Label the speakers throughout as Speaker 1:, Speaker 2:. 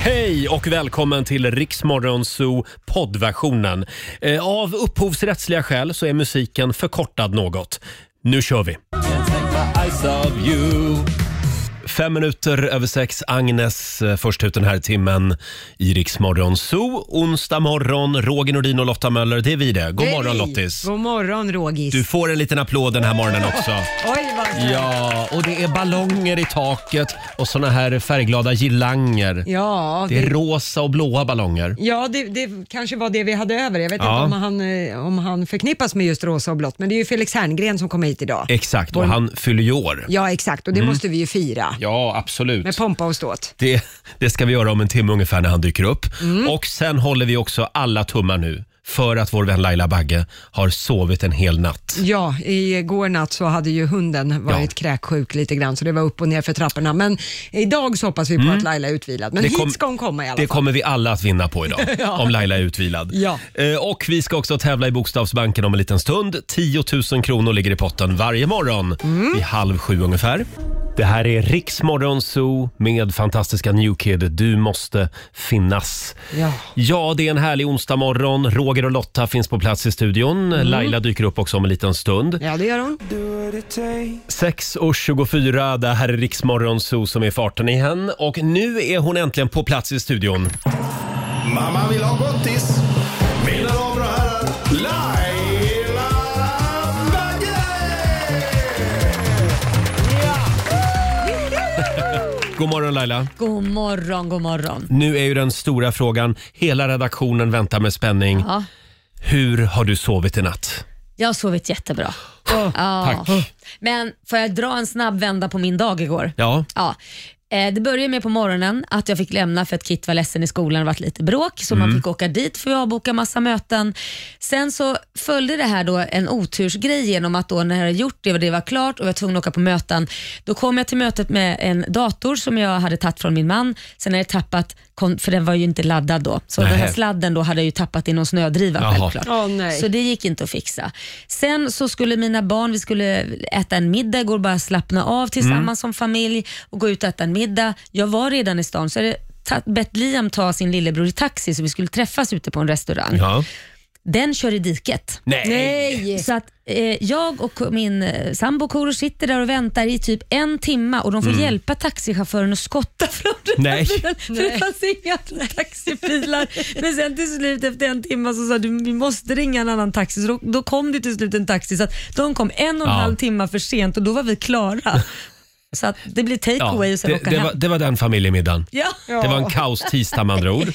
Speaker 1: Hej och välkommen till Riksmorgon Zoo poddversionen. Eh, Av upphovsrättsliga skäl så är musiken förkortad något. Nu kör vi! Fem minuter över sex, Agnes eh, först ut den här timmen i Riksmorgon Zoo. Onsdag morgon, Roger Nordin och Lotta Möller, det är vi det. God
Speaker 2: Det är
Speaker 1: morgon
Speaker 2: vi.
Speaker 1: Lottis!
Speaker 2: God morgon Rogis.
Speaker 1: Du får en liten applåd den här morgonen också.
Speaker 2: Oj vad snällt.
Speaker 1: Ja, och det är ballonger i taket och såna här färgglada girlanger.
Speaker 2: Ja,
Speaker 1: Det är
Speaker 2: det,
Speaker 1: rosa och blåa ballonger.
Speaker 2: ja det, det kanske var det vi hade över. Jag vet
Speaker 1: Ja.
Speaker 2: inte om han, eh, om han förknippas med just rosa och blått, men det är ju Felix Herngren som kommer hit idag.
Speaker 1: Exakt, och han fyller ju år.
Speaker 2: Ja, exakt
Speaker 1: Mm.
Speaker 2: och det måste vi ju fira
Speaker 1: Ja, absolut.
Speaker 2: med pompa och ståt.
Speaker 1: Det, det ska vi göra om en timme ungefär när han dyker upp. Och sen håller vi också alla tummar nu för att vår vän Laila Bagge har sovit en hel natt.
Speaker 2: Ja, igår natt så hade ju hunden varit
Speaker 1: Ja.
Speaker 2: kräksjuk lite grann så det var upp och ner för trapporna. Men idag så hoppas vi på att Laila är utvilad. Men
Speaker 1: Mm. Det
Speaker 2: hit
Speaker 1: kom-
Speaker 2: ska hon komma i alla
Speaker 1: Det
Speaker 2: fall.
Speaker 1: kommer vi alla att vinna på idag, om Laila är utvilad.
Speaker 2: Ja.
Speaker 1: Eh, Och vi ska också tävla i Bokstavsbanken om en liten stund. 10 000 kronor ligger i potten varje morgon vid halv sju ungefär. Det här är Riksmorgon Zoo med fantastiska New Kid. Du måste finnas.
Speaker 2: Ja.
Speaker 1: Ja, det är en härlig onsdag morgon. Roger och Lotta finns på plats i studion.
Speaker 3: Mm.
Speaker 1: Laila dyker upp också om en liten stund.
Speaker 2: Ja, det gör hon.
Speaker 1: 6 och 24, det här är Riksmorgon Zoo som är i farten igen. Och nu är hon äntligen på plats i studion.
Speaker 4: Mamma vill ha gottis. Mina damer och herrar, Laila Bagge!
Speaker 1: God morgon Laila.
Speaker 3: God morgon, god morgon.
Speaker 1: Nu är ju den stora frågan, hela redaktionen väntar med spänning.
Speaker 3: Ja,
Speaker 1: Hur har du sovit i natt?
Speaker 3: jag har sovit jättebra. Ja.
Speaker 1: Tack.
Speaker 3: Men får jag dra en snabb vända på min dag igår?
Speaker 1: Ja,
Speaker 3: Ja. Eh, Det började med på morgonen att jag fick lämna för att Kit var ledsen i skolan och varit lite bråk så
Speaker 1: Mm.
Speaker 3: man fick åka dit för jag boka massa möten. Sen så följde det här då en otursgrej genom att då när jag hade gjort det och det var klart och jag var tvungen att åka på möten, då kom jag till mötet med en dator som jag hade tagit från min man. Sen hade jag tappat, kon- för den var ju inte laddad då, så den här
Speaker 1: Nähä.
Speaker 3: sladden då hade jag ju tappat i någon snödriva
Speaker 1: Jaha.
Speaker 3: självklart.
Speaker 2: Åh, nej.
Speaker 3: Så det gick inte att fixa. Sen så skulle mina barn, vi skulle äta en middag igår, bara slappna av tillsammans som familj och gå ut och äta en middag. Jag var redan i stan så hade ta- bett Liam ta sin lillebror i taxi så vi skulle träffas ute på en restaurang.
Speaker 1: ja.
Speaker 3: Den kör i diket.
Speaker 1: Nej.
Speaker 3: Så att eh, jag och min eh, sambo Koro sitter där och väntar i typ en timme och de får hjälpa taxichauffören att skotta från den här
Speaker 1: Mm. Nej.
Speaker 3: bilen för det fanns inga taxibilar. Men sen till slut efter en timme så sa du vi måste ringa en annan taxi. Så då, då kom det till slut en taxi så att de kom en och en
Speaker 1: Ja.
Speaker 3: halv timme för sent och då var vi klara. Så att det blir
Speaker 1: ja.
Speaker 3: takeaway och sen
Speaker 1: Det,
Speaker 3: åka
Speaker 1: det,
Speaker 3: hem.
Speaker 1: var, det var den familjemiddagen.
Speaker 3: Ja.
Speaker 1: Det var en kaos tisdag med andra ord.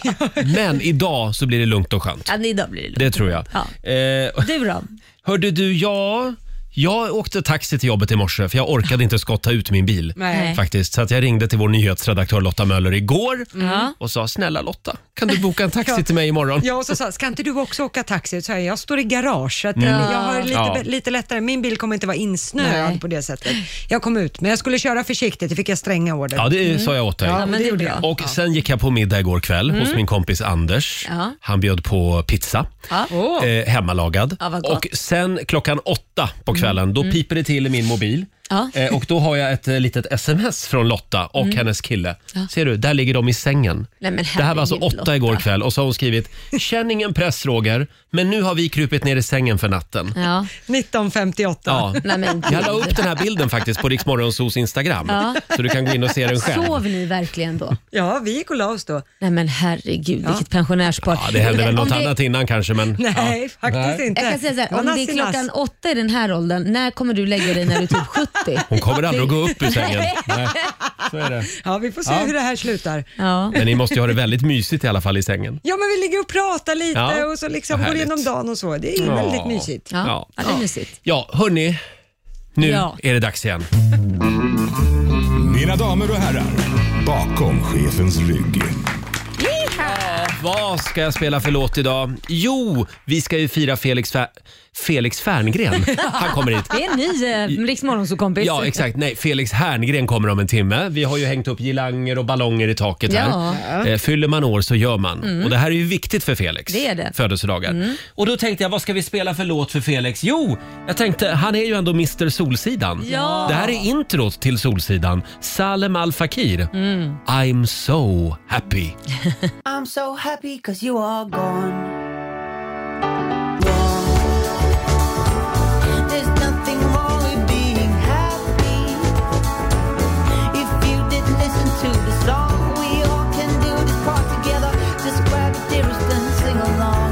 Speaker 1: Men idag så blir det lugnt och skönt.
Speaker 3: ja, idag blir det lugnt.
Speaker 1: Det tror jag.
Speaker 3: Ja.
Speaker 1: Eh,
Speaker 3: Du då?
Speaker 1: hörde du, ja, jag åkte taxi till jobbet i morse för jag orkade inte skotta ut min bil.
Speaker 2: Nej.
Speaker 1: Faktiskt. Så att jag ringde till vår nyhetsredaktör Lotta Möller igår
Speaker 3: Ja.
Speaker 1: och sa snälla Lotta, kan du boka en taxi till mig imorgon?
Speaker 2: Ja, och så sa ska inte du också åka taxi? Så jag, jag står i garaget, jag har lite,
Speaker 1: Ja.
Speaker 2: lite lättare, min bil kommer inte vara insnöad
Speaker 3: Nej.
Speaker 2: på det sättet. Jag kom ut, men jag skulle köra försiktigt, det fick jag stränga order.
Speaker 1: Ja, det sa jag åt dig.
Speaker 3: Mm. Ja, men det gjorde jag.
Speaker 1: Och sen gick jag på middag igår kväll hos min kompis Anders.
Speaker 3: Ja.
Speaker 1: Han bjöd på pizza.
Speaker 3: Ja.
Speaker 2: Åh.
Speaker 1: Eh, hemmalagad.
Speaker 3: Ja, vad gott. Mm.
Speaker 1: och sen klockan åtta på kvällen, då piper det till i min mobil.
Speaker 3: Ja. Mm.
Speaker 1: Eh, och då har jag ett eh, litet sms från Lotta och hennes kille. Ser du, där ligger de i sängen.
Speaker 3: Nej, men
Speaker 1: det här var alltså åtta
Speaker 3: herregud,
Speaker 1: igår
Speaker 3: Lotta.
Speaker 1: kväll och så har hon skrivit “Känn ingen press Roger, men nu har vi krupit ner i sängen för natten”.
Speaker 3: Ja.
Speaker 2: 1958.
Speaker 1: Ja.
Speaker 3: Nej, men
Speaker 1: Jag la
Speaker 3: gud.
Speaker 1: upp den här bilden faktiskt på Riksmorgonsos Instagram.
Speaker 3: Ja.
Speaker 1: Så du kan gå in och se den själv.
Speaker 3: Sov ni verkligen då?
Speaker 2: Ja, vi gick och la oss då.
Speaker 3: Nej men herregud, vilket pensionärspar.
Speaker 1: Ja, det hände väl
Speaker 3: Om
Speaker 1: något
Speaker 3: det-
Speaker 1: annat innan kanske, men...
Speaker 2: Nej,
Speaker 1: ja.
Speaker 2: faktiskt inte.
Speaker 3: Jag kan säga så
Speaker 2: Det var
Speaker 3: här, om det är
Speaker 2: nassi nass.
Speaker 3: klockan åtta i den här åldern, när kommer du lägga dig när du är typ 70?
Speaker 1: Hon kommer aldrig att gå upp ur sängen.
Speaker 3: Nej.
Speaker 1: Nej, så är det.
Speaker 2: Ja, vi får se hur det här slutar.
Speaker 3: Ja.
Speaker 1: Men ni måste ju ha det väldigt mysigt i alla fall i sängen.
Speaker 2: Ja, men vi ligger och pratar lite
Speaker 1: Ja,
Speaker 2: och så liksom
Speaker 1: vad
Speaker 2: går
Speaker 1: härligt.
Speaker 2: igenom dagen och så. Det är
Speaker 1: Ja.
Speaker 2: väldigt mysigt.
Speaker 3: Ja.
Speaker 1: Ja.
Speaker 3: Ja. det är mysigt.
Speaker 1: Ja, hörni. Nu
Speaker 3: Ja.
Speaker 1: är det dags igen.
Speaker 4: Mina damer och herrar, bakom chefens rygg.
Speaker 1: Vad ska jag spela för låt idag? Jo, vi ska ju fira Felix, Fer- Felix Ferngren. Han kommer hit.
Speaker 3: Det är en ny eh, Riks Morgonzoo-kompis.
Speaker 1: Ja, exakt. Nej, Felix Herngren kommer om en timme. Vi har ju hängt upp girlanger och ballonger i taket här.
Speaker 3: Ja. Mm.
Speaker 1: Eh, Fyller man år så gör man. Och det här är ju viktigt för Felix
Speaker 3: Det är det. Mm.
Speaker 1: födelsedagar. Och då tänkte jag, vad ska vi spela för låt för Felix? Jo, jag tänkte, han är ju ändå Mr Solsidan.
Speaker 3: Ja.
Speaker 1: Det här är introt till Solsidan. Salem Al Fakir.
Speaker 3: Mm.
Speaker 1: I'm so happy.
Speaker 5: I'm so happy cause you are gone. There's nothing wrong with being happy. If you did listen to the song, we all can do this part together. Just grab your dearest and sing along.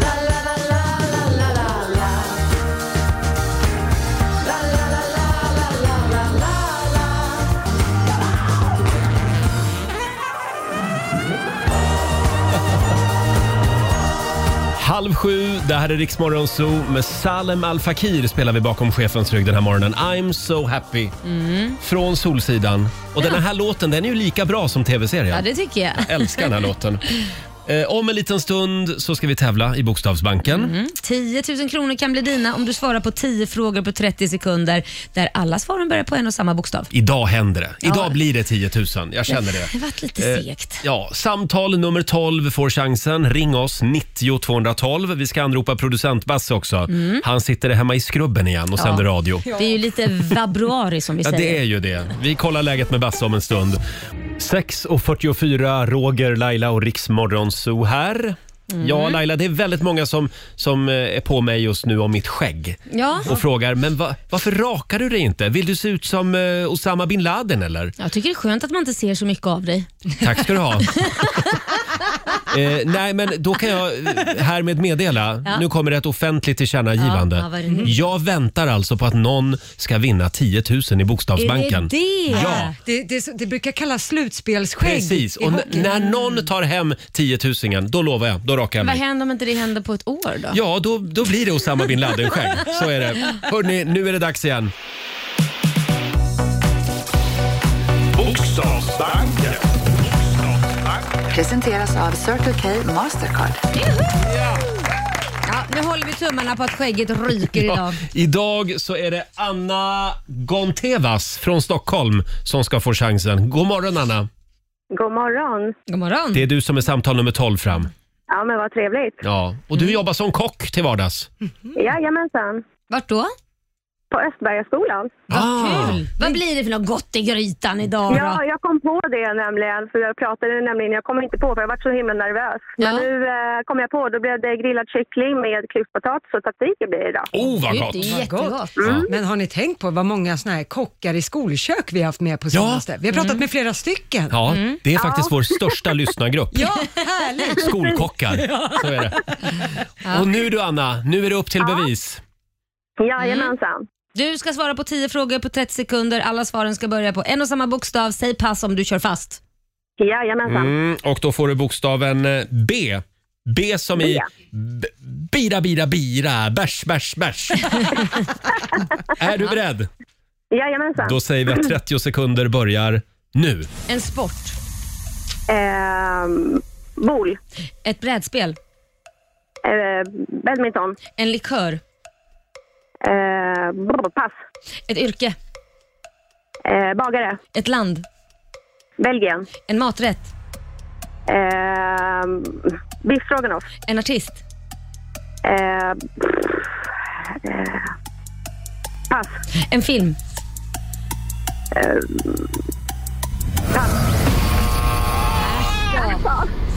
Speaker 5: La la la la la la la la. La la la la la la la la la.
Speaker 1: Halv sju, det här är Riksmorgon Zoo. Med Salem Al Fakir spelar vi bakom chefens rygg den här morgonen. I'm so happy.
Speaker 3: Mm.
Speaker 1: Från Solsidan. Och den här låten den är ju lika bra som tv-serien.
Speaker 3: Ja, det tycker jag.
Speaker 1: Jag älskar den här låten. Eh, om en liten stund så ska vi tävla i Bokstavsbanken.
Speaker 3: Mm. 10 000 kronor kan bli dina om du svarar på 10 frågor på 30 sekunder där alla svaren börjar på en och samma bokstav.
Speaker 1: Idag händer det. Idag
Speaker 3: Ja.
Speaker 1: blir det 10 000. Jag känner det. Eh.
Speaker 3: Det varit lite segt.
Speaker 1: Ja, samtal nummer 12 får chansen. Ring oss, 90 212. Vi ska anropa producent Basse också.
Speaker 3: Mm.
Speaker 1: Han sitter hemma i skrubben igen och sänder radio.
Speaker 3: Det är ju lite vabruari som vi
Speaker 1: Ja,
Speaker 3: säger.
Speaker 1: det är ju det. Vi kollar läget med Basse om en stund. 6.44, Roger, Laila och Riksmorgonzoo här.
Speaker 3: Mm.
Speaker 1: Ja, Laila, det är väldigt många som, som eh, är på mig just nu om mitt skägg
Speaker 3: Ja.
Speaker 1: och frågar men va, varför rakar du dig inte? Vill du se ut som eh, Osama bin Laden eller?
Speaker 3: Jag tycker det är skönt att man inte ser så mycket av dig.
Speaker 1: Tack ska du ha. eh, nej, men då kan jag eh, härmed meddela.
Speaker 3: Ja.
Speaker 1: Nu kommer det ett offentligt tillkännagivande.
Speaker 3: Ja, ja, vad är det nu?
Speaker 1: jag väntar alltså på att någon ska vinna 10 000 i Bokstavsbanken.
Speaker 3: Är det det?
Speaker 1: Ja.
Speaker 2: Det, det, det brukar kallas slutspelsskägg.
Speaker 1: Precis,
Speaker 2: i
Speaker 1: och n-
Speaker 2: hockey.
Speaker 1: när någon tar hem 10 000 då lovar jag, då rakar jag
Speaker 3: Vad
Speaker 1: mig.
Speaker 3: händer om inte det händer på ett år då?
Speaker 1: Ja, då, då blir det Osama bin Laden själv. Så är det. Hörrni, nu är det dags igen.
Speaker 4: Bokstavsbanken.
Speaker 6: Presenteras av Circle K Mastercard.
Speaker 3: Ja, nu håller vi tummarna på att skägget ryker idag.
Speaker 1: Idag så är det Anna Gontevas från Stockholm som ska få chansen. God morgon Anna!
Speaker 7: God morgon.
Speaker 3: God morgon.
Speaker 1: Det är du som är samtal nummer 12 fram.
Speaker 7: Ja, men vad trevligt. Mm.
Speaker 1: Ja, och du
Speaker 3: Mm.
Speaker 1: jobbar som kock till vardags.
Speaker 7: Jajamensan.
Speaker 3: Vart då?
Speaker 7: På Östbergaskolan.
Speaker 1: Ah.
Speaker 3: Kul. Vad blir det för något gott i grytan idag då?
Speaker 7: Ja, jag kom på det nämligen, för jag pratade nämligen, jag kom inte på för jag var så himla nervös. Men
Speaker 3: Ja.
Speaker 7: nu eh, kom jag på, då blev det grillad kyckling med klyftpotatis och tzatziki blir det idag.
Speaker 1: Oh, vad
Speaker 3: Gud,
Speaker 1: gott!
Speaker 3: det är
Speaker 2: Vad
Speaker 3: jättegott.
Speaker 1: Mm.
Speaker 2: Men har ni tänkt på vad många såna här kockar i skolkök vi har haft med på senaste? Vi har pratat med flera stycken.
Speaker 1: Mm. Ja,
Speaker 3: Mm.
Speaker 1: det är faktiskt vår största lyssnargrupp.
Speaker 2: Ja, härligt!
Speaker 1: Skolkockar. Så är det. Och nu du Anna, nu är det upp till bevis.
Speaker 7: Jajamensan.
Speaker 3: Du ska svara på 10 frågor på 30 sekunder. Alla svaren ska börja på en och samma bokstav. Säg pass om du kör fast.
Speaker 7: Jajamensan.
Speaker 1: Mm, och då får du bokstaven eh, B. B som i b- bira, bira, bira, bärs, bärs, bärs. är du beredd?
Speaker 7: Jajamensan.
Speaker 1: Då säger vi att 30 sekunder börjar nu.
Speaker 3: En sport.
Speaker 7: Ehm, bol.
Speaker 3: Ett brädspel.
Speaker 7: Eh, badminton.
Speaker 3: En likör.
Speaker 7: Eh, brr, pass.
Speaker 3: Ett yrke.
Speaker 7: Eh, bagare.
Speaker 3: Ett land.
Speaker 7: Belgien.
Speaker 3: En maträtt.
Speaker 7: Eh, Biff Stroganoff.
Speaker 3: En artist.
Speaker 7: Eh, pff, eh, pass.
Speaker 3: En film.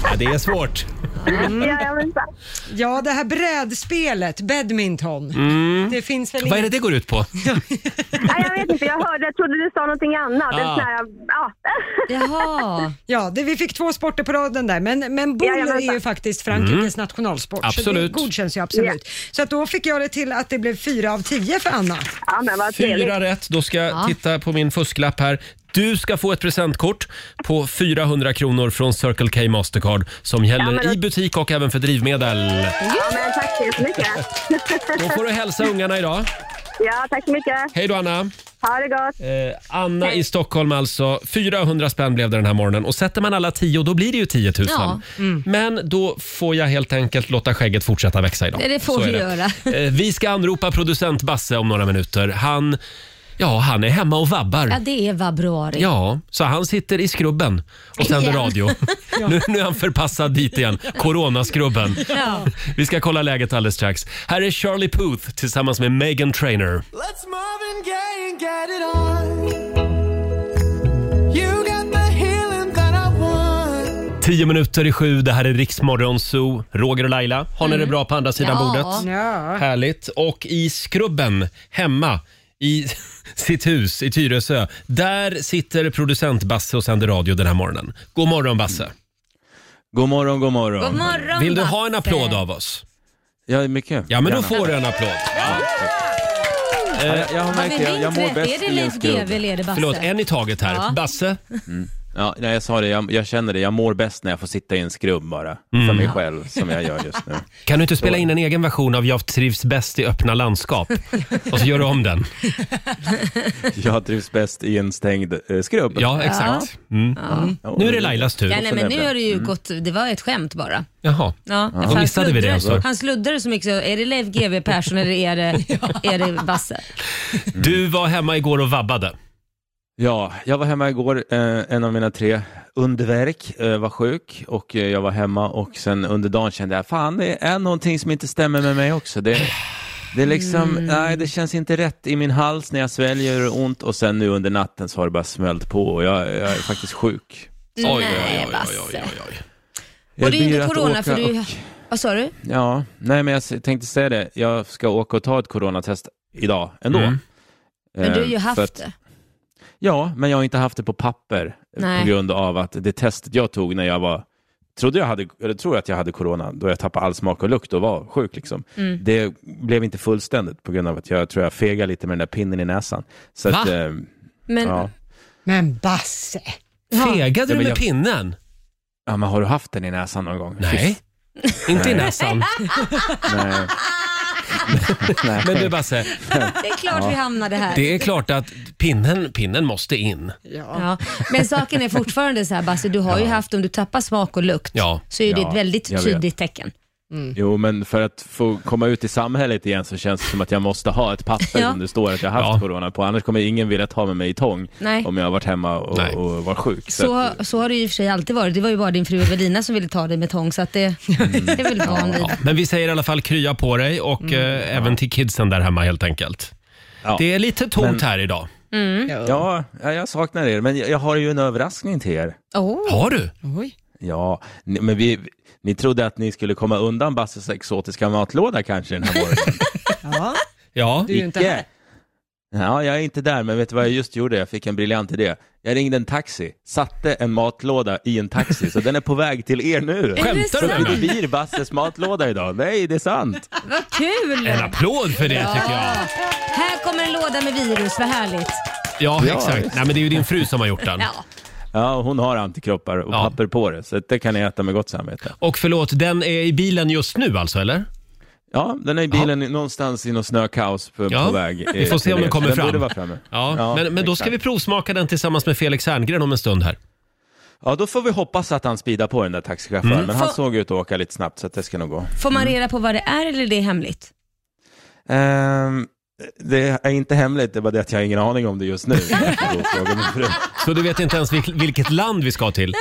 Speaker 1: Ja, det är svårt.
Speaker 8: Mm.
Speaker 7: Jajamensan.
Speaker 2: Ja, det här brädspelet, badminton. Det finns väl
Speaker 1: Mm. Vad är
Speaker 2: inget-
Speaker 1: det det går ut på?
Speaker 7: Nej, jag vet inte. Jag hörde, jag trodde du sa någonting annat. En
Speaker 1: Ah.
Speaker 7: sån här, ja.
Speaker 3: Jaha.
Speaker 2: Ja, det, vi fick två sporter på raden där, men, men boule
Speaker 7: Jajamensan.
Speaker 2: är ju faktiskt Frankrikes nationalsport.
Speaker 1: Mm. Absolut.
Speaker 2: Så det godkänns ju absolut. Så att då fick jag det till att det blev fyra av tio för Anna.
Speaker 7: ja, men vad trevligt.
Speaker 1: Fyra rätt. Då ska jag titta på min fusklapp här. Du ska få ett presentkort på 400 kronor från Circle K Mastercard som gäller
Speaker 7: men då-
Speaker 1: i butik och även för drivmedel.
Speaker 7: Ja, men tack så mycket.
Speaker 1: Då får du hälsa ungarna idag.
Speaker 7: Ja, tack så mycket.
Speaker 1: Hej då Anna!
Speaker 7: Ha det gott.
Speaker 1: Eh, Anna i Stockholm alltså. 400 spänn blev det den här morgonen. Och sätter man alla 10 då blir det ju 10 000.
Speaker 3: Ja. Mm.
Speaker 1: Men då får jag helt enkelt låta skägget fortsätta växa idag.
Speaker 3: Det- det får
Speaker 1: Så är
Speaker 3: vi
Speaker 1: det.
Speaker 3: göra.
Speaker 1: Eh, Vi ska anropa producent Basse om några minuter. Han, ja, han är hemma och vabbar.
Speaker 3: Ja, det är vabruari.
Speaker 1: Ja, så han sitter i skrubben och sänder
Speaker 3: Igen.
Speaker 1: radio. nu, nu är han förpassad dit igen. Coronaskrubben.
Speaker 3: Ja.
Speaker 1: Vi ska kolla läget alldeles strax. Här är Charlie Puth tillsammans med Megan Trainor.
Speaker 5: Let's Marvin Gaye and get it on. You got the healing that I want.
Speaker 1: Tio minuter i sju, det här är Riksmorgon Zoo. Roger och Laila, har ni det bra på andra sidan
Speaker 3: Mm. Ja.
Speaker 1: bordet?
Speaker 2: Ja.
Speaker 1: Härligt. Och i skrubben hemma i sitt hus i Tyresö, där sitter producent Basse och sänder radio den här morgonen. God morgon Basse.
Speaker 8: God morgon, god morgon.
Speaker 3: God morgon
Speaker 1: Vill du ha en
Speaker 3: Basse.
Speaker 1: applåd av oss?
Speaker 8: Ja, mycket.
Speaker 1: Ja, men då
Speaker 8: Gärna.
Speaker 1: får du en applåd.
Speaker 8: Ja, jag, jag har
Speaker 3: Har vi
Speaker 8: märkt det. Jag, jag mår
Speaker 3: vinterrätt?
Speaker 8: bäst
Speaker 3: Är det
Speaker 8: i en
Speaker 3: Leif GW
Speaker 8: skrubb.
Speaker 3: leder Basse?
Speaker 1: Förlåt, en i taget här.
Speaker 3: Ja.
Speaker 1: Basse,
Speaker 8: Ja, nej, jag sa det. Jag, jag känner det. Jag mår bäst när jag får sitta i en skrubb bara.
Speaker 1: Mm.
Speaker 8: För mig själv, som jag gör just nu.
Speaker 1: kan du inte spela in en egen version av Jag trivs bäst i öppna landskap? Och så gör du om den.
Speaker 8: Jag trivs bäst i en stängd eh, skrubb.
Speaker 1: Ja, exakt. Mm.
Speaker 8: Ja,
Speaker 1: Nu är det Lailas
Speaker 3: Ja,
Speaker 1: tur.
Speaker 3: nej, men nu har det ju gått, det var ett skämt bara.
Speaker 1: Jaha.
Speaker 3: Ja, för
Speaker 1: Då
Speaker 3: han
Speaker 1: missade vi det
Speaker 3: sluddrar-
Speaker 1: alltså.
Speaker 3: Han sluddrar så mycket så är det Leif GW Persson eller är det, är det Basse?
Speaker 1: Du var hemma igår och vabbade.
Speaker 8: Ja, jag var hemma igår. Eh, en av mina tre underverk eh, var sjuk och eh, jag var hemma och sen under dagen kände jag fan det är någonting som inte stämmer med mig också. Det, det, är liksom,
Speaker 3: Mm.
Speaker 8: nej, det känns inte rätt i min hals när jag sväljer och gör ont och sen nu under natten så har det bara smällt på och jag, jag är faktiskt sjuk.
Speaker 1: Oj,
Speaker 3: Nej, Basse.
Speaker 8: Jag
Speaker 3: Och det är inte
Speaker 8: ber att
Speaker 3: corona,
Speaker 8: åka
Speaker 3: för du-
Speaker 8: och-
Speaker 3: Vad sa du?
Speaker 8: Ja, nej men jag s- tänkte säga det. Jag ska åka och ta ett coronatest idag ändå.
Speaker 1: Mm.
Speaker 3: Men du har ju
Speaker 8: Eh,
Speaker 3: haft
Speaker 8: för att-
Speaker 3: det.
Speaker 8: Ja, men jag har inte haft det på papper eh,
Speaker 3: Nej.
Speaker 8: på grund av att det testet jag tog när jag var trodde jag hade, eller tror att jag hade corona, då jag tappade all smak och lukt och var sjuk. Liksom.
Speaker 3: Mm.
Speaker 8: Det blev inte fullständigt på grund av att jag tror jag fegade lite med den där pinnen i näsan. Så
Speaker 1: Va?
Speaker 8: att, eh,
Speaker 3: Men,
Speaker 8: ja.
Speaker 2: Men Basse.
Speaker 1: Fegade
Speaker 8: Ja,
Speaker 1: du
Speaker 8: men
Speaker 1: med
Speaker 8: jag-
Speaker 1: pinnen?
Speaker 8: ja, men har du haft den i näsan någon gång?
Speaker 1: Nej. Inte i näsan.
Speaker 8: Nej. Nej.
Speaker 1: Men du Basse,
Speaker 3: Det är klart vi hamnade här.
Speaker 1: det är klart att pinnen, pinnen måste in.
Speaker 3: Ja. Men saken är fortfarande så här Basse, du har ju haft, om du tappar smak och lukt,
Speaker 1: Ja.
Speaker 3: så är ju det
Speaker 8: Ja,
Speaker 3: ett väldigt
Speaker 8: jag vet.
Speaker 3: tydligt tecken.
Speaker 8: Jo, men för att få komma ut i samhället igen så känns det som att jag måste ha ett papper
Speaker 3: Ja.
Speaker 8: som det står att jag har haft
Speaker 1: Ja.
Speaker 8: corona på. Annars kommer ingen vilja ta med mig i tång
Speaker 3: Nej.
Speaker 8: om jag har varit hemma
Speaker 1: Nej.
Speaker 8: och, och var sjuk. Så
Speaker 3: Så,
Speaker 8: att,
Speaker 3: så har det ju i och för sig alltid varit. Det var ju bara din fru Evelina som ville ta dig med tång, så att det, det är väl van vid.
Speaker 1: Ja, men vi säger i alla fall krya på dig och eh, även till kidsen där hemma helt enkelt.
Speaker 8: ja.
Speaker 1: Det är lite tomt här idag.
Speaker 8: Ja, ja, jag saknar er, men jag, jag har ju en överraskning till er.
Speaker 3: Oh.
Speaker 1: Har du?
Speaker 2: Oj.
Speaker 8: Ja, ni, men vi, ni trodde att ni skulle komma undan Basses exotiska matlåda kanske den här morgonen.
Speaker 2: Ja,
Speaker 1: Ja.
Speaker 2: du är ju inte här.
Speaker 8: Icke. Ja, jag är inte där, men vet du vad jag just gjorde? Jag fick en briljant idé. Jag ringde en taxi, satte en matlåda i en taxi, så den är på väg till er nu.
Speaker 3: Är det
Speaker 1: Skämtar du med
Speaker 8: Det
Speaker 1: mig?
Speaker 8: blir Basses matlåda idag. Nej, det är sant.
Speaker 3: Vad kul!
Speaker 1: En applåd för det tycker jag.
Speaker 3: Här kommer en låda med virus, vad härligt.
Speaker 1: Ja,
Speaker 8: Ja.
Speaker 1: exakt. Nej, men det är ju din fru som har gjort den.
Speaker 3: Ja.
Speaker 8: Ja, hon har antikroppar och
Speaker 1: Ja.
Speaker 8: papper på det, så att det kan ni äta med gott samvete.
Speaker 1: Och förlåt, den är i bilen just nu alltså, eller?
Speaker 8: Ja, den är i bilen någonstans i något snökaos på,
Speaker 1: Ja,
Speaker 8: på väg. eh,
Speaker 1: vi får se
Speaker 8: till
Speaker 1: om den
Speaker 8: er, så
Speaker 1: kommer
Speaker 8: den
Speaker 1: fram.
Speaker 8: Borde vara framme.
Speaker 1: Ja, men, men då ska
Speaker 8: exakt.
Speaker 1: vi provsmaka den tillsammans med Felix Herngren om en stund här.
Speaker 8: Ja, då får vi hoppas att han speedar på den där taxichauffören,
Speaker 1: Mm.
Speaker 8: men han
Speaker 3: Får-
Speaker 8: såg ut att åka lite snabbt, så att det ska nog gå.
Speaker 3: Får man reda på vad det är eller är det är hemligt?
Speaker 8: Ehm, det är inte hemligt, det är bara det att jag har ingen aning om det just nu. Jag får gå och fråga min fru.
Speaker 1: Så du vet inte ens vilk- vilket land vi ska till?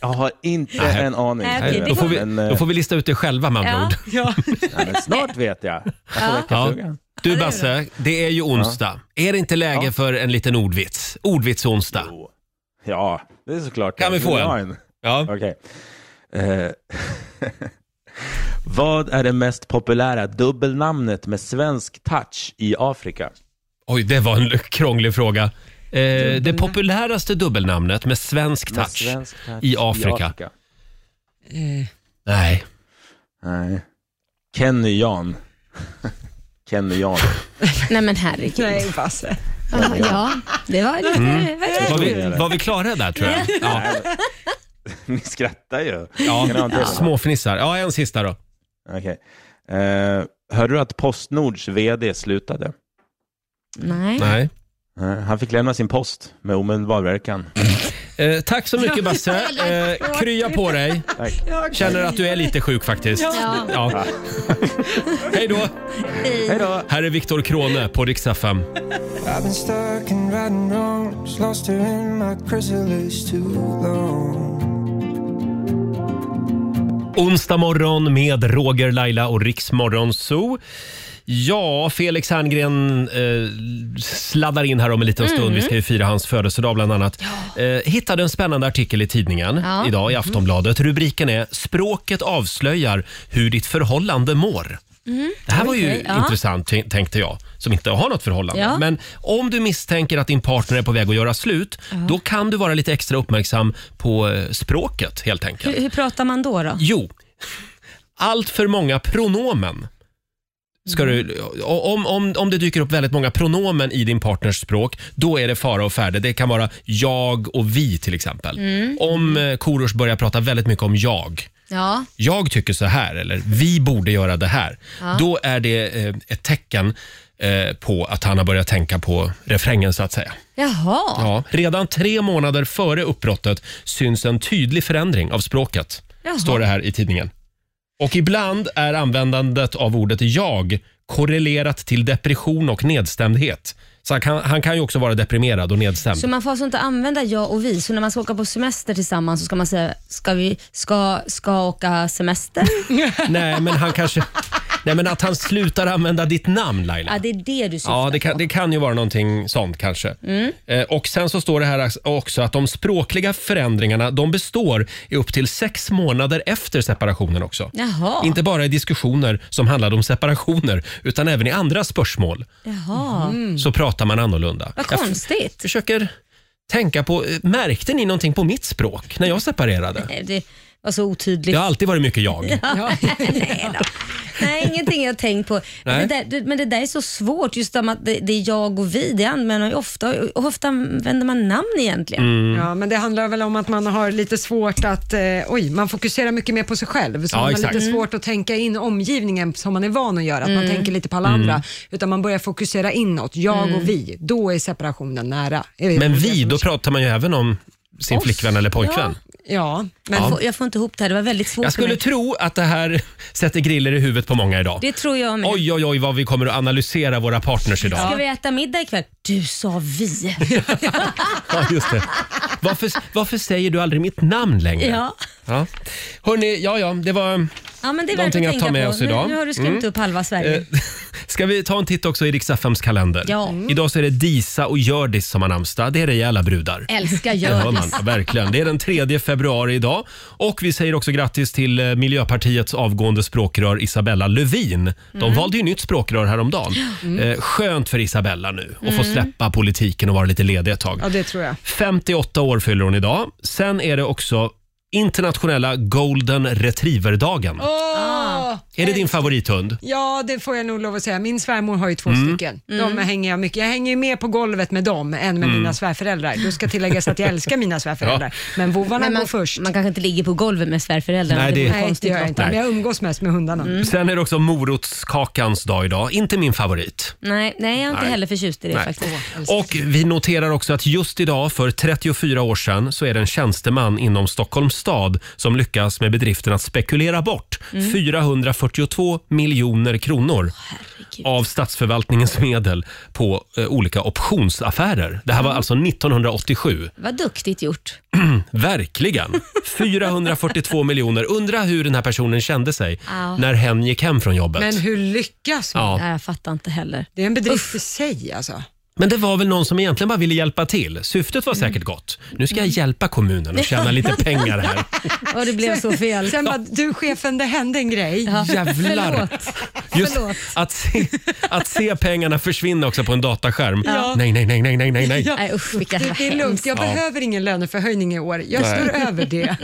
Speaker 8: Jag har inte
Speaker 1: Nej.
Speaker 8: en aning.
Speaker 3: Nej,
Speaker 1: Nej,
Speaker 3: det
Speaker 1: då, får vi,
Speaker 8: men, eh,
Speaker 1: då får vi lista ut det själva med andra
Speaker 3: Ja.
Speaker 1: ord.
Speaker 8: ja, men snart vet jag. Jag får
Speaker 3: Ja.
Speaker 8: väcka
Speaker 1: Ja.
Speaker 8: frugan.
Speaker 1: Du Basse, det är ju onsdag. Är det inte läge
Speaker 8: Ja.
Speaker 1: för en liten ordvits? Ordvits-onsdag.
Speaker 8: Jo. Ja, det är såklart.
Speaker 1: Kan vi få
Speaker 8: Vill du ha
Speaker 1: en? Ja.
Speaker 8: Okej. Eh, Vad är det mest populära dubbelnamnet med svensk touch i Afrika?
Speaker 1: Oj, det var en krånglig fråga. Eh, det populäraste dubbelnamnet med svensk
Speaker 8: Med
Speaker 1: touch.
Speaker 8: svensk touch
Speaker 1: i Afrika.
Speaker 2: Eh,
Speaker 1: Nej.
Speaker 8: Nej. Kenny Jan. Kenny Jan.
Speaker 3: Nej men herregud.
Speaker 2: nej, Basse.
Speaker 3: Ja, Ja, det var lite...
Speaker 1: Var
Speaker 8: det
Speaker 1: vi,
Speaker 8: är det.
Speaker 1: var vi klara där tror jag? Ja.
Speaker 8: Ni skrattar ju. Kan ni ha
Speaker 1: Ja.
Speaker 8: en till?
Speaker 1: Småfnissar. Ja, en sista då.
Speaker 8: Okej. Eh, hörde du att Postnords vd slutade?
Speaker 3: Nej.
Speaker 1: Nej.
Speaker 8: Eh,
Speaker 9: Nej, Han fick lämna sin post med omedelbar verkan.
Speaker 1: Eh, tack så mycket Basse. Eh, krya på dig.
Speaker 9: Tack.
Speaker 1: Känner att du är lite sjuk faktiskt.
Speaker 3: Ja.
Speaker 1: Ja. Hej då!
Speaker 9: Hej då!
Speaker 1: Här är Viktor Krone på Rix FM.
Speaker 10: I've been stuck in riding roads, lost her in my chrysalis too long.
Speaker 1: Onsdag morgon med Roger, Laila och Riksmorgon Zoo. Ja, Felix Herngren eh, sladdar in här om en liten
Speaker 3: Mm.
Speaker 1: stund. Vi ska ju fira hans födelsedag bland annat. Eh, hittade en spännande artikel i tidningen
Speaker 3: Ja. Mm.
Speaker 1: idag i Aftonbladet. Rubriken är “Språket avslöjar hur ditt förhållande mår”. Det här var ju
Speaker 3: Mm. Okej, ja.
Speaker 1: intressant t- tänkte jag, som inte har något förhållande.
Speaker 3: Ja.
Speaker 1: Men om du misstänker att din partner är på väg att göra slut, då kan du vara lite extra uppmärksam på eh, språket helt enkelt.
Speaker 3: Hur, hur pratar man då? då?
Speaker 1: Jo, allt för många pronomen. Ska du, om, om, om det dyker upp väldigt många pronomen i din partners språk, då är det fara och färde. Det kan vara jag och vi till exempel. Om eh, Korosh börjar prata väldigt mycket om jag,
Speaker 3: Ja.
Speaker 1: jag tycker så här eller vi borde göra det här. Då är det eh, ett tecken eh, på att han har börjat tänka på refrängen så att säga.
Speaker 3: Jaha.
Speaker 1: Ja. Redan tre månader före uppbrottet syns en tydlig förändring av språket,
Speaker 3: Jaha.
Speaker 1: står det här i tidningen. Och ibland är användandet av ordet jag korrelerat till depression och nedstämdhet. Så han kan, han kan ju också vara deprimerad och nedstämd.
Speaker 3: Så man får alltså inte använda jag och vi, så när man ska åka på semester tillsammans så ska man säga ska vi ska, ska åka semester?
Speaker 1: Nej, men han kanske... Nej, men att han slutar använda ditt namn Laila.
Speaker 3: ja, det är det du syftar
Speaker 1: Ja, det
Speaker 3: på.
Speaker 1: kan, det kan ju vara någonting sånt kanske. Eh, och Sen så står det här också att de språkliga förändringarna de består i upp till sex månader efter separationen också.
Speaker 3: Jaha.
Speaker 1: Inte bara i diskussioner som handlade om separationer utan även i andra spörsmål
Speaker 3: Jaha.
Speaker 1: så pratar man annorlunda.
Speaker 3: Mm. Vad
Speaker 1: Mm. Jag f-
Speaker 3: konstigt.
Speaker 1: försöker tänka på, eh, märkte ni någonting på mitt språk när jag separerade?
Speaker 3: Nej, Det var så otydligt.
Speaker 1: Det har alltid varit mycket jag.
Speaker 3: Nej, då. Nej, ingenting jag tänkt på.
Speaker 1: Nej.
Speaker 3: Men det, där, det- men det där är så svårt, just om att det, det är jag och vi, det använder man ju ofta. Och ofta använder man namn egentligen.
Speaker 1: Mm.
Speaker 2: Ja, men det handlar väl om att man har lite svårt att, eh, oj, man fokuserar mycket mer på sig själv.
Speaker 1: Ja,
Speaker 2: Så man har
Speaker 1: exakt. Mm.
Speaker 2: lite svårt att tänka in omgivningen som man är van att göra, att
Speaker 3: Mm.
Speaker 2: man tänker lite på alla
Speaker 1: Mm.
Speaker 2: andra. Utan man börjar fokusera inåt, jag
Speaker 3: Mm.
Speaker 2: och vi, då är separationen nära. Är det
Speaker 1: Men
Speaker 2: det
Speaker 1: vi,
Speaker 2: som-
Speaker 1: då pratar man ju även om sin flickvän eller pojkvän.
Speaker 2: Ja, men
Speaker 3: Jag, får, jag får inte ihop det här, det var väldigt svårt
Speaker 1: Jag
Speaker 3: för
Speaker 1: skulle
Speaker 3: mig.
Speaker 1: tro att det här sätter griller i huvudet på många idag.
Speaker 3: Det tror jag med.
Speaker 1: Oj, oj, oj vad vi kommer att analysera våra partners idag.
Speaker 3: Ska vi äta middag ikväll? Du sa vi.
Speaker 1: Ja, just det. Varför, varför säger du aldrig mitt namn längre?
Speaker 3: Ja,
Speaker 1: Ja. Hörni, ja, ja, det var...
Speaker 3: ja men det är värt att
Speaker 1: Någonting
Speaker 3: tänka
Speaker 1: att ta med
Speaker 3: på.
Speaker 1: oss idag.
Speaker 3: Nu, nu har du skrämt upp halva Sverige.
Speaker 1: Eh, ska vi ta en titt också i Riks-FMs kalender?
Speaker 3: Ja. Mm.
Speaker 1: Idag så är det Disa och Hjördis som har namnsdag. Det är rejäla brudar.
Speaker 3: Älskar
Speaker 1: Det hör man,
Speaker 3: Hjördis.
Speaker 1: ja, verkligen. Det är den 3 februari idag. Och vi säger också grattis till eh, Miljöpartiets avgående språkrör Isabella Lövin. De valde ju nytt språkrör häromdagen. Eh, skönt för Isabella nu att få släppa politiken och vara lite ledig ett tag.
Speaker 2: ja, det tror jag.
Speaker 1: 58 år fyller hon idag. Sen är det också internationella golden retriever-dagen.
Speaker 2: Åh!
Speaker 1: är det din favorithund?
Speaker 2: Ah. Ja, det får jag nog lov att säga. Min svärmor har ju två
Speaker 1: Mm.
Speaker 2: stycken. De
Speaker 3: Mm.
Speaker 2: hänger jag mycket. Jag hänger ju mer på golvet med dem än
Speaker 1: Mm.
Speaker 2: med mina svärföräldrar. Då ska tilläggas att jag älskar mina svärföräldrar. Men vovvarna
Speaker 3: Men
Speaker 2: går
Speaker 3: man,
Speaker 2: först.
Speaker 3: man kanske inte ligger på golvet med svärföräldrarna.
Speaker 1: Nej, det-
Speaker 3: vore
Speaker 2: Nej, det
Speaker 3: konstigt. Mm.
Speaker 2: gör jag inte.
Speaker 1: Nej.
Speaker 2: Men jag umgås mest med hundarna.
Speaker 1: Sen är det också morotskakans dag idag. Inte min favorit.
Speaker 3: Nej, nej, jag är inte
Speaker 1: Nej.
Speaker 3: heller förtjust i det
Speaker 1: Nej.
Speaker 3: faktiskt.
Speaker 1: Och vi noterar också att just idag för 34 år sedan så är det en tjänsteman inom Stockholms stad som lyckas med bedriften att spekulera bort
Speaker 3: Mm.
Speaker 1: 442 miljoner kronor av statsförvaltningens medel på eh, olika optionsaffärer. Det här
Speaker 3: Mm.
Speaker 1: var alltså 1987.
Speaker 3: Vad duktigt gjort.
Speaker 1: Verkligen! 442 miljoner. Undra hur den här personen kände sig
Speaker 3: Ja.
Speaker 1: när hen gick hem från jobbet.
Speaker 2: Men hur lyckas man?
Speaker 1: Ja.
Speaker 3: Nej, jag fattar inte heller.
Speaker 2: Det är en bedrift i sig alltså.
Speaker 1: Men det var väl någon som egentligen bara ville hjälpa till. Syftet var säkert gott. Nu ska jag hjälpa kommunen och tjäna lite pengar här.
Speaker 3: Och det blev så fel.
Speaker 2: Sen bara, du chefen, det hände en grej.
Speaker 1: Jävlar!
Speaker 3: Förlåt.
Speaker 1: Just
Speaker 3: Förlåt.
Speaker 1: att se, att se pengarna försvinna också på en dataskärm. Nej, nej, nej, nej, nej, nej, nej.
Speaker 3: Nej usch vilka
Speaker 2: Det, det är lugnt, jag behöver ingen löneförhöjning i år. Jag står över det.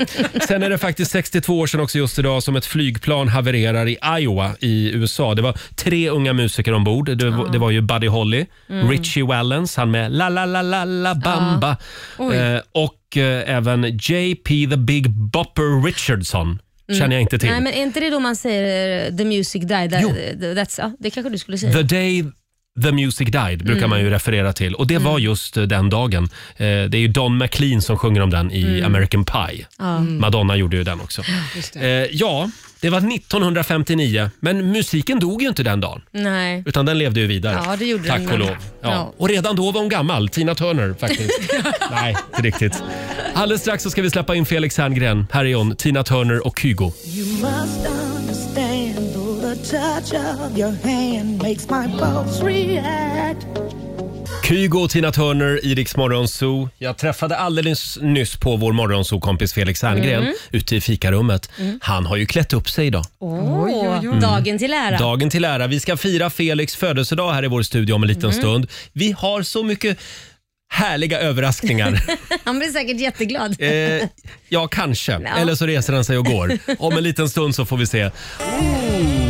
Speaker 1: Sen är det faktiskt 62 år sedan också just idag som ett flygplan havererar i Iowa i USA. Det var tre unga musiker ombord. Det, var- det var ju Buddy Holly, Richie Wallens, han med La La La La La Bamba eh, och eh, även JP the Big Bopper Richardson. Känner jag inte till.
Speaker 3: Nej men är inte det då man säger eh, the music died? That,
Speaker 1: Jo.
Speaker 3: that's, ja, det kanske du skulle säga.
Speaker 1: The day The Music Died brukar man ju
Speaker 3: Mm.
Speaker 1: referera till och det var just eh, den dagen. Eh, Det är ju Don McLean som sjunger om den i American Pie.
Speaker 3: Mm. Ja.
Speaker 1: Madonna gjorde ju den också.
Speaker 2: Just det.
Speaker 1: Eh, ja, det var 1959 men musiken dog ju inte den dagen.
Speaker 3: Nej.
Speaker 1: Utan den levde ju vidare.
Speaker 3: Ja, det gjorde
Speaker 1: Tack
Speaker 3: den.
Speaker 1: och lov. Ja.
Speaker 3: Ja.
Speaker 1: Och redan då var hon gammal, Tina Turner faktiskt. Nej, inte riktigt. Alldeles strax så ska vi släppa in Felix Herngren. Här är hon, Tina Turner och Kygo.
Speaker 5: You must understand, though the touch of your hand makes my pulse react.
Speaker 1: Kygo och Tina Turner i Rix Morgonzoo. Jag träffade alldeles nyss på vår morgonzoo-kompis Felix Herngren ute i fikarummet. Han har ju klätt upp sig idag.
Speaker 3: Åh,
Speaker 8: Mm.
Speaker 3: Dagen till ära.
Speaker 1: Dagen till ära. Vi ska fira Felix födelsedag här i vår studio om en liten stund. Vi har så mycket härliga överraskningar.
Speaker 3: Han blir säkert jätteglad.
Speaker 1: Eh, ja, kanske. Eller så reser han sig och går. Om en liten stund så får vi se. Ooh,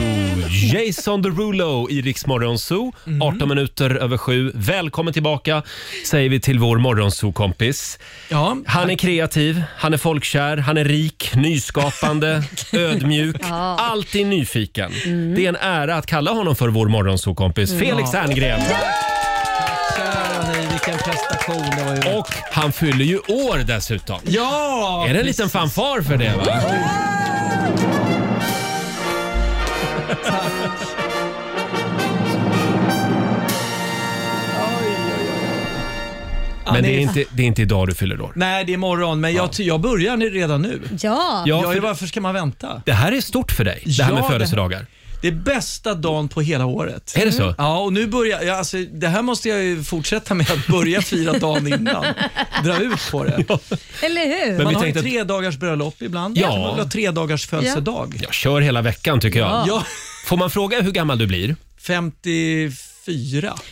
Speaker 1: Jason Derulo i Rix Morgonzoo.
Speaker 8: Mm.
Speaker 1: 18 minuter över sju. Välkommen tillbaka säger vi till vår morgonzoo-kompis.
Speaker 8: Ja,
Speaker 1: Han är kreativ, han är folkkär, han är rik, nyskapande, ödmjuk, alltid nyfiken.
Speaker 8: Mm.
Speaker 1: Det är en ära att kalla honom för vår morgonzoo-kompis Felix Herngren.
Speaker 8: kära ni, vilken prestation det var ju.
Speaker 1: Och han fyller ju år dessutom.
Speaker 8: Ja!
Speaker 1: Är det en liten fanfar för det? Va?
Speaker 8: Ja,
Speaker 1: Men
Speaker 8: ni-
Speaker 1: det är, inte, det är inte idag du fyller år.
Speaker 8: Nej, det är imorgon, men jag, ty- jag börjar nu, redan nu.
Speaker 3: Ja.
Speaker 1: Ja,
Speaker 8: Ja,
Speaker 1: för-
Speaker 8: varför ska man vänta?
Speaker 1: Det här är stort för dig, det här
Speaker 8: Ja,
Speaker 1: med
Speaker 8: det-
Speaker 1: födelsedagar.
Speaker 8: Det är bästa dagen på hela året.
Speaker 1: Är det så?
Speaker 8: Ja, och nu börjar jag, alltså, det här måste jag ju fortsätta med att börja fira dagen innan. Dra ut på det.
Speaker 3: Eller hur?
Speaker 1: Men
Speaker 8: Man
Speaker 1: vi
Speaker 8: har ju
Speaker 1: tänkte att-
Speaker 8: tre dagars bröllop ibland.
Speaker 1: Ja.
Speaker 8: Man vill ha tre dagars födelsedag.
Speaker 1: Jag kör hela veckan tycker jag.
Speaker 8: Ja.
Speaker 1: Får man fråga hur gammal du blir?
Speaker 8: 54.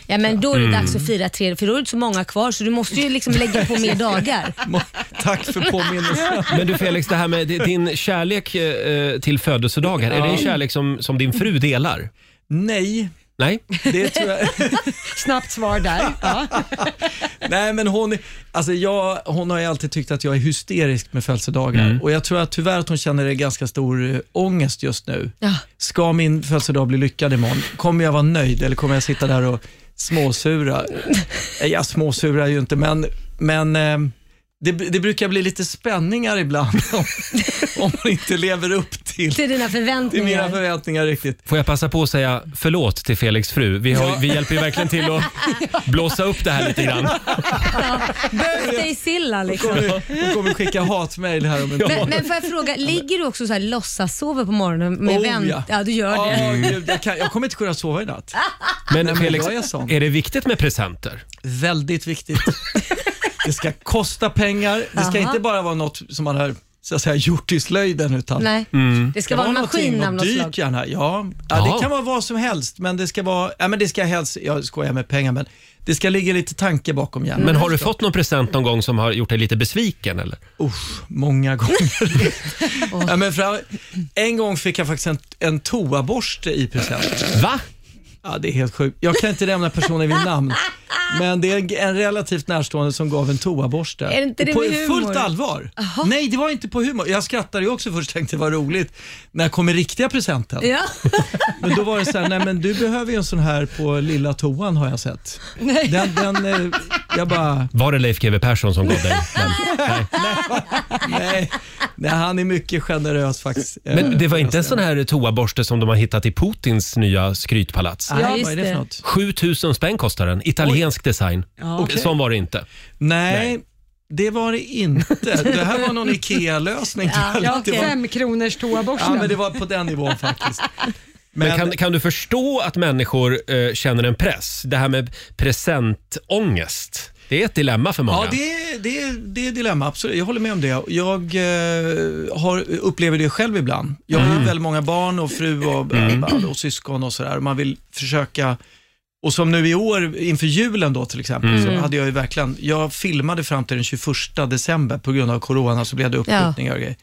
Speaker 3: Ja, men då är det
Speaker 8: Mm.
Speaker 3: dags att fira tre, för då är det inte så många kvar så du måste ju liksom lägga på mer dagar.
Speaker 8: Må- Tack för påminnelsen.
Speaker 1: Men du Felix, det här med di- din kärlek eh, till födelsedagar, är det en kärlek som, som din fru delar?
Speaker 8: Nej,
Speaker 1: Nej?
Speaker 8: det tror jag.
Speaker 2: Snabbt svar där. Ja.
Speaker 8: Nej, men hon, alltså jag, hon har ju alltid tyckt att jag är hysterisk med födelsedagar och jag tror att tyvärr att hon känner en ganska stor eh, ångest just nu.
Speaker 3: Ja.
Speaker 8: Ska min födelsedag bli lyckad imorgon? Kommer jag vara nöjd eller kommer jag sitta där och småsura? Nej, jag småsurar ju inte, men, men eh, det, det brukar bli lite spänningar ibland om, om man inte lever upp till,
Speaker 3: Till dina
Speaker 8: till mina
Speaker 3: förväntningar.
Speaker 8: förväntningar riktigt.
Speaker 1: Får jag passa på att säga förlåt till Felix fru? Vi, har, vi hjälper ju verkligen till att blåsa upp det här lite grann.
Speaker 3: Birthday Silla liksom.
Speaker 8: Kommer, hon kommer skicka hatmejl här om en
Speaker 3: Men, men får jag fråga, ligger du också så här låtsassover på morgonen med
Speaker 8: Oh,
Speaker 3: vänt?
Speaker 8: ja.
Speaker 3: Ja. du gör
Speaker 8: Ja,
Speaker 3: det.
Speaker 8: gud, jag, kan, jag kommer inte kunna sova i natt.
Speaker 1: Men
Speaker 8: men
Speaker 1: Felix,
Speaker 8: jag är sån.
Speaker 1: är det viktigt med presenter?
Speaker 8: Väldigt viktigt. Det ska kosta pengar. Det ska
Speaker 3: Aha.
Speaker 8: inte bara vara något som man har så att säga, gjort i slöjden. Utan
Speaker 3: Nej.
Speaker 8: Mm.
Speaker 3: Det ska vara en maskin av något
Speaker 8: dyrt
Speaker 3: slag.
Speaker 8: gärna. Ja.
Speaker 1: Ja.
Speaker 8: Ja, det kan vara vad som helst, men det ska vara, ja, men det ska helst, jag skojar med pengar, men det ska ligga lite tanke bakom hjärnan.
Speaker 1: Men har du fått någon present någon gång som har gjort dig lite besviken? Eller?
Speaker 8: Usch, många gånger. ja, men fram, en gång fick jag faktiskt en, en toaborste i present.
Speaker 1: Va?
Speaker 8: Ja, det är helt sjukt. Jag kan inte nämna personen vid namn, men det är en- en relativt närstående som gav en toaborste.
Speaker 3: Är inte det
Speaker 8: på
Speaker 3: med humor?
Speaker 8: fullt allvar. Nej, det var inte på humor. Jag skrattade ju också först, tänkte det var roligt. När kommer riktiga presenten?
Speaker 3: Ja.
Speaker 8: Men då var det så här, nej men du behöver ju en sån här på lilla toan har jag sett. Den, den, eh, jag bara,
Speaker 1: Var det Leif GW Persson som gav dig den?
Speaker 8: nej, nej, han är mycket generös faktiskt. Eh,
Speaker 1: Men det var inte en sån här toaborste som de har hittat i Putins nya skrytpalats?
Speaker 8: Ja,
Speaker 3: just
Speaker 8: vad är det
Speaker 3: det.
Speaker 8: för något?
Speaker 1: 7000 spänn kostar den. Italiensk design. Sån var det inte.
Speaker 8: Nej, det var det inte. Det här var någon IKEA-lösning.
Speaker 2: Ja,
Speaker 8: det var,
Speaker 2: Fem kronors
Speaker 8: ja,
Speaker 2: toaborsten.
Speaker 8: men det var på den nivån faktiskt.
Speaker 1: Men, kan, kan du förstå att människor eh, känner en press? Det här med presentångest. Det är ett dilemma för många.
Speaker 8: Ja, det är, det, är, det är ett dilemma. Absolut. Jag håller med om det. Jag eh, har, upplever det själv ibland. Jag har ju väldigt många barn och fru och, och syskon och sådär. Man vill försöka och som nu i år, inför julen då till exempel, så
Speaker 1: Mm.
Speaker 8: hade jag ju verkligen, jag filmade fram till den 21 december på grund av corona, så blev det uppskjutningar och grejer.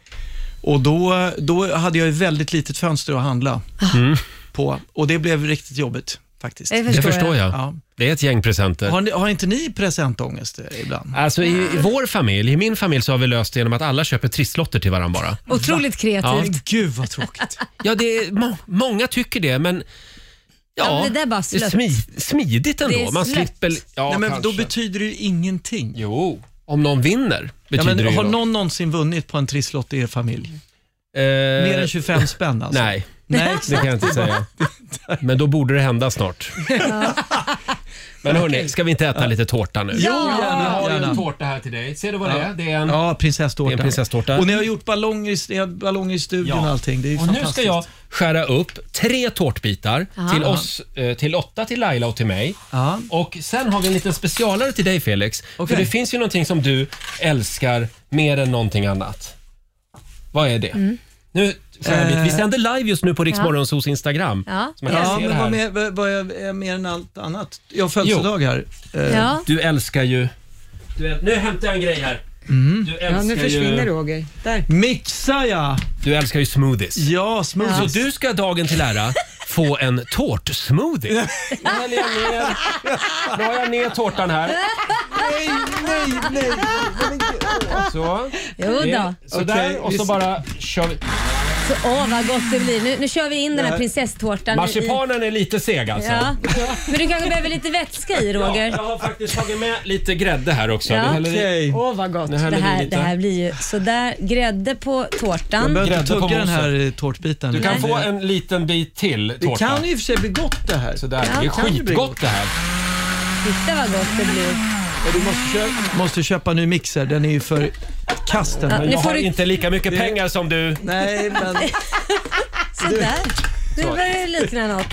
Speaker 8: Och då, då hade jag ju väldigt litet fönster att handla
Speaker 3: Ah.
Speaker 1: Mm.
Speaker 8: på och det blev riktigt jobbigt faktiskt.
Speaker 3: Det
Speaker 1: Det
Speaker 3: förstår
Speaker 1: förstår jag.
Speaker 8: Ja.
Speaker 1: Det är ett gäng presenter.
Speaker 8: Har, ni, har inte ni presentångest ibland?
Speaker 1: Alltså i, i vår familj, i min familj så har vi löst det genom att alla köper trisslotter till varandra bara.
Speaker 3: Otroligt kreativt.
Speaker 8: Gud vad tråkigt.
Speaker 1: Ja, det är, må, många tycker det, men
Speaker 3: Ja, men det där bara
Speaker 1: är
Speaker 3: slött.
Speaker 1: smi- smidigt ändå.
Speaker 3: Det är
Speaker 1: Man
Speaker 3: slött.
Speaker 1: slipper... Ja,
Speaker 8: Nej, men då
Speaker 1: kanske.
Speaker 8: betyder det ju ingenting.
Speaker 1: Jo, om någon vinner
Speaker 8: Ja,
Speaker 1: betyder
Speaker 8: men,
Speaker 1: det ju
Speaker 8: har
Speaker 1: något.
Speaker 8: någon någonsin vunnit på en trisslott i er familj?
Speaker 1: Eh,
Speaker 8: Mer än 25 spänn alltså?
Speaker 1: Nej,
Speaker 8: Nej,
Speaker 1: det kan jag inte säga. Men då borde det hända snart. Men hörni, ska vi inte äta lite tårta nu?
Speaker 8: Jo, gärna, gärna.
Speaker 1: tårta här till dig. Ser du vad det är? Det är en...
Speaker 8: Ja, prinsesstårta.
Speaker 1: Det är en prinsesstårta.
Speaker 8: Och ni har gjort ballonger i, ni har ballonger i studion
Speaker 1: Ja.
Speaker 8: och allting. Det är ju
Speaker 1: Och nu
Speaker 8: fantastiskt.
Speaker 1: ska jag skära upp tre tårtbitar
Speaker 3: Ja.
Speaker 1: till oss, eh, till Lotta, till Laila och till mig.
Speaker 8: Ja.
Speaker 1: Och sen har vi en liten specialare till dig Felix.
Speaker 8: Okej.
Speaker 1: För det finns ju någonting som du älskar mer än någonting annat. Vad är det?
Speaker 8: Mm.
Speaker 1: Nu skär jag lite.
Speaker 8: Eh.
Speaker 1: Vi sänder live just nu på Rix
Speaker 3: Ja.
Speaker 1: Morgonzos Instagram.
Speaker 3: Ja.
Speaker 1: Så man kan
Speaker 8: Ja,
Speaker 1: se det
Speaker 8: men
Speaker 1: här.
Speaker 8: vad, mer, vad, vad är, är mer än allt annat? Jag har födelsedag här. Eh,
Speaker 3: Ja.
Speaker 1: Du älskar ju... Du, äl- nu hämtar jag en grej här.
Speaker 8: Mm.
Speaker 1: Du,
Speaker 2: Ja,
Speaker 1: älskar
Speaker 2: nu försvinner
Speaker 1: ju,
Speaker 2: Roger. Där.
Speaker 8: Mixa ja!
Speaker 1: du älskar ju smoothies.
Speaker 8: Ja, smoothies.
Speaker 1: Så du ska dagen till ära få en tårtsmoothie. Nu häller jag ner, nu har jag ner tårtan här.
Speaker 8: Nej, nej, nej.
Speaker 1: Så.
Speaker 3: Jo då.
Speaker 1: Sådär,
Speaker 8: Okej,
Speaker 1: och så
Speaker 8: vi-
Speaker 1: bara kör vi.
Speaker 3: Så, åh vad gott det blir. Nu, nu kör vi in den här prinsesstårtan. i-
Speaker 1: Marsipanen är lite seg
Speaker 3: i-
Speaker 1: alltså.
Speaker 3: Ja. Men du kanske behöver lite vätska i
Speaker 1: Ja,
Speaker 3: Roger.
Speaker 1: jag har faktiskt tagit med lite grädde här också.
Speaker 3: Ja.
Speaker 1: Vi häller i-
Speaker 8: Okej.
Speaker 2: Åh, vad gott.
Speaker 1: nu häller
Speaker 3: Det
Speaker 1: vi
Speaker 3: här,
Speaker 1: lite.
Speaker 3: det här blir ju sådär. Grädde på
Speaker 8: Jag
Speaker 3: tårtan.
Speaker 8: behöver inte
Speaker 1: Grädde på
Speaker 8: tugga den
Speaker 1: moset.
Speaker 8: här eh, tårtbiten.
Speaker 1: Du kan
Speaker 8: Men,
Speaker 1: få
Speaker 8: eh,
Speaker 1: en liten bit till
Speaker 8: Det
Speaker 1: tårta.
Speaker 8: kan i och för sig bli gott det här.
Speaker 1: Sådär, det är
Speaker 8: kan ju bli
Speaker 1: skitgott
Speaker 8: gott.
Speaker 1: det här.
Speaker 3: Titta vad gott det blir.
Speaker 8: Du måste köpa, måste köpa en ny mixer, den är ju för kasten.
Speaker 3: Ja.
Speaker 1: Men
Speaker 3: Nu
Speaker 1: jag
Speaker 3: får
Speaker 1: har
Speaker 3: du-
Speaker 1: inte lika mycket
Speaker 8: Det-
Speaker 1: pengar som du.
Speaker 8: Nej, men
Speaker 3: Sådär. ah, Nu börjar det likna något.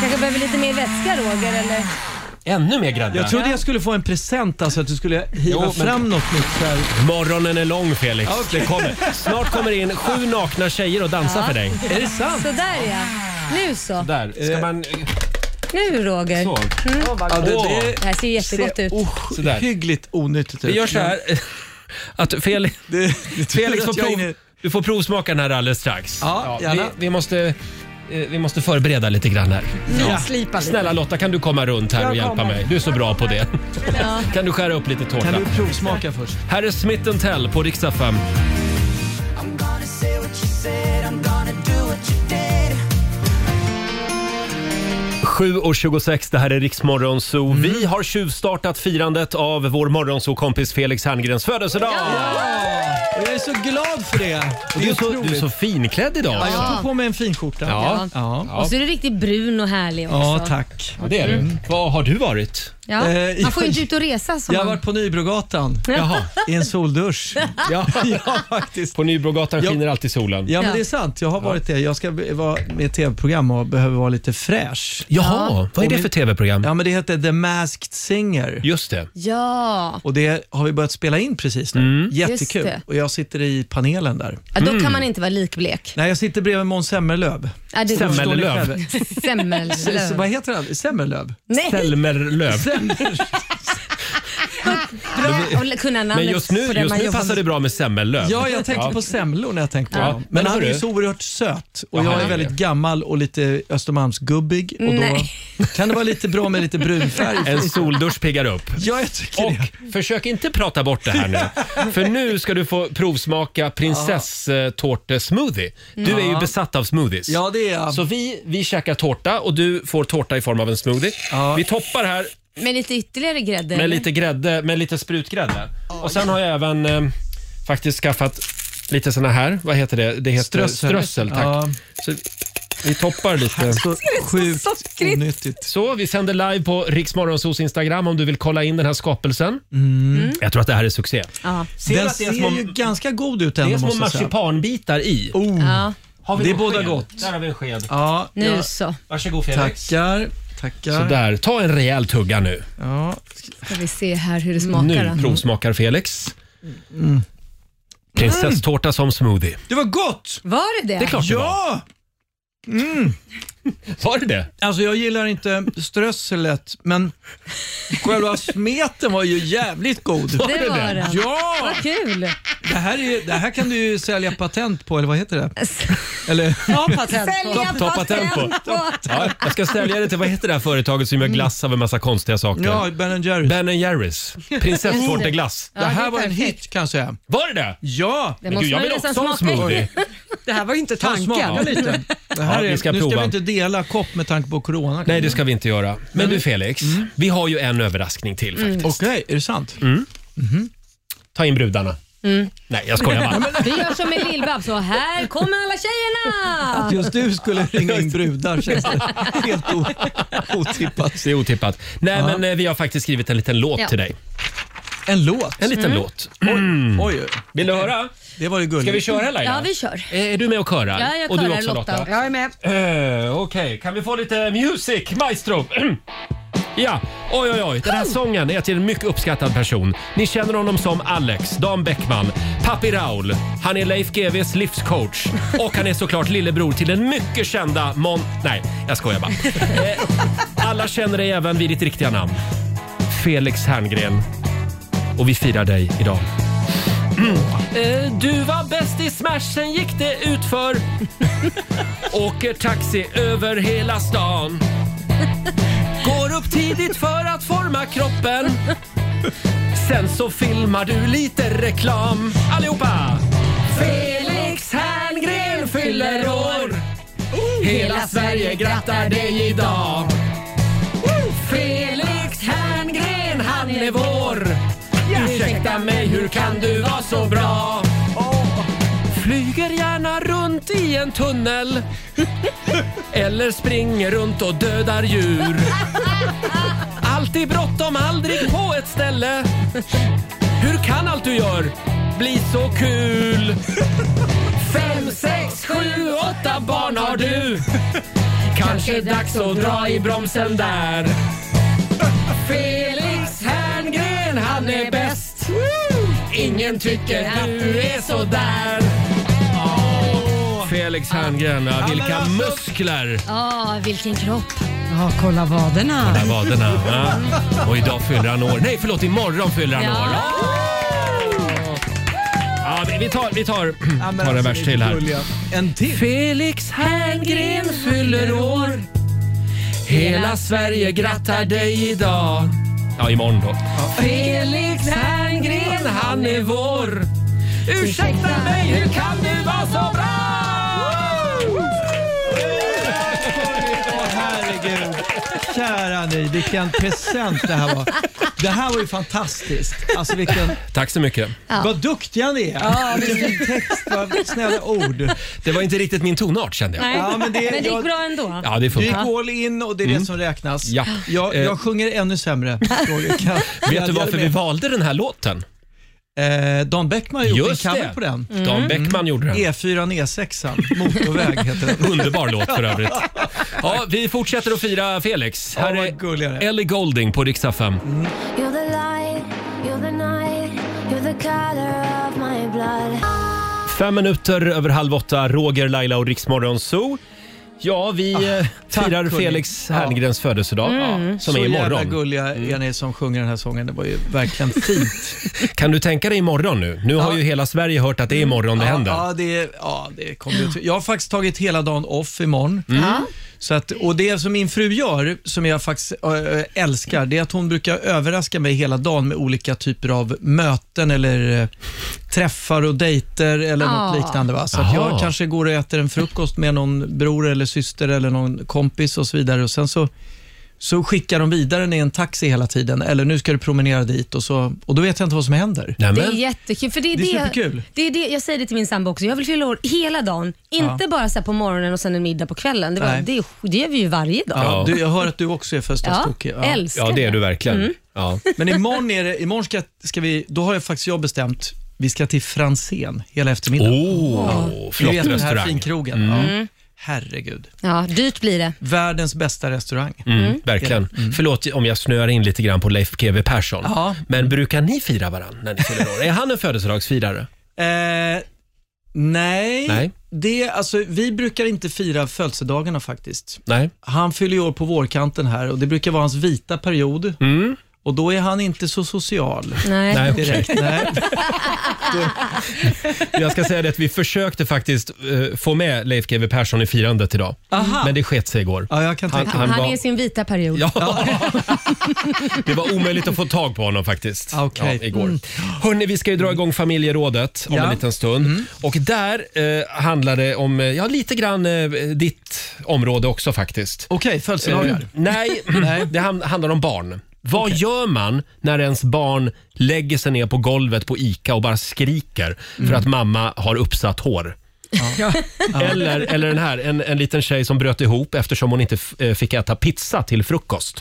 Speaker 3: Kanske behöver lite mer vätska Roger eller?
Speaker 1: Ännu mer grädde.
Speaker 8: jag trodde jag skulle få en present, alltså att du skulle
Speaker 1: Jo,
Speaker 8: hiva
Speaker 1: men-
Speaker 8: fram något nytt. Så här.
Speaker 1: Morgonen är lång Felix.
Speaker 8: Ja, okej.
Speaker 1: Det kommer. Snart kommer det in sju nakna tjejer och dansar för dig.
Speaker 8: Är det sant?
Speaker 3: Sådär ja. Nu så.
Speaker 1: Där, ska
Speaker 8: Eh,
Speaker 1: man... eh,
Speaker 3: Nu Roger.
Speaker 1: Så.
Speaker 8: Ja, det,
Speaker 1: Åh.
Speaker 8: det
Speaker 3: Det här ser ju jättegott
Speaker 8: ser
Speaker 3: ut.
Speaker 1: Sådär.
Speaker 8: ohyggligt onyttigt ut.
Speaker 1: Vi gör så här. Att Felix,
Speaker 8: Det, det är tur
Speaker 1: Felix
Speaker 8: att
Speaker 1: får
Speaker 8: jag är
Speaker 1: prov,
Speaker 8: inne-
Speaker 1: du får provsmaka den här alldeles strax.
Speaker 8: Ja,
Speaker 1: vi,
Speaker 8: gärna.
Speaker 1: vi, måste, eh, vi måste förbereda lite grann här.
Speaker 8: Ja.
Speaker 2: Slipa lite.
Speaker 1: Snälla Lotta, kan du komma runt här
Speaker 2: Jag
Speaker 1: och hjälpa
Speaker 2: kommer.
Speaker 1: mig? Du är så bra på det.
Speaker 3: Ja.
Speaker 1: Kan du skära upp lite
Speaker 8: Kan
Speaker 1: tårta?
Speaker 8: du provsmaka först?
Speaker 1: Här är Smith Tell på riksdag 5.
Speaker 5: I'm gonna say what you said, I'm gonna do what you did.
Speaker 1: 7.26, det här är Riksmorgon Zoo. Vi har tjuvstartat firandet av vår morgonzoo-kompis Felix Herngrens födelsedag.
Speaker 8: Och jag är så glad för det.
Speaker 1: Och
Speaker 8: Det
Speaker 1: du, är
Speaker 8: är
Speaker 1: så, du är
Speaker 8: otroligt.
Speaker 1: så finklädd idag.
Speaker 8: Ja, jag tog på mig en fin skjorta.
Speaker 1: Ja.
Speaker 8: Ja.
Speaker 3: Och så är du riktigt brun och härlig också.
Speaker 8: oh. Ja, tack.
Speaker 1: Ja, det är
Speaker 8: Mm.
Speaker 1: du. Vad har du varit?
Speaker 3: Ja.
Speaker 8: Eh,
Speaker 3: Man får ju
Speaker 8: jag-
Speaker 3: inte ut och resa som
Speaker 8: Jag har
Speaker 3: man.
Speaker 8: varit på Nybrogatan
Speaker 1: Jaha.
Speaker 8: i en soldusch.
Speaker 1: Ja.
Speaker 8: Ja, faktiskt.
Speaker 1: På Nybrogatan
Speaker 8: Ja.
Speaker 1: skiner alltid solen.
Speaker 8: Ja,
Speaker 3: Ja.
Speaker 8: men det är sant. Jag har varit det. Jag ska be- vara med i ett tv-program och behöver vara lite fräsch.
Speaker 1: Jaha, vad är
Speaker 8: Och
Speaker 1: det
Speaker 8: min-
Speaker 1: för tv-program?
Speaker 8: Ja, men det heter The Masked Singer.
Speaker 1: Just det.
Speaker 3: Ja.
Speaker 8: Och det har vi börjat spela in precis nu.
Speaker 1: Mm.
Speaker 3: Just
Speaker 8: Jättekul.
Speaker 3: det.
Speaker 8: Och jag sitter i panelen där.
Speaker 3: ja, då kan man inte vara likblek.
Speaker 8: Mm. Nej, jag sitter bredvid Måns Semmelöv.
Speaker 3: Ja, det-
Speaker 1: Semmel- Semmelöv.
Speaker 8: Förstår ni själva? S-
Speaker 3: Semmellöv.
Speaker 8: Vad heter han? Semmelöv?
Speaker 3: Nej,
Speaker 1: Selmerlöv.
Speaker 3: bra att kunna namnet
Speaker 1: Men just nu,
Speaker 3: på den
Speaker 1: just
Speaker 3: man
Speaker 1: nu
Speaker 3: jobbar
Speaker 1: passar det
Speaker 3: med.
Speaker 1: bra med Semmellöv.
Speaker 8: Ja, jag tänkte på semlor när jag tänkte på
Speaker 1: Ja.
Speaker 8: honom.
Speaker 1: Men
Speaker 8: Men han är
Speaker 1: hörru.
Speaker 8: ju så oerhört söt och
Speaker 1: Ja, han
Speaker 8: jag
Speaker 1: är
Speaker 8: är väldigt
Speaker 1: det.
Speaker 8: gammal och lite Östermalmsgubbig. Och då
Speaker 3: Nej.
Speaker 8: kan det vara lite bra med lite brunfärg.
Speaker 1: En soldusch piggar upp.
Speaker 8: Ja, jag tycker det.
Speaker 1: Och försök inte prata bort det här nu. För nu ska du få provsmaka prinsesstårtesmoothie. Du är ju besatt av smoothies.
Speaker 8: Ja, det är jag.
Speaker 1: Så vi, vi käkar tårta och du får tårta i form av en smoothie.
Speaker 8: Ja.
Speaker 1: Vi toppar här
Speaker 3: Med lite ytterligare grädde.
Speaker 1: med
Speaker 3: eller?
Speaker 1: lite, grädde, med lite sprutgrädde. Och sen har jag även eh, faktiskt skaffat lite såna här, vad heter det? Det heter strössel.
Speaker 8: Strössel.
Speaker 1: tack.
Speaker 8: Ja.
Speaker 1: Så vi toppar lite.
Speaker 8: Så sjukt
Speaker 3: sockrigt?
Speaker 8: onyttigt.
Speaker 1: Så, vi sänder live på Riksmorgonsos Instagram om du vill kolla in den här skapelsen. Mm. Jag tror att det här är succé.
Speaker 3: Ja.
Speaker 1: Ser du
Speaker 8: Mm. Den
Speaker 1: att det
Speaker 8: ser
Speaker 1: är små,
Speaker 8: ju ganska god ut
Speaker 1: det är
Speaker 8: ändå
Speaker 1: små
Speaker 8: måste jag säga.
Speaker 1: marsipanbitar i?
Speaker 8: Oh.
Speaker 3: Ja.
Speaker 1: Har
Speaker 8: Det är
Speaker 1: en
Speaker 8: båda
Speaker 1: sked?
Speaker 8: gott.
Speaker 1: Där har vi en sked.
Speaker 8: Ja,
Speaker 3: Nu
Speaker 8: jag
Speaker 3: så.
Speaker 1: Varsågod Felix.
Speaker 8: tackar. Tackar.
Speaker 1: Sådär, ta en rejäl tugga nu.
Speaker 8: Ja.
Speaker 3: Ska vi se här hur det smakar
Speaker 1: Nu
Speaker 3: då.
Speaker 1: provsmakar Felix.
Speaker 8: Mm.
Speaker 1: Prinsesstårta som smoothie.
Speaker 8: Det var gott! Ah!
Speaker 3: Var det det?
Speaker 1: Det är klart det var.
Speaker 8: Ja!
Speaker 1: Var det det?
Speaker 8: Alltså jag gillar inte strösslet, men själva smeten var ju jävligt god.
Speaker 1: Var det
Speaker 3: det var
Speaker 1: det?
Speaker 3: den.
Speaker 8: Ja!
Speaker 3: Vad kul!
Speaker 8: Det här, är, det här kan du ju sälja patent på, eller vad heter det? Eller,
Speaker 2: Ta patent på.
Speaker 3: Sälja
Speaker 1: ta patent på. Ja, jag ska sälja det till, vad heter det här företaget
Speaker 3: Mm.
Speaker 1: som gör glass av en massa konstiga saker?
Speaker 8: ja, Ben Jerry.
Speaker 1: Ben Jerrys. Prinsesstårteglass.
Speaker 8: Det här
Speaker 3: är
Speaker 8: var en
Speaker 3: perfekt.
Speaker 8: hit kan jag säga.
Speaker 1: Var det det?
Speaker 8: Ja!
Speaker 3: Det måste
Speaker 1: jag
Speaker 3: man
Speaker 1: vill
Speaker 3: ju nästan
Speaker 1: också ha en
Speaker 3: smaka.
Speaker 1: smoothie.
Speaker 2: Det här var ju inte
Speaker 8: Fan,
Speaker 2: tanken.
Speaker 8: smaka lite. Det här
Speaker 1: Ja,
Speaker 8: är,
Speaker 1: vi ska
Speaker 8: nu ska
Speaker 1: prova.
Speaker 8: vi inte dela kopp med tanke på corona.
Speaker 1: Nej, det ska vi inte göra.
Speaker 3: Mm.
Speaker 1: Men du Felix, vi har ju en överraskning till
Speaker 8: Mm.
Speaker 1: faktiskt.
Speaker 8: Okej, är det sant?
Speaker 1: Mm. Ta in brudarna.
Speaker 3: Mm.
Speaker 1: Nej, jag skojar bara.
Speaker 3: Vi gör som med lill så här kommer alla
Speaker 8: Att
Speaker 3: tjejerna!
Speaker 8: just du skulle ringa in brudar känns det helt o- otippat.
Speaker 1: Det är otippat. Nej, men eh, vi har faktiskt skrivit en liten låt
Speaker 3: Ja.
Speaker 1: till dig.
Speaker 8: En låt?
Speaker 1: En liten
Speaker 3: Mm.
Speaker 1: låt. Mm.
Speaker 8: Oj,
Speaker 1: Vill du höra?
Speaker 8: det var ju gulligt.
Speaker 1: Ska vi köra Laila? Eh,
Speaker 3: Ja, vi kör.
Speaker 1: Är är du med och körar?
Speaker 3: Ja, jag
Speaker 1: och du
Speaker 3: körar,
Speaker 1: också Lotta?
Speaker 3: Lotta.
Speaker 1: Eh,
Speaker 2: Jag är med.
Speaker 1: Okej, kan vi få lite music, maestro? ja, oj oj oj. Den här sången är till en mycket uppskattad person. Ni känner honom som Alex, Dan Bäckman, Papi Raul. Han är Leif GWs livscoach och han är såklart lillebror till den mycket kända Mon... Nej, jag skojar bara. Eh, alla känner dig även vid ditt riktiga namn. Felix Herngren. Och vi firar dig idag. Eh, Du var bäst i Smash, sen gick det utför. Åker taxi över hela stan. Går upp tidigt för att forma kroppen. Sen så filmar du lite reklam. Allihopa! Felix Herngren fyller år. Hela Sverige grattar dig idag. Felix Herngren, han är vår. Ursäkta mig, hur kan du vara så bra? Flyger gärna runt i en tunnel eller springer runt och dödar djur. Alltid bråttom, aldrig på ett ställe. Hur kan allt du gör bli så kul? Fem, sex, sju, åtta barn har du. Kanske dags att dra i bromsen där. Felix Herngren, han är bäst. Ingen tycker att du är så där. Felix Herngren, ja, vilka muskler!
Speaker 3: Ja, vilken kropp.
Speaker 2: Ja, kolla vaderna.
Speaker 1: Där var den här, va? Och idag fyller han år. Nej, förlåt, imorgon fyller han
Speaker 3: Ja.
Speaker 1: år. Ja, vi- vi tar, vi tar,
Speaker 8: Ja, men
Speaker 1: tar en
Speaker 8: alltså,
Speaker 1: vers
Speaker 8: ni är
Speaker 1: till här.
Speaker 8: gulliga. En till?
Speaker 1: Felix Herngren fyller år. Hela Sverige grattar dig idag. Ja, imorgon då. Felix Herngren, han är vår. Ursäkta mig, hur kan du vara så bra?
Speaker 8: Åh herregud. Kära ni, vilken present det här var. Det här var ju fantastiskt. Alltså vilken,
Speaker 1: Tack så mycket.
Speaker 8: vad duktiga ni är. Ja, vilken text, vad snälla ord.
Speaker 1: Det var inte riktigt min tonart kände jag.
Speaker 3: Nej,
Speaker 8: Ja,
Speaker 3: men
Speaker 8: men
Speaker 3: det
Speaker 8: det-
Speaker 3: gick
Speaker 8: jag-
Speaker 3: bra ändå.
Speaker 1: Ja, det
Speaker 8: Du gick
Speaker 1: funkar.
Speaker 8: all in och det är det som räknas.
Speaker 1: Mm. Ja.
Speaker 8: Jag,
Speaker 1: Eh.
Speaker 8: jag sjunger ännu sämre. Roger. Kan-
Speaker 1: Vet
Speaker 8: glädja
Speaker 1: du
Speaker 8: dig
Speaker 1: varför vi
Speaker 8: med.
Speaker 1: valde den här låten?
Speaker 8: Eh, Dan Bäckman har gjort en cover på den. Mm.
Speaker 1: Dan Bäckman gjorde den.
Speaker 8: E4, E6, motorväg heter den.
Speaker 1: Underbar låt för övrigt. Ja, vi fortsätter att fira Felix.
Speaker 8: Ja,
Speaker 1: Här
Speaker 8: vad
Speaker 1: är
Speaker 8: gulliga ni är.
Speaker 1: Ellie Golding på riksdag 5.
Speaker 5: You're the light, you're the night, you're the color of my blood.
Speaker 1: Fem minuter över halv åtta, Roger, Laila och Riksmorgon Zoo. Ja, vi eh,
Speaker 8: Ah, tack,
Speaker 1: firar
Speaker 8: Gulli.
Speaker 1: Felix Herngrens födelsedag ja, Mm. som
Speaker 8: Så
Speaker 1: är
Speaker 8: jävla
Speaker 1: imorgon.
Speaker 8: gulliga är ni som sjunger den här sången. Det var ju verkligen fint.
Speaker 1: Kan du tänka dig imorgon nu? Nu har ju hela Sverige hört att det är imorgon det
Speaker 8: ja,
Speaker 1: händer.
Speaker 8: Ja, det, ja, det kommer ju att- Jag har faktiskt tagit hela dagen off imorgon.
Speaker 1: Mm.
Speaker 8: Så att, och det som min fru gör, som jag faktiskt äh, älskar, det är att hon brukar överraska mig hela dagen med olika typer av möten eller äh, träffar och dejter eller
Speaker 3: Ja.
Speaker 8: något liknande. Va? Så att
Speaker 1: Aha.
Speaker 8: jag kanske går och äter en frukost med någon bror eller syster eller någon kompis och så vidare. Och sen så så skickar de vidare den i en taxi hela tiden. Eller nu ska du promenera dit och, så, och då vet jag inte vad som händer.
Speaker 3: Det är
Speaker 1: Nämen.
Speaker 3: jättekul. För det är
Speaker 8: Det
Speaker 3: det,
Speaker 8: är superkul.
Speaker 3: Det är det, jag säger det till min sambo också. Jag vill fylla år hela dagen. Inte bara så här på morgonen och sen en middag på kvällen. Det, var,
Speaker 8: Nej.
Speaker 3: det, är- det gör vi ju varje dag.
Speaker 8: Ja,
Speaker 1: Ja.
Speaker 8: Du, jag Mm. hör att du också är festastokig.
Speaker 3: Ja, älskar
Speaker 1: Ja, det är du verkligen. Ja.
Speaker 8: Men imorgon, är det, imorgon ska, ska vi, då har jag faktiskt jag bestämt, vi ska till Franzén hela eftermiddagen.
Speaker 1: Oh, Mm.
Speaker 8: Ni vet
Speaker 1: flott
Speaker 8: den här
Speaker 1: restaurang.
Speaker 8: finkrogen. Ja. Herregud.
Speaker 3: Ja, dyrt blir det.
Speaker 8: Världens bästa restaurang.
Speaker 1: Mm, verkligen. Förlåt om jag snöar in lite grann på Leif GW Persson.
Speaker 8: Ja.
Speaker 1: Men brukar ni fira varann när ni fyller år? Är han en födelsedagsfirare?
Speaker 8: Eh, nej,
Speaker 1: Nej.
Speaker 8: Det, alltså, vi brukar inte fira födelsedagarna faktiskt.
Speaker 1: Nej.
Speaker 8: Han fyller ju år på vårkanten här och det brukar vara hans vita period. Och då är han inte så social.
Speaker 3: Nej. Nej, okej.
Speaker 8: direkt. Nej.
Speaker 1: Jag ska säga det att vi försökte faktiskt eh, få med Leif GW Persson i firandet idag.
Speaker 3: Aha.
Speaker 1: Men det sket sig igår.
Speaker 8: Ja, jag kan
Speaker 1: han,
Speaker 3: Han,
Speaker 1: han
Speaker 3: är
Speaker 1: var,
Speaker 3: i sin vita period.
Speaker 1: det var omöjligt att få tag på honom faktiskt.
Speaker 8: Okej.
Speaker 1: Ja, igår. Hörrni, vi ska ju dra igång familjerådet om
Speaker 8: Ja.
Speaker 1: en liten stund. Och där eh, handlar det om, eh, ja lite grann eh, ditt område också faktiskt.
Speaker 8: Okej,
Speaker 1: Eh,
Speaker 8: födelsedagar.
Speaker 1: nej, det han- handlar om barn. Vad gör man när ens barn lägger sig ner på golvet på ICA och bara skriker för att mamma har uppsatt hår? Eller, eller den här, en, en liten tjej som bröt ihop eftersom hon inte f- eh, fick äta pizza till frukost.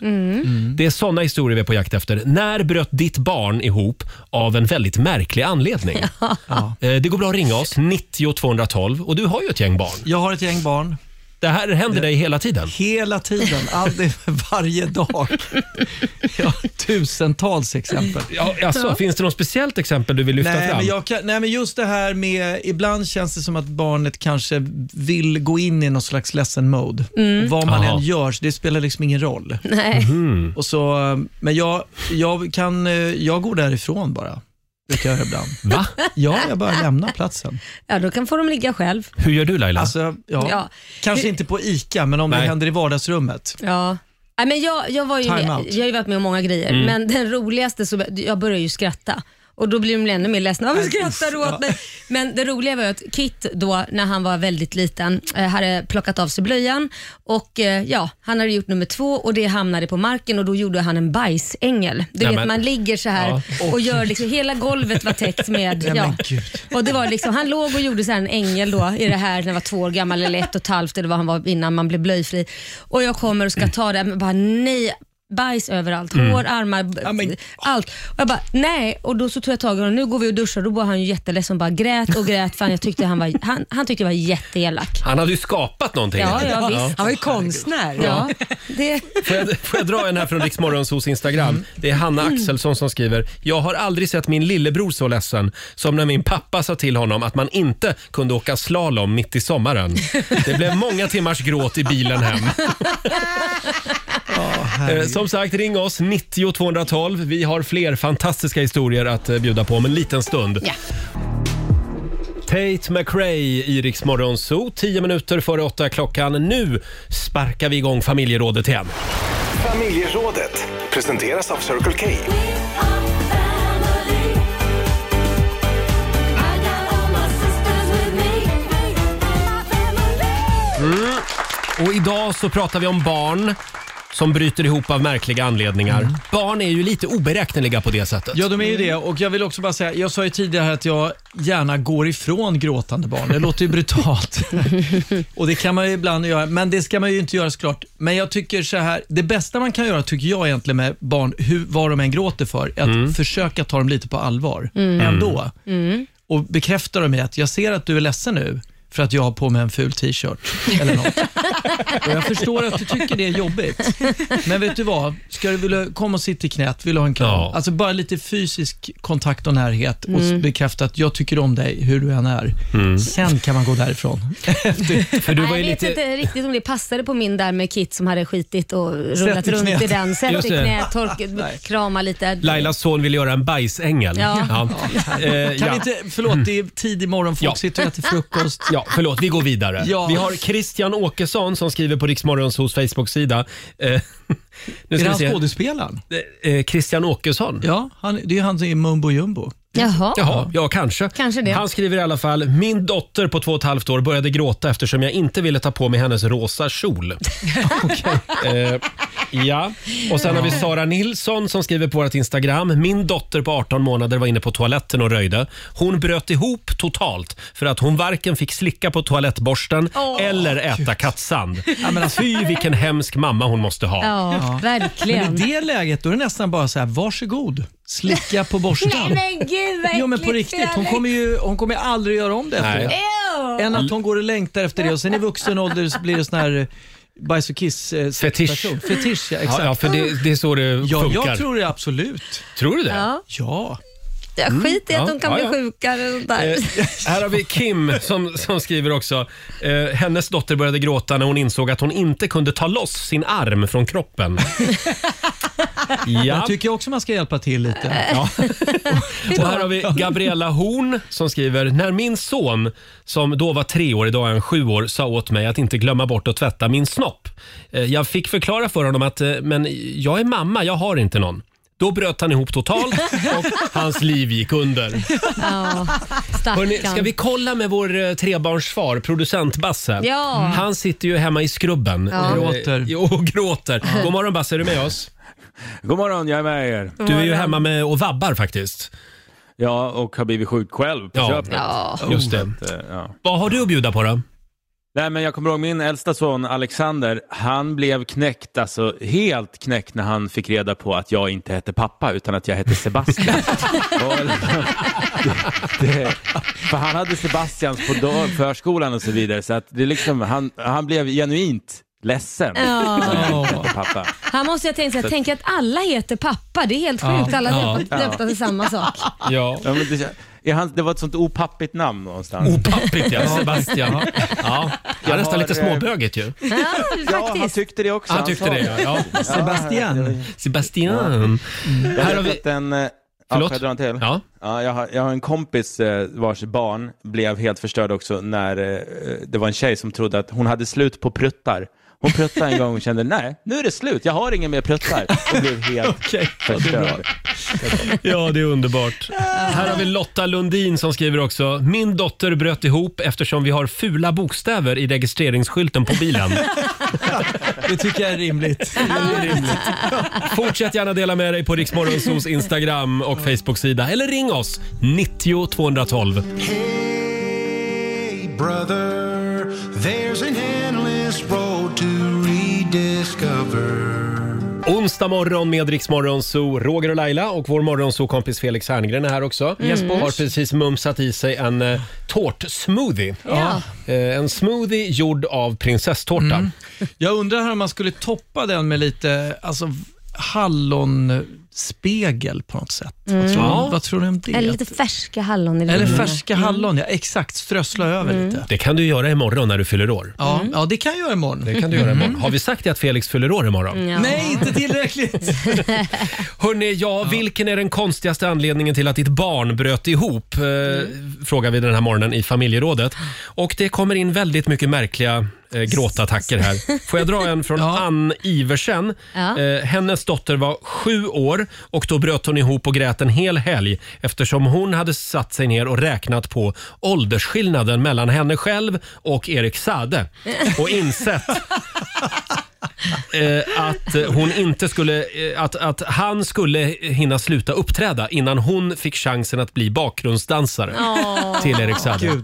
Speaker 1: Det är såna historier vi är på jakt efter. När bröt ditt barn ihop av en väldigt märklig anledning? Eh, Det går bra att ringa oss, 90 212. Och du har ju ett gäng barn.
Speaker 8: Jag har ett gäng barn.
Speaker 1: Det här händer dig hela tiden.
Speaker 8: Hela tiden, alltid, varje dag. Ja, tusentals exempel.
Speaker 1: Ja, alltså, Finns det något speciellt exempel du vill lyfta
Speaker 8: Nej
Speaker 1: fram?
Speaker 8: men, jag kan, nej, men just det här med, ibland känns det som att barnet kanske vill gå in i någon slags ledsen mode. Och Vad man
Speaker 1: Aha.
Speaker 8: än gör, så det spelar liksom ingen roll.
Speaker 3: Nej.
Speaker 1: Mhm.
Speaker 8: Och så, eh, men jag, jag, kan, eh, jag går därifrån bara, brukar jag göra ibland.
Speaker 1: Va?
Speaker 8: Ja, jag bara lämnar platsen.
Speaker 3: Ja, då kan få dem ligga själv.
Speaker 1: Hur gör du Laila?
Speaker 8: Alltså, ja.
Speaker 3: Ja.
Speaker 8: Kanske inte på ICA, men om
Speaker 1: Nej.
Speaker 8: det händer i vardagsrummet.
Speaker 3: Ja. Nej, men jag, jag, var ju
Speaker 8: Time
Speaker 3: med,
Speaker 8: out.
Speaker 3: jag har ju varit med om många grejer, men den roligaste, så, jag började ju skratta. Och då blir de ännu mer ledsna. Varför
Speaker 8: Nej,
Speaker 3: skrattar du
Speaker 8: uff,
Speaker 3: åt mig? Men det roliga var ju att Kit då, när han var väldigt liten, eh, hade plockat av sig blöjan och eh, ja, han hade gjort nummer två och det hamnade på marken och då gjorde han en bajsängel. Du
Speaker 1: Nämen.
Speaker 3: vet, man ligger så här
Speaker 1: Ja.
Speaker 3: och gör liksom, hela golvet var täckt med... Ja.
Speaker 8: men gud.
Speaker 3: Och det var liksom, han låg och gjorde så här en ängel då i det här när han var två år gammal eller ett och ett halvt eller vad han var innan man blev blöjfri. Och jag kommer och ska ta det men bara nej. Bajs överallt, hår, armar, b-
Speaker 8: Ja, men-
Speaker 3: allt. Och jag bara nej och då så tog jag tag i honom, nu går vi och duschar. Då var han ju jätteledsen och bara grät och grät för han, jag tyckte han, var, han, han tyckte jag var jätteelak.
Speaker 1: Han hade ju skapat någonting.
Speaker 3: Ja, ja visst.
Speaker 2: Han var ju konstnär.
Speaker 3: Ja, det,
Speaker 1: Får, jag, får jag dra en här från Riksmorgonsos Instagram? Det är Hanna Axelsson som skriver. Jag har aldrig sett min lillebror så ledsen som när min pappa sa till honom att man inte kunde åka slalom mitt i sommaren. Det blev många timmars gråt i bilen hem. Eh, Som sagt, ring oss 90 212. Vi har fler fantastiska historier att eh, bjuda på om en liten stund. Tate McRae i Rix Morgon Zoo. 10 minuter före åtta är klockan. Nu sparkar vi igång familjerådet igen.
Speaker 4: Familjerådet presenteras av Circle K.
Speaker 1: Och idag så pratar vi om barn som bryter ihop av märkliga anledningar. Barn är ju lite oberäkneliga på det sättet.
Speaker 8: Ja, de är ju det. Och jag vill också bara säga, jag sa ju tidigare här att jag gärna går ifrån gråtande barn. Det låter ju brutalt. och det kan man ju ibland göra, men det ska man ju inte göra såklart. Men jag tycker så här, det bästa man kan göra tycker jag egentligen med barn, hur, vad de än gråter för, är att försöka ta dem lite på allvar ändå. Och bekräfta dem i att jag ser att du är ledsen nu för att jag har på mig en ful t-shirt eller något. Och jag förstår att du tycker det är jobbigt. Men vet du vad? Ska du vilja komma och sitta i knät? Vill du ha en kram?
Speaker 1: Ja.
Speaker 8: Alltså bara lite fysisk kontakt och närhet och s- bekräfta att jag tycker om dig hur du än är.
Speaker 1: Mm.
Speaker 8: Sen kan man gå därifrån.
Speaker 1: För du var
Speaker 3: nej,
Speaker 1: ju
Speaker 3: jag vet
Speaker 1: lite...
Speaker 3: inte riktigt om det passade på min där med Kit som hade skitit och rullat
Speaker 8: i
Speaker 3: runt
Speaker 8: knät.
Speaker 3: i den. Sätt
Speaker 1: Just
Speaker 3: i
Speaker 1: det.
Speaker 3: knät, tork, krama lite.
Speaker 1: Lailas son vill göra en bajsängel.
Speaker 3: Ja.
Speaker 1: Eh, ja.
Speaker 8: Kan vi inte, förlåt, det är tidig morgon, folk
Speaker 1: Ja.
Speaker 8: sitter och äter frukost.
Speaker 1: Ja, förlåt, vi går vidare.
Speaker 8: Ja.
Speaker 1: Vi har Christian Åkesson som skriver på Riksmorgons hos Facebook-sida. Eh, nu
Speaker 8: Är
Speaker 1: ska
Speaker 8: det
Speaker 1: vi
Speaker 8: han
Speaker 1: se.
Speaker 8: skådespelaren?
Speaker 1: Eh, Christian Åkesson.
Speaker 8: Ja, han, det är ju han som är Mumbo Jumbo.
Speaker 3: Jaha.
Speaker 1: Jaha, ja kanske.
Speaker 3: Kanske det.
Speaker 1: Han skriver i alla fall, min dotter på två och ett halvt år började gråta eftersom jag inte ville ta på mig hennes rosa kjol. eh, ja, och sen har vi Sara Nilsson som skriver på vårt Instagram, min dotter på 18 månader var inne på toaletten och röjde. Hon bröt ihop totalt för att hon varken fick slicka på toalettborsten eller äta kattsand. alltså- Fy vilken hemsk mamma hon måste ha.
Speaker 3: Ja,
Speaker 8: Men
Speaker 3: verkligen.
Speaker 8: i det läget, då är det nästan bara så här, varsågod, slicka på borsten.
Speaker 3: men gud vad
Speaker 8: Jo men på
Speaker 3: äckligt,
Speaker 8: riktigt, hon
Speaker 3: Felix.
Speaker 8: kommer ju hon kommer aldrig göra om det efter
Speaker 1: Nej.
Speaker 8: det.
Speaker 3: Ew.
Speaker 8: Än att hon går och längtar efter det och sen i vuxen ålder så blir det sån här eh, bajs och kiss eh, sexperson. Fetisch, ja,
Speaker 1: Ja,
Speaker 8: exakt.
Speaker 1: ja, för det, det är så det
Speaker 8: Ja,
Speaker 1: funkar.
Speaker 8: jag tror det absolut.
Speaker 1: tror du det?
Speaker 3: Ja.
Speaker 8: Ja.
Speaker 3: Jag
Speaker 1: Mm,
Speaker 3: skiter i att
Speaker 1: ja,
Speaker 3: de kan
Speaker 1: ja,
Speaker 3: bli
Speaker 1: ja.
Speaker 3: sjuka eller sånt där.
Speaker 1: Eh, här har vi Kim som, som skriver också. Eh, hennes dotter började gråta när hon insåg att hon inte kunde ta loss sin arm från kroppen.
Speaker 8: Jag tycker också man ska hjälpa till lite.
Speaker 1: Ja. Och här har vi Gabriella Horn som skriver “När min son, som då var tre år, idag är han sju år, sa åt mig att inte glömma bort att tvätta min snopp. Eh, Jag fick förklara för honom att eh, men jag är mamma, jag har inte någon. Då bröt han ihop totalt och hans liv gick under.
Speaker 3: Ja,
Speaker 1: Hörrni,
Speaker 3: stackarn.
Speaker 1: ska vi kolla med vår eh, trebarnsfar, producent Basse?
Speaker 3: Ja. Mm.
Speaker 1: Han sitter ju hemma i skrubben
Speaker 3: Ja.
Speaker 1: och
Speaker 8: Gråter.
Speaker 1: Jo, och gråter. God morgon Basse, är du med oss?
Speaker 9: God morgon, jag är med er.
Speaker 1: Du är ju hemma med och vabbar faktiskt.
Speaker 9: Ja, och har blivit sjuk själv på
Speaker 1: Ja.
Speaker 9: köpet.
Speaker 3: Ja.
Speaker 1: Just det.
Speaker 9: Så att, eh, ja.
Speaker 1: Vad har du att bjuda på då?
Speaker 9: Nej, men jag kommer ihåg min äldsta son Alexander, han blev knäckt, alltså helt knäckt när han fick reda på att jag inte hette pappa utan att jag hette Sebastian. och, det, det, för han hade Sebastians på dag, förskolan och så vidare, så att det liksom, han, han blev genuint ledsen.
Speaker 3: Ja.
Speaker 9: när jag inte hette pappa.
Speaker 3: Han måste ju ha tänkt så här, tänk att alla heter pappa. Det är helt sjukt. Alla
Speaker 1: Ja.
Speaker 3: döpta döpta till samma sak.
Speaker 1: Ja.
Speaker 9: Ja, men det, är han, det var ett sånt opappigt namn någonstans.
Speaker 1: Opappigt ja, Sebastian. Ja, det är
Speaker 9: Jag
Speaker 1: nästan
Speaker 9: har,
Speaker 1: lite
Speaker 9: eh,
Speaker 1: småbögigt ju.
Speaker 3: Ja,
Speaker 9: ja, han
Speaker 3: faktiskt.
Speaker 9: tyckte det också.
Speaker 1: Han tyckte
Speaker 9: sa
Speaker 1: det ja. ja.
Speaker 8: Sebastian.
Speaker 1: Sebastian.
Speaker 9: Jag
Speaker 1: Här har
Speaker 9: vet
Speaker 1: vi...
Speaker 9: att en... eh, Ja,
Speaker 1: Förlåt?
Speaker 9: får jag dra en till?
Speaker 1: Ja.
Speaker 9: Ja, jag, har, jag har en kompis eh, vars barn blev helt förstörd också när eh, det var en tjej som trodde att hon hade slut på pruttar. Hon pruttade en gång och kände nej, nu är det slut, jag har ingen mer pruttar. Och blev helt
Speaker 1: Okej.
Speaker 9: förstörd.
Speaker 1: Ja, det är underbart. Här har vi Lotta Lundin som skriver också. Min dotter bröt ihop eftersom vi har fula bokstäver i registreringsskylten på bilen.
Speaker 8: Det tycker jag är rimligt.
Speaker 1: Fortsätt gärna dela med dig på Riksmorgonsos Instagram och Facebook-sida eller ring oss 90 212.
Speaker 4: Hey brother, there's an endless road to rediscover.
Speaker 1: Onsdag morgon med Riksmorgonso, Roger och Laila och vår morgonso-kompis Felix Herngren är här också.
Speaker 3: Mm.
Speaker 1: Har precis mumsat i sig en eh, tårtsmoothie.
Speaker 3: Ja. Mm.
Speaker 1: Eh, en smoothie gjord av prinsesstårta.
Speaker 8: Jag undrar här om man skulle toppa den med lite alltså, hallonspegel på något sätt. Vad, tror
Speaker 1: Ja.
Speaker 8: du, vad tror du om det?
Speaker 3: Eller lite färska hallon i
Speaker 8: Eller
Speaker 3: rummet.
Speaker 8: färska hallon, ja exakt. Strössla över lite.
Speaker 1: Det kan du göra imorgon när du fyller år.
Speaker 8: Ja, ja, det kan jag göra imorgon.
Speaker 1: Det kan du göra
Speaker 3: Mm.
Speaker 1: imorgon. Har vi sagt det att Felix fyller år imorgon?
Speaker 3: Ja.
Speaker 8: Nej, inte tillräckligt.
Speaker 1: Hörrni, ja, vilken är den konstigaste anledningen till att ditt barn bröt ihop? Eh, Frågar vi den här morgonen i familjerådet. Och det kommer in väldigt mycket märkliga eh, gråtattacker här. Får jag dra en från
Speaker 8: Ja.
Speaker 1: Ann Iversen?
Speaker 3: Ja.
Speaker 1: Eh, hennes dotter var sju år och då bröt hon ihop och grät en hel helg eftersom hon hade satt sig ner och räknat på åldersskillnaden mellan henne själv och Erik Sade och insett eh, att eh, hon inte skulle, eh, att, att han skulle hinna sluta uppträda innan hon fick chansen att bli bakgrundsdansare till Erik Saade.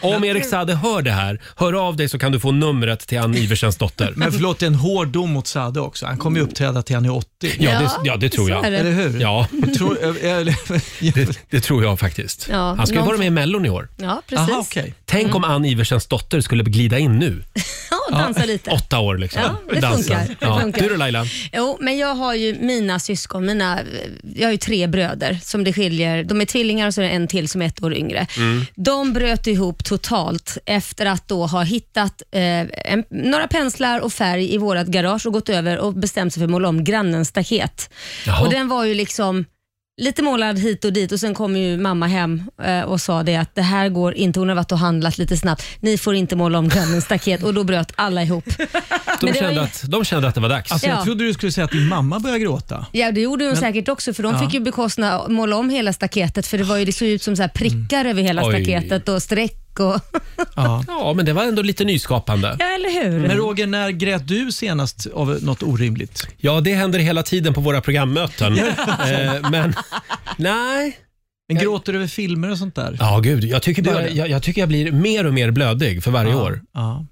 Speaker 1: Om Erik Saade hör det här, hör av dig så kan du få numret till Ann Iversens dotter.
Speaker 8: Men förlåt, det är en hård dom mot Sade också. Han kommer ju uppträda till han är 80.
Speaker 1: Ja, det, ja, det tror
Speaker 3: så är
Speaker 1: jag.
Speaker 3: det.
Speaker 8: Eller hur?
Speaker 1: Ja,
Speaker 8: Tror, eh, eller,
Speaker 1: det, det tror jag faktiskt.
Speaker 3: Ja,
Speaker 1: Han ska ju
Speaker 3: någon- Mm.
Speaker 1: vara med i Mellon i år.
Speaker 3: Ja, precis.
Speaker 8: Aha, okej.
Speaker 1: Tänk om Ann Iversens dotter skulle glida in nu,
Speaker 3: Ja, dansa lite.
Speaker 1: åtta år liksom.
Speaker 3: Ja, det
Speaker 1: Dansa.
Speaker 3: funkar. Det
Speaker 1: Ja.
Speaker 3: funkar.
Speaker 1: Du då Laila?
Speaker 3: Jo, men jag har ju mina syskon, mina, jag har ju tre bröder som det skiljer, de är tvillingar och så är det en till som är ett år yngre. De bröt ihop totalt efter att då ha hittat eh, en, några penslar och färg i vårt garage och gått över och bestämt sig för att måla om grannens staket.
Speaker 1: Jaha.
Speaker 3: Och den var ju liksom Lite målad hit och dit och sen kom ju mamma hem eh, och sa det att det här går inte, hon har varit och handlat lite snabbt, ni får inte måla om grannens staket och då bröt alla ihop.
Speaker 1: De
Speaker 3: Men det var
Speaker 1: kände,
Speaker 3: ju-
Speaker 1: att, de kände att det var dags.
Speaker 8: alltså,
Speaker 3: Ja.
Speaker 8: Jag trodde du skulle säga att din mamma började gråta.
Speaker 3: Ja, det gjorde hon säkert också för de fick ju bekosta måla om hela staketet för det, var ju, det såg ut som så här prickar över hela
Speaker 1: Oj.
Speaker 3: staketet och streck. Och,
Speaker 8: Ja.
Speaker 1: Ja, men det var ändå lite nyskapande.
Speaker 3: ja, eller hur?
Speaker 8: Men Roger, när grät du senast av något orimligt?
Speaker 1: Ja, det händer hela tiden på våra programmöten. eh, men nej.
Speaker 8: Men gråter du över filmer och sånt där?
Speaker 1: Ja, gud. Jag tycker,
Speaker 8: gör
Speaker 1: bara,
Speaker 8: det?
Speaker 1: jag, jag tycker jag blir mer och mer blödig för varje år.
Speaker 8: Ja.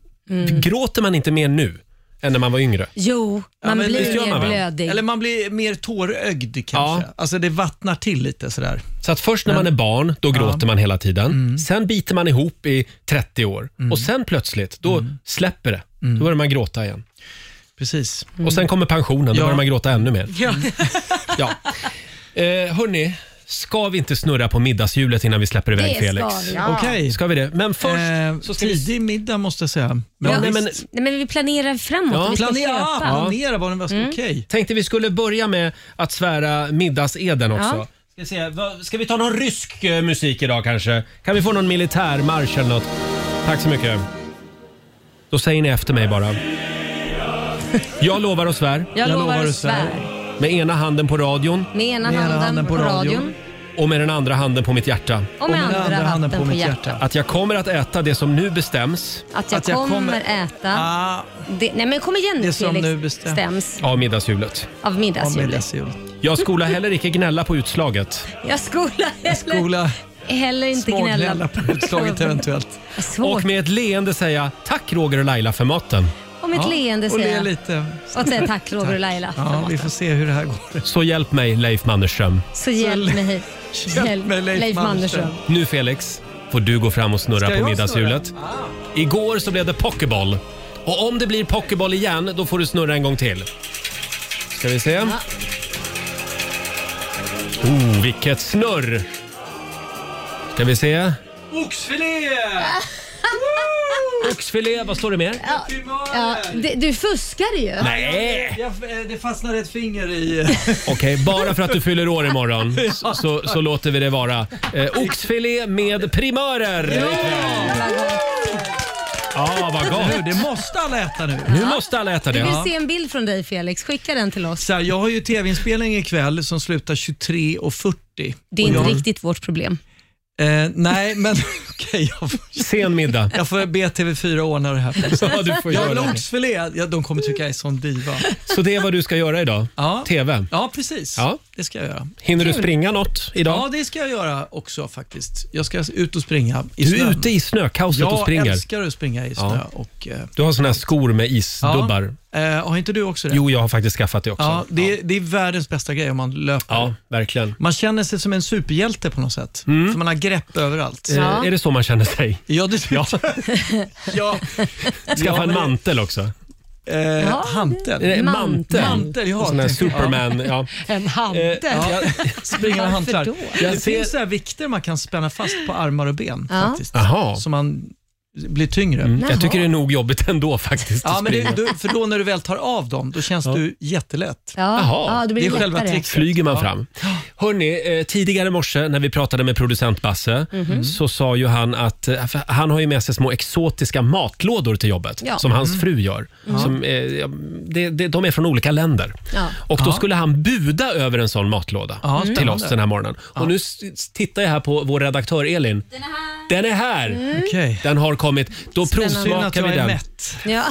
Speaker 1: Gråter man inte mer nu än när man var yngre?
Speaker 3: Jo, man
Speaker 8: men visst
Speaker 3: blir
Speaker 1: gör
Speaker 3: mer
Speaker 1: man väl?
Speaker 3: blödig.
Speaker 8: Eller man blir mer tårögd kanske.
Speaker 1: Ja.
Speaker 8: Alltså det vattnar till lite sådär.
Speaker 1: Så att först när man är barn, då gråter man hela tiden. Sen biter man ihop i 30 år och sen plötsligt, då släpper det. Då börjar man gråta igen.
Speaker 8: Precis.
Speaker 1: Mm. Och sen kommer pensionen, då
Speaker 8: Ja.
Speaker 1: börjar man gråta ännu mer.
Speaker 2: Ja.
Speaker 1: Ja. Mm. Eh, hörni, Ska vi inte snurra på middagshjulet innan vi släpper iväg
Speaker 3: Det
Speaker 1: Felix?
Speaker 3: ska vi. Ja.
Speaker 5: Okej.
Speaker 1: Ska vi det? Men först
Speaker 5: Eh,
Speaker 1: så ska vi...
Speaker 5: tidig middag måste jag säga.
Speaker 1: Ja,
Speaker 5: visst.
Speaker 1: nej, men-
Speaker 3: Nej, men vi planerar framåt.
Speaker 1: Ja.
Speaker 3: och Vi ska
Speaker 5: planera,
Speaker 3: köpa. Mm.
Speaker 5: planera var den bästa. Okej.
Speaker 1: Tänkte vi skulle börja med att svära middagseden också.
Speaker 3: Ja.
Speaker 1: Ska, vi se, vad- ska vi ta någon rysk eh, musik idag kanske? Kan vi få någon militärmarsch eller något? Tack så mycket. Då säger ni efter mig bara. Jag lovar och svär
Speaker 3: Jag, lovar
Speaker 5: lovar
Speaker 3: och
Speaker 5: och svär.
Speaker 3: svär.
Speaker 1: med ena handen på radion
Speaker 3: Med ena handen, på radion
Speaker 1: och med den andra handen på mitt hjärta
Speaker 3: och med andra, handen på,
Speaker 5: mitt
Speaker 3: hjärtat.
Speaker 1: att jag kommer att äta det som nu bestäms
Speaker 3: Att jag,
Speaker 5: Att jag
Speaker 3: kommer,
Speaker 5: kommer-
Speaker 3: äta.
Speaker 5: Ah,
Speaker 3: Det, nej men kom igen nu
Speaker 5: Det som
Speaker 3: Felix.
Speaker 5: nu bestäms.
Speaker 3: Stäms
Speaker 1: av middagshjulet.
Speaker 3: av
Speaker 5: om
Speaker 3: middagshjulet.
Speaker 5: middagshjul.
Speaker 1: Jag skola heller icke gnälla på utslaget.
Speaker 3: Jag skola heller,
Speaker 5: Skola,
Speaker 3: heller inte
Speaker 5: smågnälla
Speaker 3: gnälla.
Speaker 5: på utslaget eventuellt.
Speaker 3: Svårt.
Speaker 1: Och med ett leende säga tack Roger och Laila för maten.
Speaker 3: Och med ett leende
Speaker 5: och
Speaker 3: säga.
Speaker 5: le lite.
Speaker 3: Och säga tack Roger och Laila.
Speaker 5: Ja, vi får se hur det här går.
Speaker 1: Så hjälp mig Leif Mannerström.
Speaker 3: Så hjälp mig. Hjälp,
Speaker 5: mig, Leif
Speaker 3: Leif Mannerström.
Speaker 5: Mannerström.
Speaker 1: Nu Felix får du gå fram och snurra
Speaker 5: Ska
Speaker 1: på
Speaker 5: jag Ah.
Speaker 1: middagshjulet. Igår så blev det pokéboll. Och om det blir pokéboll igen då får du snurra en gång till. Ska vi se. Oh, vilket snurr! Ska vi se.
Speaker 5: Oxfilé!
Speaker 1: Oxfilé, vad står det mer?
Speaker 3: Ja, det, du fuskar ju.
Speaker 1: Nej!
Speaker 5: eh, det fastnade ett finger i...
Speaker 1: Okej, bara för att du fyller år imorgon så, så, så låter vi det vara. Eh, oxfilé med primörer! ikväll. Ja, vad
Speaker 5: Nu,
Speaker 1: gott!
Speaker 5: det måste alla äta nu.
Speaker 1: Nu måste alla äta
Speaker 3: Vi
Speaker 1: det.
Speaker 3: vill se en bild från dig Felix. Skicka den till oss.
Speaker 5: Så här, jag har ju tv-inspelning ikväll som slutar 23.40.
Speaker 3: Det är inte riktigt vårt problem.
Speaker 5: Eh, nej, men okej, jag, får-
Speaker 1: Sen middag.
Speaker 5: jag får be TV4 ordna det här.
Speaker 1: Ja, du får
Speaker 5: Jag
Speaker 1: göra
Speaker 5: vill ha
Speaker 1: det.
Speaker 5: oxfilé. Ja, de kommer tycka jag är sån diva.
Speaker 1: Så det är vad du ska göra idag?
Speaker 5: Ja.
Speaker 1: TV.
Speaker 5: Ja, precis.
Speaker 1: Ja.
Speaker 5: Det ska jag göra.
Speaker 1: Hinner du springa något
Speaker 5: Ja,
Speaker 1: idag?
Speaker 5: det ska jag göra också faktiskt. Jag ska ut och springa i
Speaker 1: Du
Speaker 5: snön.
Speaker 1: är ute i snökaoset och
Speaker 5: Jag
Speaker 1: springer.
Speaker 5: älskar att springa i snö.
Speaker 1: Ja.
Speaker 5: Och, eh,
Speaker 1: Du har såna här skor med isdubbar.
Speaker 5: ja. Eh, har inte du också det?
Speaker 1: Jo, jag har faktiskt skaffat det också.
Speaker 5: Ja, det, är- det är världens bästa grej om man löper.
Speaker 1: Ja, verkligen.
Speaker 5: Man känner sig som en superhjälte på något sätt. För man har grepp överallt.
Speaker 3: Ja.
Speaker 1: Eh, Är det så man känner sig?
Speaker 5: Ja, det ja. ja.
Speaker 1: Skaffa en
Speaker 5: men-
Speaker 1: mantel också.
Speaker 5: Eh, Hantel.
Speaker 1: Eh,
Speaker 3: Man-
Speaker 1: mantel.
Speaker 5: Mantel, ja.
Speaker 1: Sån här
Speaker 5: tänkte jag.
Speaker 1: Superman. Ja.
Speaker 2: En
Speaker 1: Eh,
Speaker 2: hante.
Speaker 1: ja.
Speaker 5: Springa med
Speaker 3: Varför
Speaker 5: hantlar.
Speaker 3: då?
Speaker 5: Det
Speaker 1: Jag ser...
Speaker 5: finns så här vikter man kan spänna fast på armar och ben.
Speaker 3: Ja.
Speaker 5: Faktiskt,
Speaker 1: Jaha.
Speaker 5: Så man blir tyngre.
Speaker 1: Mm, Jag tycker det är nog jobbigt ändå faktiskt.
Speaker 5: Ja,
Speaker 1: att
Speaker 5: men
Speaker 1: springa.
Speaker 5: det, du, för då när du väl tar av dem, då känns du jättelätt.
Speaker 3: Ja,
Speaker 1: Jaha.
Speaker 3: ja, då blir
Speaker 5: Det
Speaker 3: det,
Speaker 5: är själva
Speaker 3: lättare.
Speaker 5: tricket.
Speaker 1: Flyger man
Speaker 5: Ja.
Speaker 1: fram. Hörni, eh, tidigare i morse när vi pratade med producent Basse
Speaker 5: Mhm.
Speaker 1: så sa ju han att eh, för han har ju med sig små exotiska matlådor till jobbet
Speaker 3: Ja.
Speaker 1: som
Speaker 5: Mm.
Speaker 1: hans fru gör. Som, eh, ja, det, det, de är från olika länder.
Speaker 3: Ja.
Speaker 1: Och då skulle han buda över en sån matlåda
Speaker 5: Ja,
Speaker 1: till
Speaker 5: spännande.
Speaker 1: oss den här morgonen. Och nu s- s- tittar jag här på vår redaktör Elin. Den är här! Den, är här.
Speaker 5: Mm. Okej.
Speaker 1: den har kommit. Då
Speaker 5: Synd att
Speaker 1: provsmakar
Speaker 5: jag
Speaker 1: vi
Speaker 5: är
Speaker 1: den.
Speaker 5: mätt.
Speaker 3: Ja.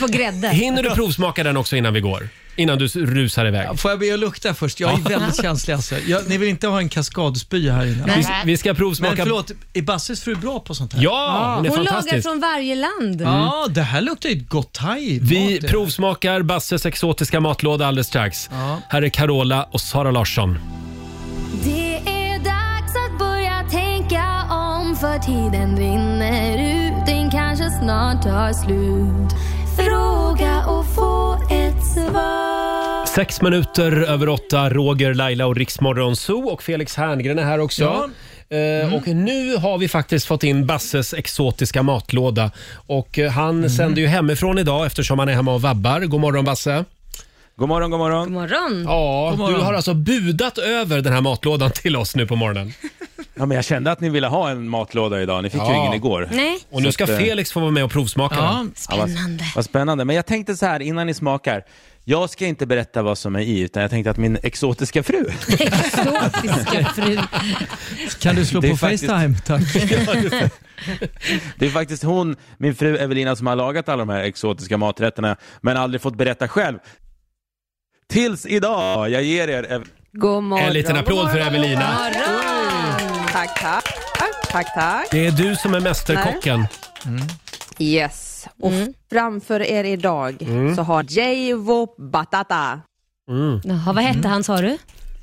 Speaker 3: På grädde.
Speaker 1: Hinner du provsmaka den också innan vi går? Innan du s- rusar iväg?
Speaker 5: Får jag be att lukta först? Jag är väldigt känslig alltså. Jag, ni vill inte ha en kaskadspya här inne.
Speaker 1: Vi, vi ska
Speaker 5: Men
Speaker 1: provsmaka...
Speaker 5: förlåt, är Basses fru bra på sånt här?
Speaker 1: Ja, hon är
Speaker 3: Ah, Hon lagar
Speaker 1: fantastisk.
Speaker 3: från varje land.
Speaker 5: Ja, det här luktar ju gott thai.
Speaker 1: Vi provsmakar Basses exotiska matlåda alldeles strax.
Speaker 5: Ja.
Speaker 1: Här är Carola och Sara Larsson.
Speaker 11: Det är dags att börja tänka om för tiden rinner ut, den kanske snart tar slut. Fråga och få ett svar.
Speaker 1: Sex minuter över åtta, Roger, Laila och Riksmorgon Zoo och Felix Herngren är här också.
Speaker 5: Ja.
Speaker 1: Eh, Och nu har vi faktiskt fått in Basses exotiska matlåda. Och eh, han sänder ju hemifrån idag eftersom han är hemma och vabbar. God morgon Basse.
Speaker 8: God morgon, god
Speaker 3: God
Speaker 8: morgon.
Speaker 3: morgon.
Speaker 1: Ja,
Speaker 5: morgon.
Speaker 1: du har alltså budat över den här matlådan till oss nu på morgonen.
Speaker 8: Ja, men jag kände att ni ville ha en matlåda idag. Ni fick
Speaker 1: Ja.
Speaker 8: ju ingen igår.
Speaker 3: Nej,
Speaker 1: Och nu
Speaker 8: Så
Speaker 1: ska
Speaker 8: att, eh,
Speaker 1: Felix få vara med och provsmaka den.
Speaker 5: Ja,
Speaker 8: Ja, vad,
Speaker 3: spännande.
Speaker 8: vad spännande. Men jag tänkte så här innan ni smakar. Jag ska inte berätta vad som är i, utan jag tänkte att min exotiska fru.
Speaker 3: Exotiska fru.
Speaker 5: kan du slå
Speaker 8: Det är
Speaker 5: på
Speaker 8: faktiskt-
Speaker 5: Facetime? Tack.
Speaker 8: Det är faktiskt hon, min fru Evelina, som har lagat alla de här exotiska maträtterna, men aldrig fått berätta själv. Tills idag! Jag ger er... Ev-
Speaker 11: God
Speaker 1: En liten applåd för Evelina.
Speaker 12: Tack, tack. Tack, tack.
Speaker 1: Det är du som är mästerkocken.
Speaker 12: Yes. Och
Speaker 5: Mm.
Speaker 12: framför er idag så har Javo Batata.
Speaker 3: Jaha, vad hette han sa du?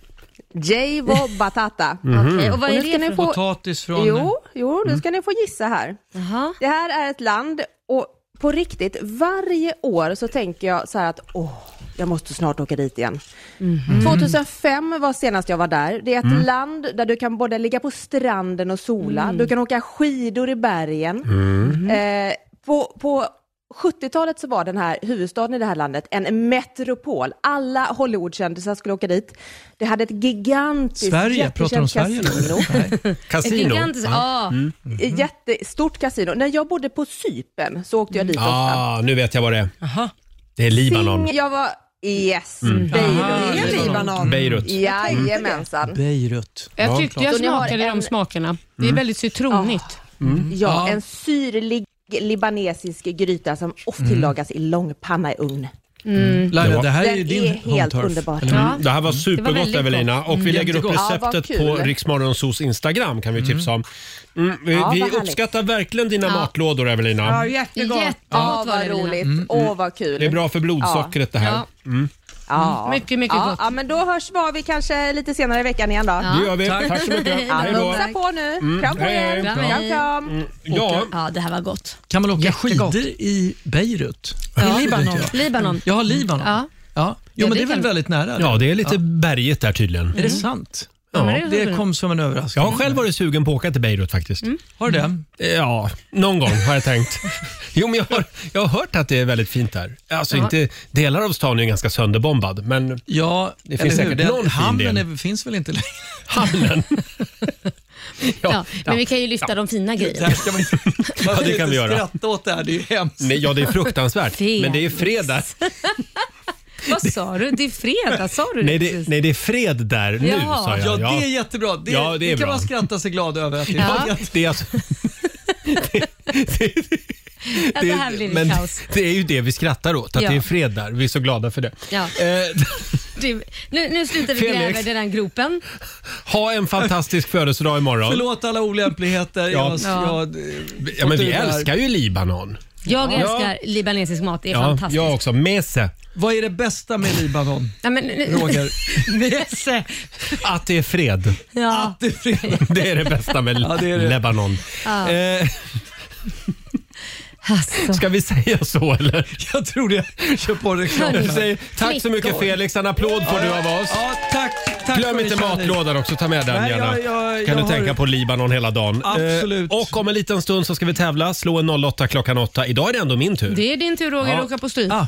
Speaker 12: Javo Batata.
Speaker 3: Okej, och vad
Speaker 12: Och
Speaker 3: är
Speaker 12: nu
Speaker 3: det
Speaker 12: ska ni
Speaker 3: för...
Speaker 12: få...
Speaker 5: Potatis från...
Speaker 12: Jo, jo, nu ska ni få gissa här.
Speaker 3: Jaha.
Speaker 12: Det här är ett land och på riktigt, varje år så tänker jag så här att åh, Jag måste snart åka dit igen.
Speaker 8: Mhm.
Speaker 12: 2005 var senast jag var där. Det är ett
Speaker 13: Mm.
Speaker 12: land där du kan både ligga på stranden och sola.
Speaker 13: Mm.
Speaker 12: Du kan åka skidor i bergen.
Speaker 13: Mm.
Speaker 12: Eh, på, på 70-talet så var den här huvudstaden i det här landet en metropol. Alla Hollywoodkändisar skulle åka dit. Det hade ett gigantiskt
Speaker 8: Sverige, pratar de om Sverige
Speaker 12: jättekänt kasino.
Speaker 8: nu?
Speaker 12: Ett
Speaker 8: Mm.
Speaker 12: gigantiskt, ja. Ett Jättestort kasino. När jag bodde på Cypern så åkte jag dit ofta.
Speaker 1: Ah, nu vet jag vad det är. Det är Libanon.
Speaker 12: Sing- Jag var... Yes,
Speaker 1: Mm.
Speaker 12: Beirut.
Speaker 1: Ah, det är Libanon. Beirut.
Speaker 12: Jajamensan.
Speaker 1: Beirut.
Speaker 14: Jag tyckte jag
Speaker 12: Så ni har
Speaker 14: smakade
Speaker 12: en-
Speaker 14: de smakerna. Det är
Speaker 1: Mm.
Speaker 14: väldigt citronigt.
Speaker 12: Ja, en syrlig libanesisk gryta som ofta
Speaker 1: Mm.
Speaker 12: tillagas i långpanna i ugn.
Speaker 1: Mm. Laila, det här är
Speaker 12: Den
Speaker 1: ju din
Speaker 12: är helt
Speaker 1: home turf,
Speaker 12: underbar.
Speaker 1: eller hur? Mm. Det här var supergott
Speaker 12: väldigt gott.
Speaker 1: Evelina och vi
Speaker 12: Mm.
Speaker 1: lägger upp
Speaker 12: Jättegott. Ja, vad
Speaker 1: receptet
Speaker 12: kul.
Speaker 1: på Riksmorgonsos Instagram kan vi tipsa om. Mm, vi
Speaker 12: Ja,
Speaker 1: vi
Speaker 12: vad härligt.
Speaker 1: uppskattar verkligen dina
Speaker 12: Ja.
Speaker 1: matlådor Evelina.
Speaker 12: jättegott. Ja, vad roligt.
Speaker 1: Mm,
Speaker 12: Åh,
Speaker 1: mm.
Speaker 12: vad kul.
Speaker 1: Det är bra för blodsockret det här.
Speaker 12: Ja.
Speaker 1: Mm.
Speaker 12: Ja.
Speaker 14: Mycket, mycket
Speaker 12: ja,
Speaker 14: gott.
Speaker 12: Ja, men då hörs var vi kanske lite senare i veckan igen då.
Speaker 1: Ja. Det gör vi. Tack. Tack så mycket.
Speaker 12: Ja,
Speaker 1: Hej då.
Speaker 12: Pussa på nu.
Speaker 1: Mm,
Speaker 12: Kram på
Speaker 1: hej, hej. Mm.
Speaker 12: er.
Speaker 1: Kram,
Speaker 12: Kram,
Speaker 1: hej.
Speaker 12: kram.
Speaker 1: Ja.
Speaker 3: ja, det här var gott.
Speaker 8: Kan man åka
Speaker 3: Jättegott.
Speaker 8: skidor i Beirut?
Speaker 3: Ja.
Speaker 8: Det vet
Speaker 3: Libanon.
Speaker 8: jag.
Speaker 3: Libanon.
Speaker 8: Ja, Libanon.
Speaker 3: Ja.
Speaker 8: Ja. Ja. Jo,
Speaker 3: Ja,
Speaker 8: men
Speaker 3: det
Speaker 8: det är väl
Speaker 3: kan-
Speaker 8: väldigt nära?
Speaker 1: Ja, det är lite
Speaker 8: Ja.
Speaker 1: bergigt där tydligen.
Speaker 8: Är det sant?
Speaker 1: Ja, men det är
Speaker 8: det
Speaker 1: roligt.
Speaker 8: kom som en överraskning.
Speaker 1: Jag har själv varit sugen på att åka till Beirut faktiskt.
Speaker 8: Mm.
Speaker 1: Eh,
Speaker 8: Har du det?
Speaker 1: Ja, någon gång har jag tänkt. Jo, men jag har, jag har hört att det är väldigt fint där. Alltså
Speaker 8: Ja.
Speaker 1: inte, delar av stan är ju ganska sönderbombad, men
Speaker 8: Ja,
Speaker 1: det
Speaker 8: eller
Speaker 1: finns
Speaker 8: hur?
Speaker 1: säkert
Speaker 8: Den
Speaker 1: någon fin
Speaker 8: hamnen
Speaker 1: del.
Speaker 8: är, finns väl inte längre?
Speaker 3: Ja,
Speaker 1: ja.
Speaker 3: Men vi kan ju lyfta de fina grejerna.
Speaker 8: Där ska man inte, man
Speaker 1: Ja,
Speaker 8: ska
Speaker 1: det kan vi
Speaker 8: inte
Speaker 1: göra.
Speaker 8: skratta åt det här, det är ju hemskt.
Speaker 1: Nej, ja, det är fruktansvärt.
Speaker 3: Fel.
Speaker 1: Men det är fredag.
Speaker 3: Vad sa du? Det är fredag, sa du
Speaker 1: Nej,
Speaker 3: precis?
Speaker 1: det, nej, det är fred där nu,
Speaker 3: Jaha.
Speaker 1: sa jag.
Speaker 8: Ja, det är jättebra. Det,
Speaker 1: Ja, det är
Speaker 8: kan
Speaker 1: bra.
Speaker 8: man skratta sig glad över. Att det,
Speaker 1: Ja.
Speaker 8: är jätte-
Speaker 1: Det är alltså,
Speaker 3: Ja, det här blir
Speaker 1: men
Speaker 3: det kaos.
Speaker 1: det är ju det vi skrattar åt, att
Speaker 3: Ja.
Speaker 1: det är fred där. Vi är så glada för det.
Speaker 3: Ja.
Speaker 1: Eh,
Speaker 3: Du, nu, nu slutar vi
Speaker 1: Felix.
Speaker 3: gräva den här gropen.
Speaker 1: ha en fantastisk födelsedag imorgon.
Speaker 8: Förlåt alla olämpligheter.
Speaker 1: Ja.
Speaker 8: Jag, jag, eh,
Speaker 1: Ja, men vi
Speaker 8: fått ur det här.
Speaker 1: älskar ju Libanon.
Speaker 3: Jag
Speaker 1: Ja.
Speaker 3: älskar libanesisk mat, det är
Speaker 1: Ja,
Speaker 3: fantastiskt.
Speaker 1: jag också. Mese.
Speaker 8: Vad är det bästa med Libanon?
Speaker 3: Ja, men, nu-
Speaker 8: Roger.
Speaker 3: Mese.
Speaker 1: Att det är fred.
Speaker 3: Ja.
Speaker 1: Det är det bästa med
Speaker 8: Ja, det är det.
Speaker 1: Lebanon.
Speaker 3: Ja.
Speaker 1: Eh,
Speaker 3: Alltså.
Speaker 1: Ska vi säga så eller?
Speaker 8: Jag tror det. Kör på reklamen.
Speaker 1: Vi säger Tack så mycket
Speaker 8: Flickor.
Speaker 1: Felix. En applåd får du av oss.
Speaker 8: Ja, tack, tack
Speaker 1: Glöm
Speaker 8: för
Speaker 1: inte
Speaker 8: det, kärlek.
Speaker 1: matlådan också. Ta med den
Speaker 8: Nej,
Speaker 1: gärna.
Speaker 8: jag-
Speaker 1: kan
Speaker 8: jag- jag
Speaker 1: du
Speaker 8: har-
Speaker 1: tänka på Libanon hela dagen.
Speaker 8: Absolut.
Speaker 1: Eh, och om en liten stund så ska vi tävla. Slå en 08 klockan 8. Idag är det ändå min tur.
Speaker 14: Det är din tur Roger,
Speaker 1: Ja.
Speaker 14: att åka på stryk.
Speaker 8: Ah.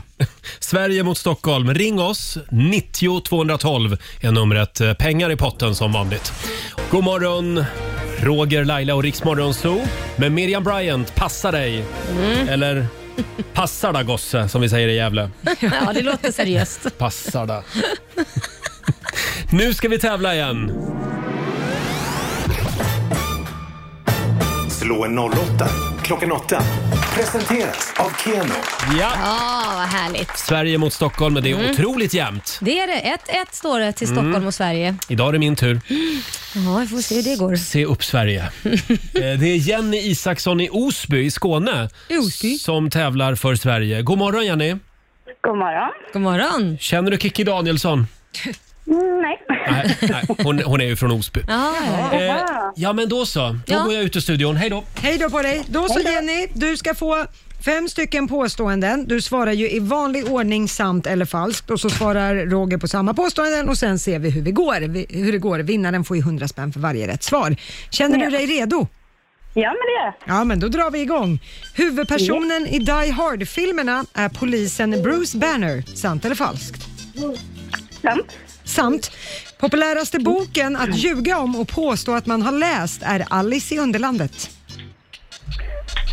Speaker 1: Sverige mot Stockholm. Ring oss. 90 212 är numret. Eh, Pengar i potten som vanligt. God morgon, Roger, Laila och Riksmorgon Zoo. Med Miriam Bryant, passa dig. Eller passa da gosse som vi säger i Gävle.
Speaker 3: ja, det låter seriöst.
Speaker 1: Passa da. nu ska vi tävla igen.
Speaker 4: Slå en 08 klockan 8. Presenteras av Keno.
Speaker 1: Ja.
Speaker 3: Ja, vad härligt.
Speaker 1: Sverige mot Stockholm, men det är
Speaker 3: Mm.
Speaker 1: otroligt jämnt.
Speaker 3: Det är det. 1-1 står det till Stockholm
Speaker 1: Mm.
Speaker 3: och Sverige.
Speaker 1: Idag är det min tur.
Speaker 3: Ja, vi får se hur det går.
Speaker 1: Se upp Sverige. Eh, det är Jenny Isaksson i Osby i Skåne som tävlar för Sverige. God morgon Jenny!
Speaker 15: God morgon.
Speaker 3: God morgon!
Speaker 1: Känner du Kikki Danielsson?
Speaker 15: Mm, Nej.
Speaker 1: Nej, nej hon, hon är ju från Osby. Eh,
Speaker 2: Jaha.
Speaker 1: ja men då så, då
Speaker 2: Ja.
Speaker 1: går jag ut ur studion. Hej då!
Speaker 2: Hej då på dig. Då så
Speaker 1: Hej då.
Speaker 2: Jenny, du ska få fem stycken påståenden. Du svarar ju i vanlig ordning sant eller falskt och så svarar Roger på samma påståenden och sen ser vi hur, vi går. Vi, hur det går. Vinnaren får ju 100 spänn för varje rätt svar. Känner du
Speaker 15: Ja.
Speaker 2: dig redo?
Speaker 15: Ja, men det gör jag.
Speaker 2: Ja, men då drar vi igång. Huvudpersonen i Die Hard-filmerna är polisen Bruce Banner. Sant eller falskt?
Speaker 15: Sant.
Speaker 2: Sant. Populäraste boken att ljuga om och påstå att man har läst är Alice i Underlandet.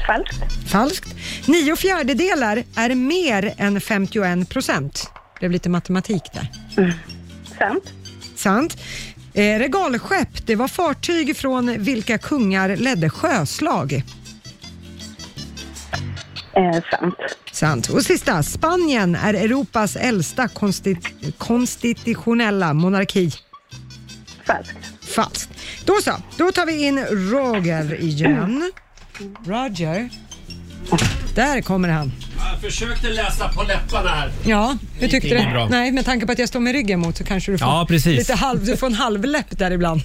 Speaker 2: Falskt. Falskt. Nio fjärdedelar är mer än 51 procent. Det blev lite matematik där.
Speaker 15: Sant.
Speaker 2: Sant. Eh, regalskepp, det var fartyg från vilka kungar ledde sjöslag?
Speaker 15: Eh, sant.
Speaker 2: Sant. Och sista, Spanien är Europas äldsta konsti- konstitutionella monarki. Falskt. Falskt. Då så, då tar vi in Roger igen. Roger. Där kommer han.
Speaker 1: Jag försökte läsa på läpparna här.
Speaker 2: Ja, hur tyckte
Speaker 1: Gick inget
Speaker 2: du?
Speaker 1: bra.
Speaker 2: Nej, med tanke på att jag står med ryggen mot så kanske du får,
Speaker 1: Ja, precis.
Speaker 2: Lite halv, du får en halvläpp där ibland.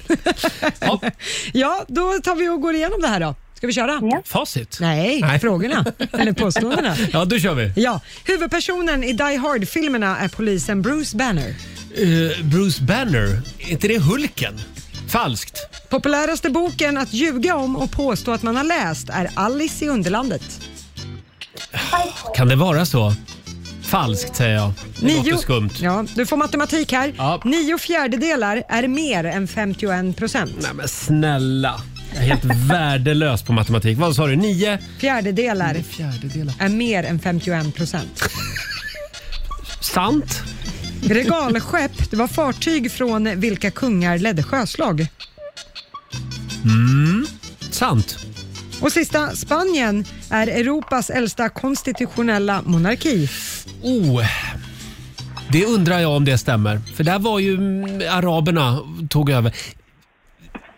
Speaker 2: ja. då tar vi och går igenom det här då. Ska vi köra?
Speaker 1: Facit?
Speaker 2: Nej, frågorna. Eller påståendena.
Speaker 1: Ja, då kör vi.
Speaker 2: Ja, huvudpersonen i Die Hard-filmerna är polisen Bruce Banner.
Speaker 1: Eh, Bruce Banner, är inte det Hulken? Falskt.
Speaker 2: Populäraste boken att ljuga om och påstå att man har läst är Alice i Underlandet.
Speaker 1: Kan det vara så? Falskt säger jag. Det låter skumt.
Speaker 2: Ja, du får matematik här. Nio fjärdedelar är mer än 51 procent.
Speaker 1: Men snälla. Jag är helt värdelös på matematik. Vad sa du? Nio?
Speaker 2: Fjärdedelar, är mer än 51 procent.
Speaker 1: Sant.
Speaker 2: Regalskepp, det var fartyg från vilka kungar ledde sjöslag.
Speaker 1: Mm. Sant.
Speaker 2: Och sista, Spanien är Europas äldsta konstitutionella monarki.
Speaker 1: Oh. Det undrar jag om det stämmer. För där var ju mm, araberna tog över.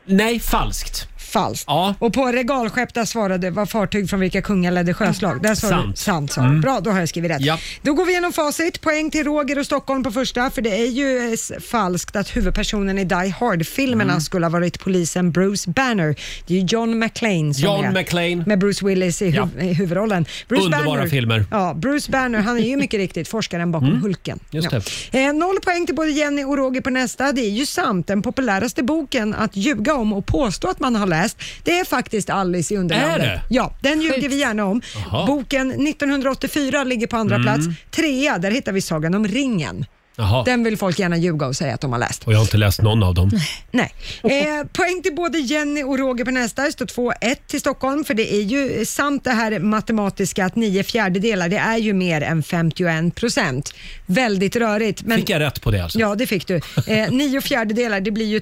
Speaker 1: Nej, falskt.
Speaker 2: Falskt. Ja. Och på regalskepp där svarade var fartyg från vilka kungar ledde sjöslag. Där svarade
Speaker 1: Sant.
Speaker 2: Du, sant sa du.
Speaker 1: Mm.
Speaker 2: Bra, då har jag skrivit rätt.
Speaker 1: Ja.
Speaker 2: Då går vi igenom facit. Poäng till Roger och Stockholm på första, för det är ju eh, s- falskt att huvudpersonen i Die Hard-filmerna
Speaker 1: Mm.
Speaker 2: skulle ha varit polisen Bruce Banner. Det är ju John McClane som
Speaker 1: John
Speaker 2: är
Speaker 1: McClane.
Speaker 2: med Bruce Willis i, huv-
Speaker 1: Ja.
Speaker 2: i huvudrollen. Bruce
Speaker 1: Underbara
Speaker 2: Banner,
Speaker 1: filmer.
Speaker 2: Ja, Bruce Banner, han är ju mycket riktigt forskaren bakom
Speaker 1: Mm.
Speaker 2: Hulken.
Speaker 1: Just
Speaker 2: ja.
Speaker 1: det.
Speaker 2: Eh, noll poäng till både Jenny och Roger på nästa. Det är ju sant, den populäraste boken att ljuga om och påstå att man har läst, det är faktiskt Alice i
Speaker 1: Är
Speaker 2: Underlandet.
Speaker 1: det?
Speaker 2: Ja, den ljuger vi gärna om.
Speaker 1: Jaha.
Speaker 2: Boken 1984 ligger på andra
Speaker 1: Mm.
Speaker 2: plats. Trea, där hittar vi Sagan om ringen.
Speaker 1: Jaha.
Speaker 2: Den vill folk gärna ljuga och säga att de har läst.
Speaker 1: Och jag har inte läst någon av dem.
Speaker 2: Nej. Eh, poäng till både Jenny och Roger på nästa. Det står 2-1 till Stockholm, för det är ju sant det här matematiska att nio fjärdedelar, det är ju mer än 51 procent. Väldigt rörigt. Men
Speaker 1: Fick jag rätt på det alltså?
Speaker 2: Ja, det fick du. Eh, nio fjärdedelar, det blir ju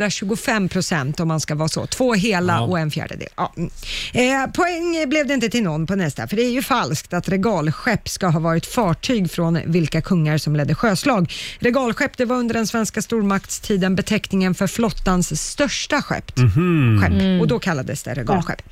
Speaker 2: 225 procent om man ska vara så. Två hela
Speaker 1: Ja.
Speaker 2: och en fjärdedel. Ja. mm. Eh, poäng blev det inte till någon på nästa, för det är ju falskt att regalskepp ska ha varit fartyg från vilka kungar som ledde sjöslag. Regalskepp, det var under den svenska stormaktstiden beteckningen för flottans största skepp.
Speaker 5: Mhm.
Speaker 2: skepp.
Speaker 5: Mm.
Speaker 2: Och då kallades det regalskepp.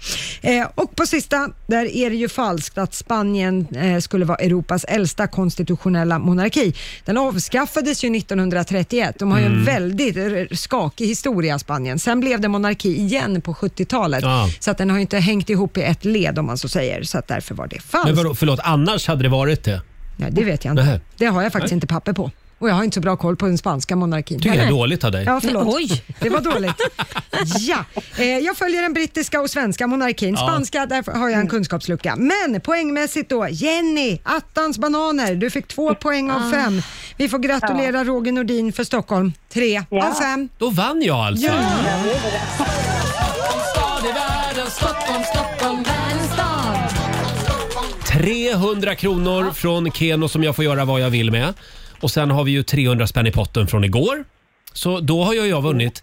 Speaker 2: Eh, och på sista, där är det ju falskt att Spanien eh, skulle vara Europas äldsta konstitutionella monarki. Den avskaffades ju 1931. De har ju en
Speaker 5: Mm.
Speaker 2: väldigt r- skakig historia, Spanien. Sen blev det monarki igen på 70-talet,
Speaker 1: Ja.
Speaker 2: så att den har ju inte hängt ihop i ett led om man så säger, så att därför var det
Speaker 1: Men
Speaker 2: falskt.
Speaker 1: vadå, förlåt, annars hade det varit det?
Speaker 2: Nej, det vet jag inte.
Speaker 1: Nähä.
Speaker 2: Det har jag faktiskt
Speaker 1: Nej.
Speaker 2: inte papper på. Och jag har inte så bra koll på den spanska monarkin.
Speaker 1: Tycker jag är
Speaker 2: Nej.
Speaker 1: dåligt av dig.
Speaker 2: Ja, förlåt.
Speaker 1: Nej,
Speaker 2: Oj. Det var dåligt. Ja. Eh, jag följer den brittiska och svenska monarkin.
Speaker 1: Ja. Mm.
Speaker 2: Spanska, där har jag en kunskapslucka. Men poängmässigt då, Jenny, attans bananer. Du fick två poäng av
Speaker 1: Ah.
Speaker 2: fem. Vi får gratulera Roger Nordin för Stockholm. Tre av fem.
Speaker 1: Då vann jag alltså.
Speaker 2: Ja.
Speaker 5: Stad i världen, Stockholm, Stockholm, världens stad.
Speaker 1: 300 kronor från Keno som jag får göra vad jag vill med. Och sen har vi ju 300 spänn i potten från igår. Så då har jag, jag vunnit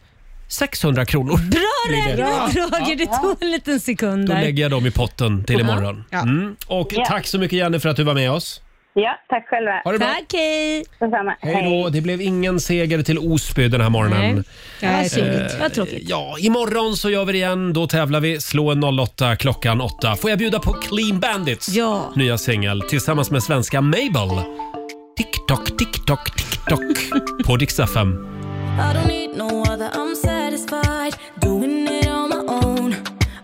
Speaker 1: 600 kronor.
Speaker 3: Bra
Speaker 1: Blir det.
Speaker 3: räknat Roger, det tog en liten sekund
Speaker 1: Då
Speaker 3: där.
Speaker 1: lägger jag dem i potten till
Speaker 3: Ja.
Speaker 1: imorgon.
Speaker 3: Ja.
Speaker 1: Mm. Och
Speaker 3: Ja.
Speaker 1: tack så mycket Janne för att du var med oss.
Speaker 15: Ja, tack själva.
Speaker 1: Ha det bra.
Speaker 3: Tack, hej.
Speaker 15: Detsamma.
Speaker 1: Hej då. Det blev ingen seger till Osby den här morgonen.
Speaker 3: Nej, tråkigt.
Speaker 1: Eh,
Speaker 3: Vad tråkigt.
Speaker 1: Ja, imorgon så gör vi det igen. Då tävlar vi. Slå en 08 klockan 8. Får jag bjuda på Clean Bandits
Speaker 3: ja.
Speaker 1: nya singel tillsammans med svenska Mabel. TikTok, TikTok, TikTok på Dix FM.
Speaker 5: I don't need no other, I'm satisfied doing it on my own.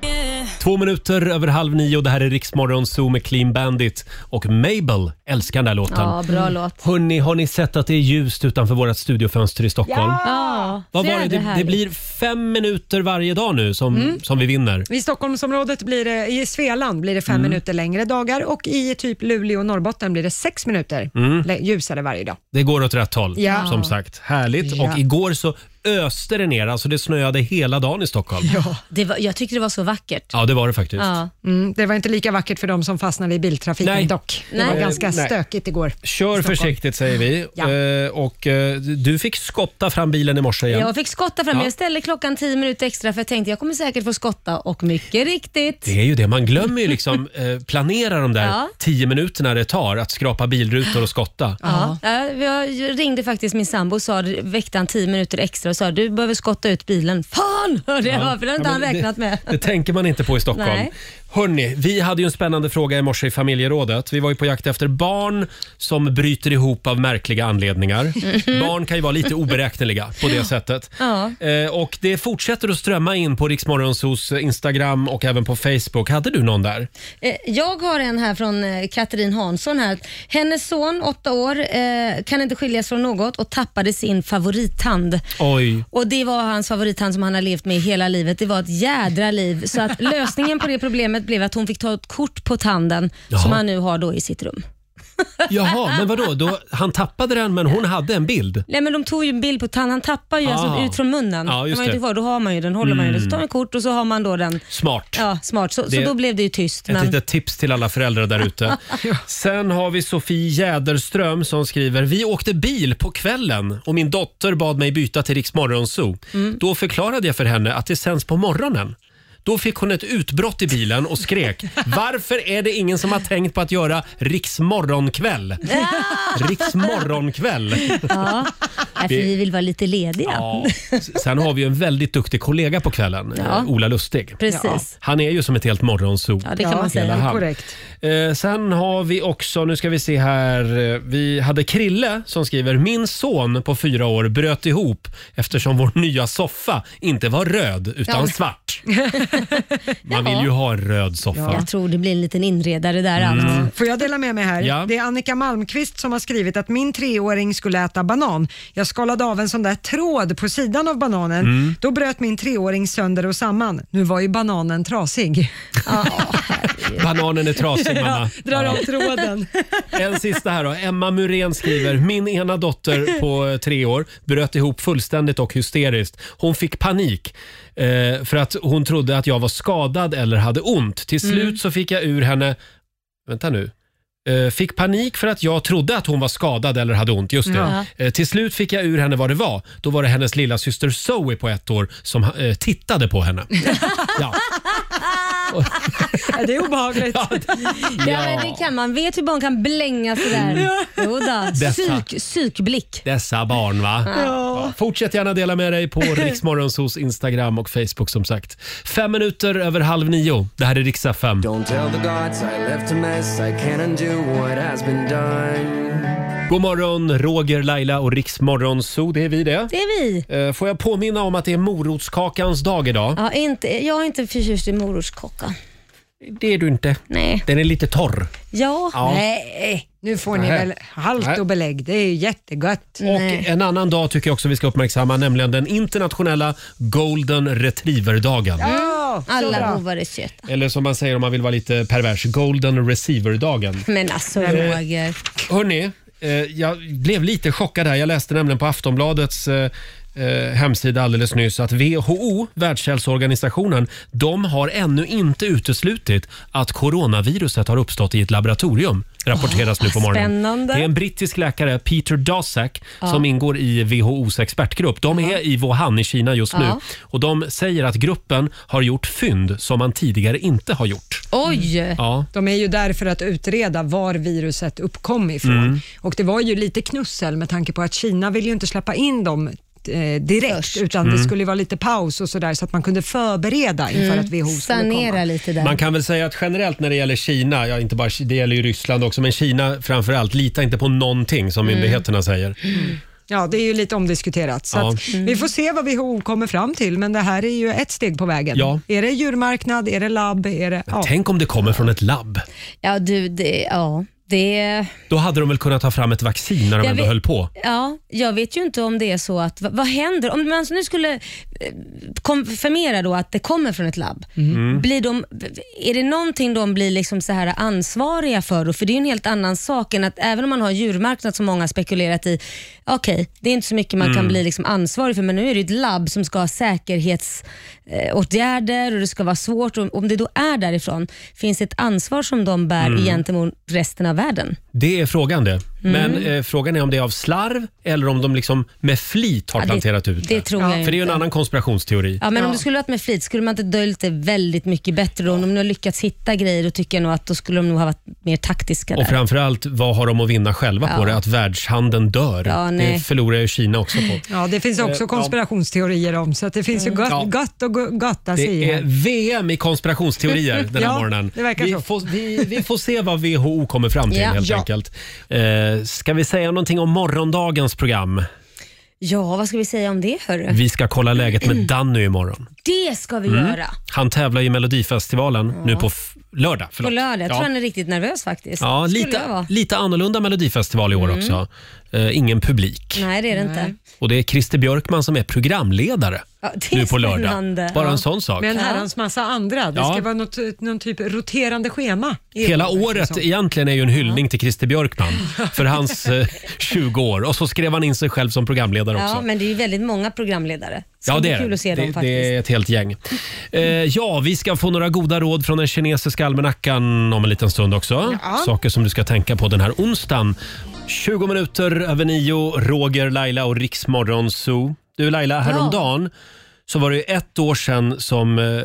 Speaker 5: Yeah.
Speaker 1: Två minuter över halv nio. Det här är Riksmorgon Zoo med Clean Bandit och Mabel. Älskar den där låten.
Speaker 3: Ja, bra låt.
Speaker 1: Hörrni, har ni sett att det är ljust utanför vårt studiofönster i Stockholm?
Speaker 3: Ja,
Speaker 1: Vad
Speaker 3: så
Speaker 1: var det?
Speaker 3: är
Speaker 1: Det, det
Speaker 3: härligt. Mm.
Speaker 1: blir fem minuter varje dag nu som, som vi vinner.
Speaker 2: I Stockholmsområdet blir det, i Svealand blir det fem
Speaker 1: Mm.
Speaker 2: minuter längre dagar och i typ Luleå och Norrbotten blir det sex minuter
Speaker 1: Mm.
Speaker 2: lä- ljusare varje dag.
Speaker 1: Det går åt rätt håll,
Speaker 2: Ja.
Speaker 1: som sagt. Härligt.
Speaker 2: Ja.
Speaker 1: Och igår så öste det ner, alltså det snöade hela dagen i Stockholm. Ja,
Speaker 3: Det var, jag tyckte det var så vackert.
Speaker 1: det var det faktiskt.
Speaker 2: Mm, det var inte lika vackert för de som fastnade i biltrafiken
Speaker 1: Nej.
Speaker 2: dock. Det
Speaker 1: Nej.
Speaker 2: var ganska
Speaker 1: Nej.
Speaker 2: stökigt igår.
Speaker 1: Kör försiktigt säger vi. Eh, och eh, du fick skotta fram bilen i morse igen.
Speaker 3: Jag fick skotta fram
Speaker 1: Ja.
Speaker 3: Jag ställde klockan 10 minuter extra för jag tänkte jag kommer säkert få skotta och mycket riktigt.
Speaker 1: Det är ju det, man glömmer ju liksom eh, planera de där
Speaker 3: Ja.
Speaker 1: tio minuterna det tar att skrapa bilrutor och skotta.
Speaker 3: Ja. Ja, jag ringde faktiskt min sambo och sa, väckte han 10 minuter extra och sa du behöver skotta ut bilen. Fan morgon! Hörde jag bara, för det hade inte
Speaker 1: Ja,
Speaker 3: han
Speaker 1: men det-
Speaker 3: räknat med.
Speaker 1: Det tänker man inte på i Stockholm.
Speaker 3: Nej.
Speaker 1: Hörni, vi hade ju en spännande fråga i morse i familjerådet. Vi var ju på jakt efter barn som bryter ihop av märkliga anledningar.
Speaker 3: Mhm.
Speaker 1: Barn kan ju vara lite oberäkneliga på det sättet.
Speaker 3: Ja.
Speaker 1: Eh, och det fortsätter att strömma in på Riksmorgonsos Instagram och även på Facebook. Hade du någon där?
Speaker 3: Eh, Jag har en här från eh, Katrin Hansson. Här. Hennes son, åtta år, eh, kan inte skiljas från något och tappade sin favorittand.
Speaker 1: Oj.
Speaker 3: Och Det var hans favorittand som han har levt med hela livet. Det var ett jädra liv. Så att lösningen på det problemet blev att hon fick ta ett kort på tanden
Speaker 1: Jaha.
Speaker 3: som han nu har då i sitt rum.
Speaker 1: Jaha, men vadå? Då, han tappade den, men hon hade en bild.
Speaker 3: Nej men de tog ju en bild på tanden. Han tappar ju
Speaker 1: Ah.
Speaker 3: alltså ut från munnen.
Speaker 1: Ja,
Speaker 3: Den
Speaker 1: just
Speaker 3: var ju inte
Speaker 1: det.
Speaker 3: kvar. Då har man ju den, håller man ju den. Så tar man
Speaker 1: Mm.
Speaker 3: ett kort och så har man då den.
Speaker 1: Smart.
Speaker 3: Ja, smart. Så, så
Speaker 1: Det-
Speaker 3: då blev det ju tyst.
Speaker 1: Ett
Speaker 3: Men...
Speaker 1: litet tips till alla föräldrar där ute. Sen har vi Sofie Jäderström som skriver Vi åkte bil på kvällen och min dotter bad mig byta till Rix Morgonzoo.
Speaker 3: Mm.
Speaker 1: Då förklarade jag för henne att det sänds på morgonen. Då fick hon ett utbrott i bilen och skrek Varför är det ingen som har tänkt på att göra Rix morgonkväll? Rix morgonkväll.
Speaker 3: Ja, nej, för
Speaker 1: Det-
Speaker 3: vi vill vara lite lediga.
Speaker 1: Ja. S- Sen har vi ju en väldigt duktig kollega på kvällen,
Speaker 3: Ja.
Speaker 1: eh, Ola Lustig.
Speaker 3: Precis. Ja.
Speaker 1: Han är ju som ett helt morgonzoo.
Speaker 3: Ja, det kan Ja, man säga.
Speaker 1: Hela
Speaker 3: det är
Speaker 1: han.
Speaker 3: korrekt.
Speaker 1: Eh, Sen har vi också, nu ska vi se här, eh, vi hade Krille som skriver “Min son på fyra år bröt ihop eftersom vår nya soffa inte var röd utan
Speaker 3: Ja.
Speaker 1: svart”. Man vill ju ha en röd soffa.
Speaker 3: Jag tror det blir en liten inredare där
Speaker 1: Mm.
Speaker 3: allt.
Speaker 2: Får jag dela med mig här?
Speaker 1: Ja.
Speaker 2: Det är Annika Malmqvist som har skrivit att min treåring skulle äta banan. Jag skalade av en sån där tråd på sidan av bananen.
Speaker 5: Mm.
Speaker 2: Då bröt min treåring sönder och samman. Nu var ju bananen trasig.
Speaker 1: Bananen är trasig mamma.
Speaker 2: Ja, drar av tråden.
Speaker 1: En sista här då. Emma Muren skriver, min ena dotter på eh, tre år bröt ihop fullständigt och hysteriskt. Hon fick panik eh, för att hon trodde att jag var skadad eller hade ont. Till
Speaker 3: Mm.
Speaker 1: slut så fick jag ur henne, vänta nu, Eh, Fick panik för att jag trodde att hon var skadad eller hade ont. Just det. Eh, Till slut fick jag ur henne vad det var. Då var det hennes lilla syster Zoe på ett år som eh, tittade på henne.
Speaker 2: Äh, Det är obehagligt.
Speaker 1: Ja, Mm.
Speaker 3: Ja, men det kan man. Vet hur barn kan blänga sådär? Jodå,
Speaker 1: Dessa.
Speaker 3: psyk, psykblick.
Speaker 1: Dessa barn va?
Speaker 3: Ja.
Speaker 1: Fortsätt gärna dela med dig på Riksmorgonsos Instagram och Facebook som sagt. Fem minuter över halv nio. Det här är Rix FM.
Speaker 13: Tell the gods I left a mess, I can't undo what has been done.
Speaker 1: God morgon, Roger, Laila och Riksmorgonso. Det är vi det.
Speaker 3: Det är vi.
Speaker 1: Eh, Får jag påminna om att det är morotskakans dag idag?
Speaker 3: Ja, inte, jag är inte förtjust i morotskaka.
Speaker 1: Det är du inte.
Speaker 3: Nej.
Speaker 1: Den är lite torr.
Speaker 3: Ja,
Speaker 1: Ja.
Speaker 3: nej.
Speaker 2: Nu får ni
Speaker 1: Nej.
Speaker 2: väl halt
Speaker 1: Nej.
Speaker 2: och belägg. Det är ju jättegött.
Speaker 1: Och en annan dag tycker jag också vi ska uppmärksamma, nämligen den internationella golden retriever-dagen.
Speaker 2: Ja, så
Speaker 3: Alla
Speaker 2: bra.
Speaker 3: hovar är söta.
Speaker 1: Eller som man säger om man vill vara lite pervers, golden receiver-dagen.
Speaker 3: Men alltså
Speaker 1: Nej, men-
Speaker 3: Roger.
Speaker 1: Hörni, eh, jag blev lite chockad här. Jag läste nämligen på Aftonbladets eh, eh, hemsida alldeles nyss att WHO, Världshälsoorganisationen, de har ännu inte uteslutit att coronaviruset har uppstått i ett laboratorium, rapporteras nu på morgonen.
Speaker 3: spännande.
Speaker 1: Det är en brittisk läkare, Peter Daszak,
Speaker 3: Ja.
Speaker 1: som ingår i WHOs expertgrupp. De är i Wuhan i Kina just nu
Speaker 3: Ja.
Speaker 1: och de säger att gruppen har gjort fynd som man tidigare inte har gjort.
Speaker 3: Oj!
Speaker 1: Ja.
Speaker 2: De är ju där för att utreda var viruset uppkom ifrån.
Speaker 1: Mm.
Speaker 2: Och det var ju lite knussel med tanke på att Kina vill ju inte släppa in dem eh, direkt, utan det
Speaker 1: Mm.
Speaker 2: skulle ju vara lite paus och sådär så att man kunde förbereda inför
Speaker 3: Mm.
Speaker 2: att WHO skulle
Speaker 3: Sanera
Speaker 2: komma.
Speaker 3: lite där.
Speaker 1: Man kan väl säga att generellt när det gäller Kina, ja, inte bara, Ki- det gäller ju Ryssland också, men Kina framför allt, lita inte på någonting som
Speaker 2: Mm.
Speaker 1: myndigheterna säger.
Speaker 2: Ja, det är ju lite omdiskuterat. Så
Speaker 1: Ja.
Speaker 2: att Vi får se vad WHO kommer fram till, men det här är ju ett steg på vägen.
Speaker 1: Ja.
Speaker 2: Är det djurmarknad? Är det labb? Är det, ja.
Speaker 1: Tänk om det kommer från ett labb.
Speaker 3: Ja, du, det, ja, det...
Speaker 1: Då hade de väl kunnat ta fram ett vaccin när de
Speaker 3: Jag
Speaker 1: ändå
Speaker 3: vet-
Speaker 1: höll på.
Speaker 3: Ja, jag vet ju inte om det är så att, vad, vad händer om man nu skulle eh, konfirmera då att det kommer från ett labb?
Speaker 5: Mm.
Speaker 3: Blir de, är det någonting de blir liksom så här ansvariga för då? För det är ju en helt annan sak än att även om man har djurmarknad som många har spekulerat i, okej, det är inte så mycket man kan
Speaker 5: Mm.
Speaker 3: bli liksom ansvarig för, men nu är det ett labb som ska ha säkerhetsåtgärder och det ska vara svårt. Och om det då är därifrån, finns det ett ansvar som de bär
Speaker 1: Mm.
Speaker 3: gentemot resten av världen?
Speaker 1: Det är frågan det.
Speaker 3: Mm.
Speaker 1: Men eh, frågan är om det är av slarv eller om de liksom med flit har
Speaker 3: Ja, det-
Speaker 1: planterat ut
Speaker 3: det tror jag
Speaker 1: För det är ju en
Speaker 3: inte.
Speaker 1: annan konspirationsteori.
Speaker 3: Ja, men om det skulle varit med flit, skulle man inte döljt det väldigt mycket bättre då? Om de nu har lyckats hitta grejer, då tycker jag nog att då skulle de nog ha varit mer taktiska där.
Speaker 1: Och framförallt, vad har de att vinna själva på
Speaker 3: Ja.
Speaker 1: det? Att världshandeln dör.
Speaker 3: Ja,
Speaker 1: det
Speaker 3: nej.
Speaker 1: förlorar ju Kina också på.
Speaker 2: Ja, det finns
Speaker 1: Eh, ja.
Speaker 2: också konspirationsteorier om, så att det finns ju
Speaker 3: Mm.
Speaker 2: gott,
Speaker 1: Ja.
Speaker 2: gott att gu- gotta sig
Speaker 1: Det
Speaker 2: i.
Speaker 1: är VM i konspirationsteorier den här
Speaker 2: Ja,
Speaker 1: morgonen.
Speaker 2: det verkar
Speaker 1: vi,
Speaker 2: så.
Speaker 1: Får, vi, vi får se vad WHO kommer fram till
Speaker 3: Ja.
Speaker 1: helt
Speaker 3: Ja.
Speaker 1: enkelt. Eh, ska vi säga någonting om morgondagens program?
Speaker 3: Ja, vad ska vi säga om det hörru?
Speaker 1: Vi ska kolla läget med Danny imorgon.
Speaker 3: Det ska vi
Speaker 1: Mm.
Speaker 3: göra.
Speaker 1: Han tävlar i Melodifestivalen nu på f- lördag.
Speaker 3: På
Speaker 1: förlåt.
Speaker 3: lördag. Jag tror
Speaker 1: Ja.
Speaker 3: han är riktigt nervös faktiskt.
Speaker 1: Ja,
Speaker 3: Skulle jag
Speaker 1: lite,
Speaker 3: vara.
Speaker 1: lite annorlunda Melodifestival i år
Speaker 3: Mm.
Speaker 1: också. Eh, ingen publik.
Speaker 3: Nej, det är det inte.
Speaker 1: Och det är Christer Björkman som är programledare
Speaker 3: Ja, det är
Speaker 1: nu på lördag.
Speaker 3: spännande.
Speaker 1: Bara
Speaker 3: Ja.
Speaker 1: en sån sak.
Speaker 2: Med en herrans massa andra. Det
Speaker 1: Ja.
Speaker 2: ska vara något, någon typ roterande schema. i
Speaker 1: Hela
Speaker 2: år, verkar det
Speaker 1: året
Speaker 2: som.
Speaker 1: egentligen är ju en hyllning till Christer Björkman för hans eh, 20 år. Och så skrev han in sig själv som programledare
Speaker 3: Ja,
Speaker 1: också.
Speaker 3: men det är ju väldigt många programledare. Så
Speaker 1: Ja, det är
Speaker 3: kul att se
Speaker 1: det,
Speaker 3: dem faktiskt.
Speaker 1: det är ett helt gäng. Eh, ja, vi ska få några goda råd från den kinesiska almanackan om en liten stund också.
Speaker 3: Ja.
Speaker 1: Saker som du ska tänka på den här onsdagen. 20 minuter över nio, Roger, Laila och Riksmorgon Zoo. Du Laila, häromdagen så var det ju ett år sedan som eh,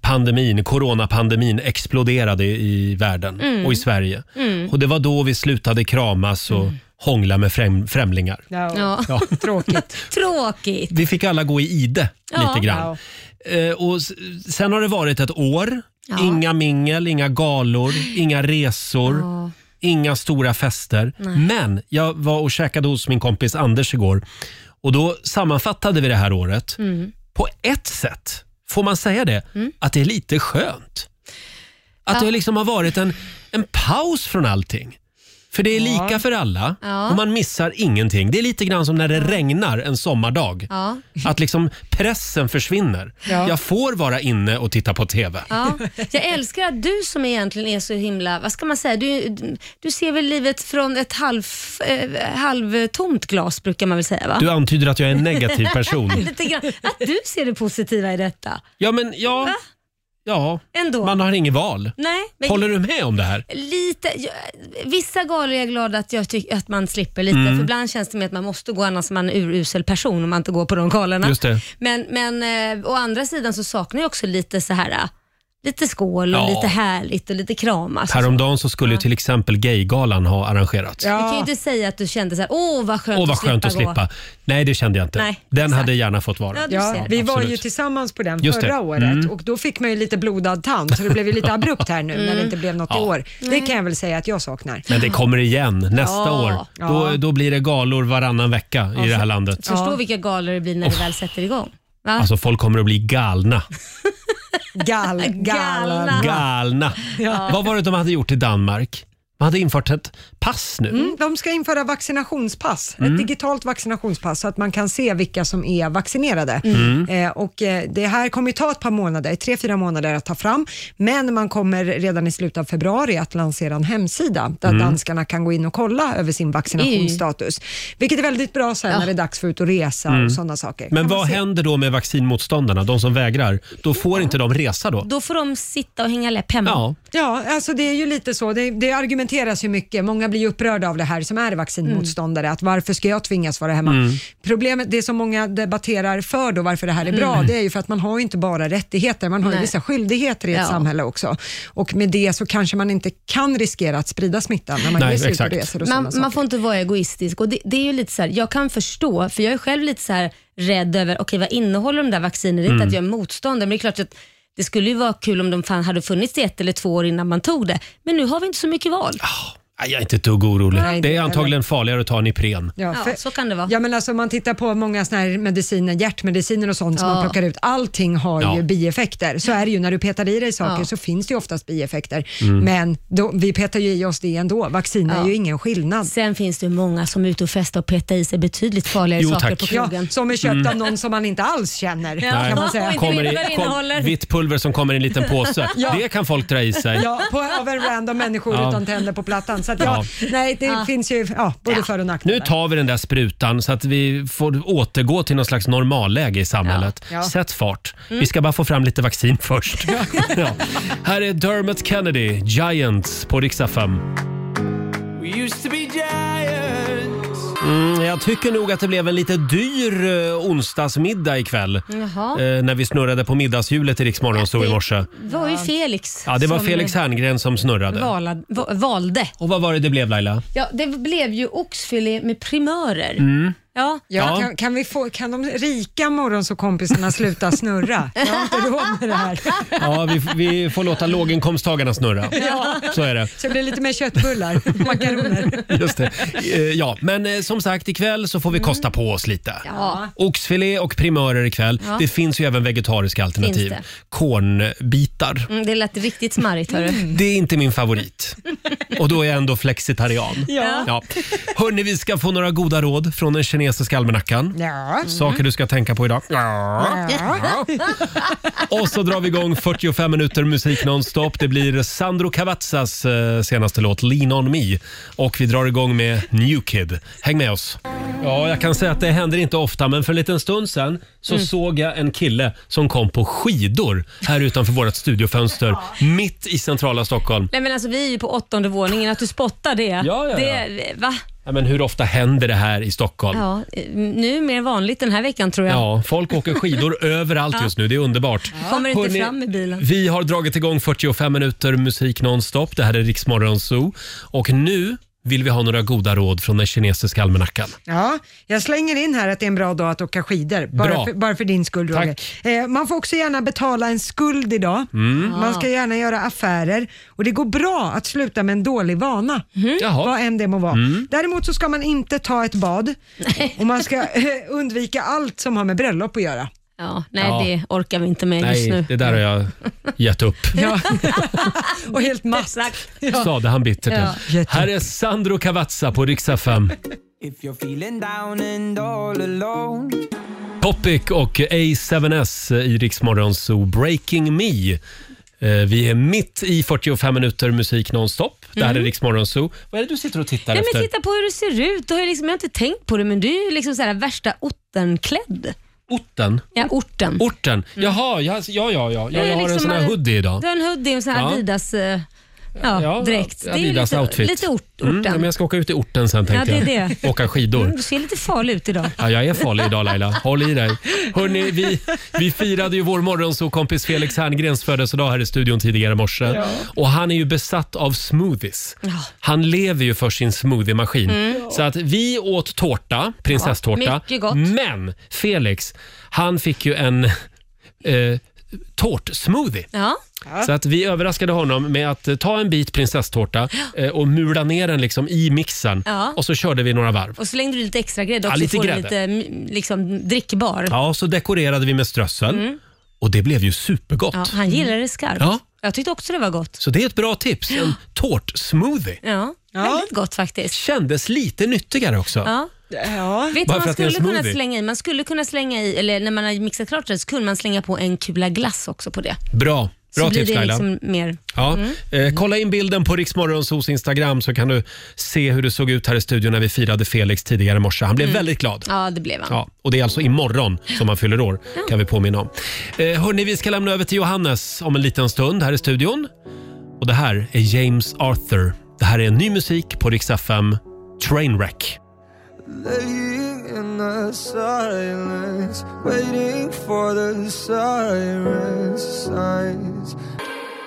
Speaker 1: pandemin, coronapandemin exploderade i världen
Speaker 5: Mm.
Speaker 1: och i Sverige.
Speaker 5: Mm.
Speaker 1: Och det var då vi slutade kramas och
Speaker 3: Mm.
Speaker 1: hångla med främ- främlingar.
Speaker 3: Ja.
Speaker 1: Ja.
Speaker 2: Tråkigt.
Speaker 3: Tråkigt.
Speaker 1: Vi fick alla gå i ide
Speaker 3: Ja.
Speaker 1: lite grann. Eh, och s- sen har det varit ett år.
Speaker 3: Ja.
Speaker 1: Inga mingel, inga galor, inga resor. Inga stora fester.
Speaker 5: Nej.
Speaker 1: Men jag var och käkade hos min kompis Anders igår och då sammanfattade vi det här året.
Speaker 5: Mm.
Speaker 1: På ett sätt, får man säga det, att det är lite skönt. Att det liksom har varit en, en paus från allting. För det är lika för alla
Speaker 5: Ja.
Speaker 1: och man missar ingenting. Det är lite grann som när det regnar en sommardag.
Speaker 3: Ja.
Speaker 1: Att liksom pressen försvinner.
Speaker 3: Ja.
Speaker 1: Jag får vara inne och titta på TV.
Speaker 3: Ja, jag älskar att du som egentligen är så himla, vad ska man säga, du, du ser väl livet från ett halv, eh, halvtomt glas brukar man väl säga va?
Speaker 1: Du antyder att jag är en negativ person.
Speaker 3: Lite grann. Att du ser det positiva i detta.
Speaker 1: Ja, men ja, ja.
Speaker 3: Ändå.
Speaker 1: man har inget val.
Speaker 3: Nej, men
Speaker 1: Håller du med om det här?
Speaker 3: Lite, jag, vissa galor är jag glad att, jag tycker att man slipper lite,
Speaker 1: Mm.
Speaker 3: för ibland känns det med att man måste gå annars är man en urusel person om man inte går på de galorna.
Speaker 1: Just det.
Speaker 3: Men, men eh, å andra sidan så saknar jag också lite så här eh, lite skål och
Speaker 1: Ja.
Speaker 3: lite härligt och lite kramas. och så.
Speaker 1: Häromdagen så skulle ju till exempel Gaygalan ha arrangerats.
Speaker 3: Du kan ju inte säga att du kände så här, åh vad skönt,
Speaker 1: Åh, vad
Speaker 3: att,
Speaker 1: skönt att
Speaker 3: slippa
Speaker 1: slippa. Nej, det kände jag inte.
Speaker 3: Nej,
Speaker 1: Den hade gärna fått vara.
Speaker 2: Ja, vi var ju
Speaker 1: Absolut.
Speaker 2: tillsammans på den
Speaker 1: Just det.
Speaker 2: förra året
Speaker 1: Mm.
Speaker 2: och då fick man ju lite blodad tand så det blev ju lite abrupt här nu när det inte blev något i
Speaker 1: Mm. Ja.
Speaker 2: år. Det kan jag väl säga att jag saknar.
Speaker 1: Men det kommer igen nästa
Speaker 2: Ja.
Speaker 1: år.
Speaker 2: Ja.
Speaker 1: Då, då blir det galor varannan vecka i det här landet.
Speaker 3: Förstå vilka galor det blir när det väl sätter igång. Va?
Speaker 1: Alltså folk kommer att bli galna.
Speaker 2: Gal, galna.
Speaker 1: Galna.
Speaker 2: Ja.
Speaker 1: Vad var det de hade gjort i Danmark? De hade infört ett pass nu.
Speaker 2: Mm, de ska införa vaccinationspass,
Speaker 1: Mm.
Speaker 2: ett digitalt vaccinationspass så att man kan se vilka som är vaccinerade.
Speaker 1: Mm.
Speaker 2: Eh, och eh, det här kommer ju ta ett par månader, tre, fyra månader att ta fram, men man kommer redan i slutet av februari att lansera en hemsida där
Speaker 14: Mm.
Speaker 2: danskarna kan gå in och kolla över sin vaccinationsstatus, vilket är väldigt bra sen när det är dags för ut och resa
Speaker 1: Mm.
Speaker 2: och sådana saker.
Speaker 1: Men
Speaker 2: Kan man
Speaker 1: vad
Speaker 2: se.
Speaker 1: händer då med vaccinmotståndarna, de som vägrar? Då får inte de resa då?
Speaker 3: Då får de sitta och hänga läpp hemma.
Speaker 1: Ja.
Speaker 2: Ja, alltså det är ju lite så. Det, det argumenteras ju mycket. Många blir ju upprörda av det här som är vaccinmotståndare. Att varför ska jag tvingas vara hemma?
Speaker 5: Mm.
Speaker 2: Problemet, det som många debatterar för då, varför det här är bra,
Speaker 5: Mm.
Speaker 2: det är ju för att man har ju inte bara rättigheter, man har ju
Speaker 5: Nej.
Speaker 2: vissa skyldigheter i ett
Speaker 5: Ja.
Speaker 2: samhälle också. Och med det så kanske man inte kan riskera att sprida smittan när man
Speaker 1: Nej,
Speaker 2: ger sig ut och
Speaker 1: exakt.
Speaker 2: reser och sådana
Speaker 3: Man,
Speaker 2: saker.
Speaker 3: man får inte vara egoistisk. Och det, det är ju lite så här, jag kan förstå, för jag är själv lite så här rädd över, okej vad innehåller de där vaccinerna? Det är inte
Speaker 5: Mm.
Speaker 3: att jag är motståndare, men det är klart att det skulle ju vara kul om de fan hade funnits i ett eller två år innan man tog det. Men nu har vi inte så mycket val.
Speaker 1: Ah. Nej, Jag är inte ett dugg orolig.
Speaker 2: Nej,
Speaker 1: det är
Speaker 2: inte
Speaker 1: antagligen farligare att ta en Ipren.
Speaker 2: Ja,
Speaker 3: Ja, så kan det vara.
Speaker 2: Ja, men alltså, om man tittar på många såna här mediciner, hjärtmediciner och sånt som
Speaker 3: Ja.
Speaker 2: man plockar ut. Allting har
Speaker 1: Ja.
Speaker 2: ju bieffekter. Så är det ju. När du petar i dig saker
Speaker 3: Ja.
Speaker 2: så finns det ju oftast bieffekter.
Speaker 1: Mm.
Speaker 2: Men då, vi petar ju i oss det ändå. Vaccin är
Speaker 3: Ja.
Speaker 2: ju ingen skillnad.
Speaker 3: Sen finns det ju många som är ute och festar och petar i sig betydligt farligare saker på
Speaker 2: Ja,
Speaker 3: krogen.
Speaker 2: som är köpt
Speaker 1: Mm.
Speaker 2: av någon som man inte alls känner.
Speaker 1: Nej.
Speaker 2: Kan man säga.
Speaker 1: Kommer i, kom, vitt pulver som kommer i en liten påse.
Speaker 2: Ja.
Speaker 1: Det kan folk dra i sig.
Speaker 2: Ja, på, av en random människor
Speaker 1: Ja.
Speaker 2: utan tänder på plattan. Så att, ja, nej, det
Speaker 3: Ja.
Speaker 2: finns ju ja, både för och nackdelar.
Speaker 1: Nu tar vi den där sprutan så att vi får återgå till någon slags normalläge i samhället.
Speaker 2: Ja. Ja.
Speaker 1: Sätt fart.
Speaker 2: Mm.
Speaker 1: Vi ska bara få fram lite vaccin först. ja. Här är Dermot Kennedy, Giants på riksdag 5.
Speaker 5: We used to be giants.
Speaker 1: Mm, jag tycker nog att det blev en lite dyr eh, onsdagsmiddag ikväll.
Speaker 3: Jaha.
Speaker 1: Eh, när vi snurrade på middagshjulet i Rix Morgon så i morse.
Speaker 3: Mm. Det var ju Felix
Speaker 1: Ja, det var
Speaker 3: som
Speaker 1: Felix Herngren som snurrade.
Speaker 3: valad, va- valde.
Speaker 1: Och vad var det det blev Laila?
Speaker 3: Ja, det blev ju oxfilé med primörer.
Speaker 1: Mm.
Speaker 3: Ja.
Speaker 1: Ja.
Speaker 2: Kan, kan, vi få, kan de rika morgonsåkompisarna sluta snurra? Jag har inte råd med det här.
Speaker 1: Ja, vi, vi får låta låginkomsttagarna snurra.
Speaker 2: Ja.
Speaker 1: Så är det.
Speaker 2: Så det blir lite mer köttbullar, makaroner.
Speaker 1: Just det. Eh, Ja, men eh, som sagt, ikväll så får
Speaker 3: Mm.
Speaker 1: vi kosta på oss lite.
Speaker 2: Ja.
Speaker 1: Oxfilé och primörer ikväll.
Speaker 3: Ja.
Speaker 1: Det finns ju även vegetariska alternativ.
Speaker 3: Finns det?
Speaker 1: Kornbitar.
Speaker 3: Mm, det lät riktigt smarrigt hörru.
Speaker 1: Det är inte min favorit. Och då är jag ändå flexitarian.
Speaker 3: Ja.
Speaker 1: Hörni, vi ska få några goda råd från den kinesiska almanackan.
Speaker 2: Ja.
Speaker 1: Saker du ska tänka på idag.
Speaker 2: Ja.
Speaker 1: Och så drar vi igång 45 minuter musik nonstop. Det blir Sandro Cavazzas eh, senaste låt Lean on me. Och vi drar igång med New Kid. Häng med oss. Ja, jag kan säga att det händer inte ofta, men för en liten stund sedan så
Speaker 3: Mm.
Speaker 1: såg jag en kille som kom på skidor här utanför vårt studiofönster, mitt i centrala Stockholm.
Speaker 3: Nej men alltså vi är ju på åttonde våningen, att du spottar det.
Speaker 1: ja, ja.
Speaker 3: det va?
Speaker 1: Ja, men hur ofta händer det här i Stockholm? Ja.
Speaker 3: Ja, eh, nu mer vanligt den här veckan tror jag.
Speaker 1: folk åker skidor överallt
Speaker 3: Ja.
Speaker 1: just nu. Det är underbart.
Speaker 3: Kommer inte
Speaker 1: Hörrni,
Speaker 3: fram med bilen.
Speaker 1: Vi har dragit igång 45 minuter musik nonstop. Det här är Riksmorgon Zoo. Och nu vill vi ha några goda råd från den kinesiska almanackan.
Speaker 3: Mm,
Speaker 2: Ja, jag slänger in här att det är en bra dag att åka skidor.
Speaker 1: Bra.
Speaker 2: Bara, för, bara för din skull Roger. Eh, man får också gärna betala en skuld idag.
Speaker 1: Mm.
Speaker 2: Man ska gärna göra affärer och det går bra att sluta med en dålig vana. Vad än det må vara.
Speaker 1: Mm.
Speaker 2: Däremot så ska man inte ta ett bad och man ska eh, undvika allt som har med bröllop att göra.
Speaker 3: Ja, nej
Speaker 1: Ja.
Speaker 3: det orkar vi inte med just
Speaker 1: Nej,
Speaker 3: nu.
Speaker 1: det där har jag gett upp.
Speaker 2: Och helt matt.
Speaker 1: Sade han bittert.
Speaker 2: Ja.
Speaker 1: Här är Sandro Cavazza på Riksa 5.
Speaker 14: If you're feeling down and all alone
Speaker 1: Topic och A7S i Riksmorgon Zoo Breaking Me. Eh, Vi är mitt i 45 minuter musik nonstop. Det här är
Speaker 3: Mm.
Speaker 1: Riksmorgon Zoo. Vad är det du sitter och tittar
Speaker 3: Nej,
Speaker 1: efter?
Speaker 3: men titta på hur du ser ut. Du har ju liksom, jag har inte tänkt på det, men du är ju liksom så här värsta ortenklädd.
Speaker 1: Orten?
Speaker 3: Ja, orten.
Speaker 1: Orten? Jaha, ja, alltså, ja, ja. ja.
Speaker 3: Du Mm. är
Speaker 1: Jag, jag har en sån
Speaker 3: liksom
Speaker 1: här hoodie idag.
Speaker 3: Du har en hoodie och en sån här
Speaker 1: Ja.
Speaker 3: Adidas eh, ja,
Speaker 1: Ja,
Speaker 3: dräkt. Det är ju
Speaker 1: Adidas
Speaker 3: lite,
Speaker 1: outfit.
Speaker 3: lite ort,
Speaker 1: Mm,
Speaker 3: orten.
Speaker 1: ja, men jag ska åka ut i orten sen
Speaker 3: Ja,
Speaker 1: tänkte
Speaker 3: det är
Speaker 1: jag.
Speaker 3: det.
Speaker 1: Åka skidor.
Speaker 3: Mm, Du ser lite farlig ut idag.
Speaker 1: Ja, jag är farlig idag Laila. Håll i dig. Hörrni, vi, vi firade ju vår morgonsåkompis Felix Herngrens födelsedag här i studion tidigare i morse.
Speaker 3: Ja.
Speaker 1: Och han är ju besatt av smoothies. Han lever ju för sin smoothiemaskin.
Speaker 3: Mm.
Speaker 1: Så att vi åt tårta, prinsesstårta.
Speaker 3: Ja, mycket gott.
Speaker 1: Men Felix, han fick ju en eh, tårtsmoothie.
Speaker 3: Ja.
Speaker 1: Så att vi överraskade honom med att eh, ta en bit prinsesstårta eh, och mula ner den liksom i mixen
Speaker 3: Ja.
Speaker 1: och så körde vi några varv.
Speaker 3: Och så slängde du lite extra grädde
Speaker 1: Ja,
Speaker 3: också,
Speaker 1: lite
Speaker 3: får den
Speaker 1: grädde.
Speaker 3: lite mm, liksom, drickbar.
Speaker 1: Ja, så dekorerade vi med strössel
Speaker 3: Mm.
Speaker 1: och det blev ju supergott.
Speaker 3: Ja, han gillade det skarpt.
Speaker 1: Ja.
Speaker 3: Jag tyckte också det var gott.
Speaker 1: Så det är ett bra tips. En tårtsmoothie.
Speaker 3: Ja, väldigt gott faktiskt.
Speaker 1: Kändes lite nyttigare också.
Speaker 3: Ja. Vet du
Speaker 1: Bara
Speaker 3: vad
Speaker 1: för
Speaker 3: man
Speaker 1: att det är en
Speaker 3: skulle kunna
Speaker 1: smoothie.
Speaker 3: slänga i? Man skulle kunna slänga i, eller när man har mixat klart det, så kunde man slänga på en kula glass också på det.
Speaker 1: Bra. Bra
Speaker 3: så
Speaker 1: tips
Speaker 3: blir det
Speaker 1: Laila.
Speaker 3: liksom mer...
Speaker 1: Ja.
Speaker 3: Mm.
Speaker 1: Eh, kolla in bilden på Riksmorgonsos Instagram så kan du se hur det såg ut här i studion när vi firade Felix tidigare i morse. Han blev
Speaker 3: Mm.
Speaker 1: väldigt glad.
Speaker 3: Ja, det blev han.
Speaker 1: Ja, och det är alltså imorgon som han fyller år, kan vi påminna om. Eh, hörni, vi ska lämna över till Johannes om en liten stund här i studion. Och det här är James Arthur. Det här är ny musik på Rix FM, Trainwreck.
Speaker 14: Laying in the silence Waiting for the sirens Signs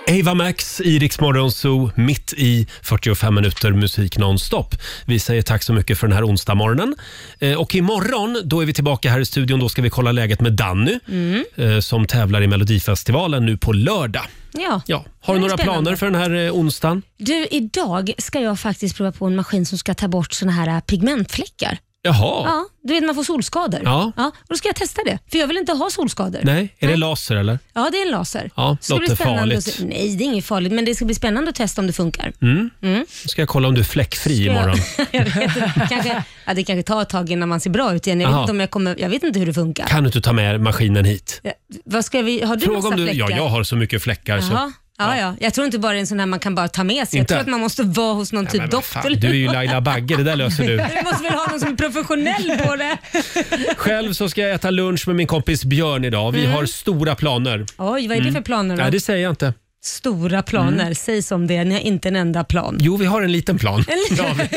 Speaker 1: Ava Max i Rix Morgon Zoo, mitt i 45 minuter musik nonstop. Vi säger tack så mycket för den här onsdagmorgonen. Eh, och imorgon, då är vi tillbaka här i studion. Då ska vi kolla läget med Danny
Speaker 3: Mm.
Speaker 1: eh, som tävlar i Melodifestivalen nu på lördag.
Speaker 3: Ja.
Speaker 1: Ja, har du
Speaker 3: Det är
Speaker 1: några
Speaker 3: spännande.
Speaker 1: planer för den här eh, onsdagen?
Speaker 3: Du, idag ska jag faktiskt prova på en maskin som ska ta bort såna här äh, pigmentfläckar.
Speaker 1: Jaha.
Speaker 3: Ja, du vet man får solskador.
Speaker 1: Ja.
Speaker 3: och då ska jag testa det, för jag vill inte ha solskador.
Speaker 1: Nej, är det laser eller?
Speaker 3: Ja, det är en laser.
Speaker 1: Ja,
Speaker 3: Det ska bli
Speaker 1: låter
Speaker 3: spännande
Speaker 1: farligt.
Speaker 3: att se- Nej, det är inget farligt, men det ska bli spännande att testa om det funkar.
Speaker 1: Mm.
Speaker 3: Mm.
Speaker 1: Då ska jag kolla om du är fläckfri
Speaker 3: Ska jag-
Speaker 1: imorgon.
Speaker 3: jag vet inte. kanske, ja, det kanske tar ett tag innan man ser bra ut igen. Jag vet,
Speaker 1: Jaha.
Speaker 3: inte, om jag kommer, jag vet inte hur det funkar.
Speaker 1: Kan du inte ta med maskinen hit?
Speaker 3: Ja, Vad ska vi, har du
Speaker 1: Fråga
Speaker 3: massa
Speaker 1: om du...
Speaker 3: fläckar?
Speaker 1: Ja, jag har så mycket fläckar så...
Speaker 3: Jaha. Ja, ja. Jag tror inte bara det är en sån här man kan bara ta med sig.
Speaker 1: Inte?
Speaker 3: Jag tror att man måste vara hos någon typ doktor.
Speaker 1: Fan, du är ju Laila Bagge, det där löser
Speaker 3: Du
Speaker 1: du.
Speaker 3: måste väl ha någon som är professionell på det.
Speaker 1: Själv så ska jag äta lunch med min kompis Björn idag. Vi
Speaker 3: Mm.
Speaker 1: har stora planer.
Speaker 3: Oj, vad är det för planer då?
Speaker 1: Nej, Mm. det säger jag inte.
Speaker 3: stora planer.
Speaker 1: Mm.
Speaker 3: Säg som det är, ni har inte en enda plan.
Speaker 1: Jo, vi har en liten plan.
Speaker 3: En liten-
Speaker 1: Det har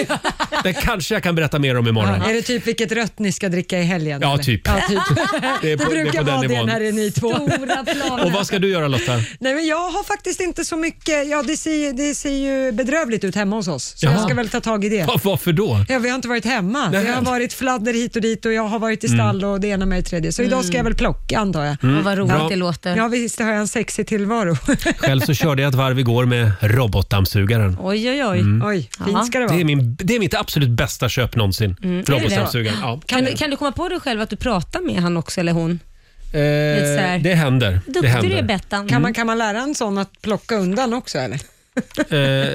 Speaker 1: vi. Det kanske jag kan berätta mer om imorgon.
Speaker 2: Är det typ vilket rött ni ska dricka i helgen?
Speaker 1: Ja,
Speaker 2: eller?
Speaker 1: typ.
Speaker 2: Ja, typ.
Speaker 1: Det
Speaker 2: Det,
Speaker 1: är på- det är på
Speaker 2: brukar
Speaker 1: den
Speaker 2: vara det
Speaker 1: nivån.
Speaker 2: när det är ni två.
Speaker 3: Stora planer.
Speaker 1: Och vad ska du göra Lotta?
Speaker 2: Nej, men jag har faktiskt inte så mycket. Ja, det, ser, det ser ju bedrövligt ut hemma hos oss, så
Speaker 1: Jaha.
Speaker 2: jag ska väl ta tag i det.
Speaker 1: Va- Varför då?
Speaker 2: Ja, vi har inte varit hemma.
Speaker 1: Nej.
Speaker 2: Det har varit fladder hit och dit och jag har varit i
Speaker 1: Mm.
Speaker 2: stall och det ena med det tredje. Så idag ska jag väl plocka antar jag.
Speaker 1: Mm. Och vad roligt Bra. det
Speaker 3: låter.
Speaker 2: Ja, visst har jag en sexig tillvaro.
Speaker 1: Själv så körde jag ett varv igår med robotdammsugaren.
Speaker 3: Oj, oj, oj.
Speaker 1: Mm.
Speaker 2: Oj,
Speaker 3: Jaha.
Speaker 2: fint ska det vara.
Speaker 1: Det är, min, det är mitt absolut bästa köp någonsin.
Speaker 3: Mm, är det
Speaker 1: Robotdammsugaren.
Speaker 3: det?
Speaker 1: Ja.
Speaker 3: Kan, du, kan du komma på dig själv att du pratar med han också eller hon? lite så här-
Speaker 1: Eh, det händer. Det händer.
Speaker 3: Bettan.
Speaker 2: Kan man, kan man lära en sån att plocka undan också eller?
Speaker 1: Eh,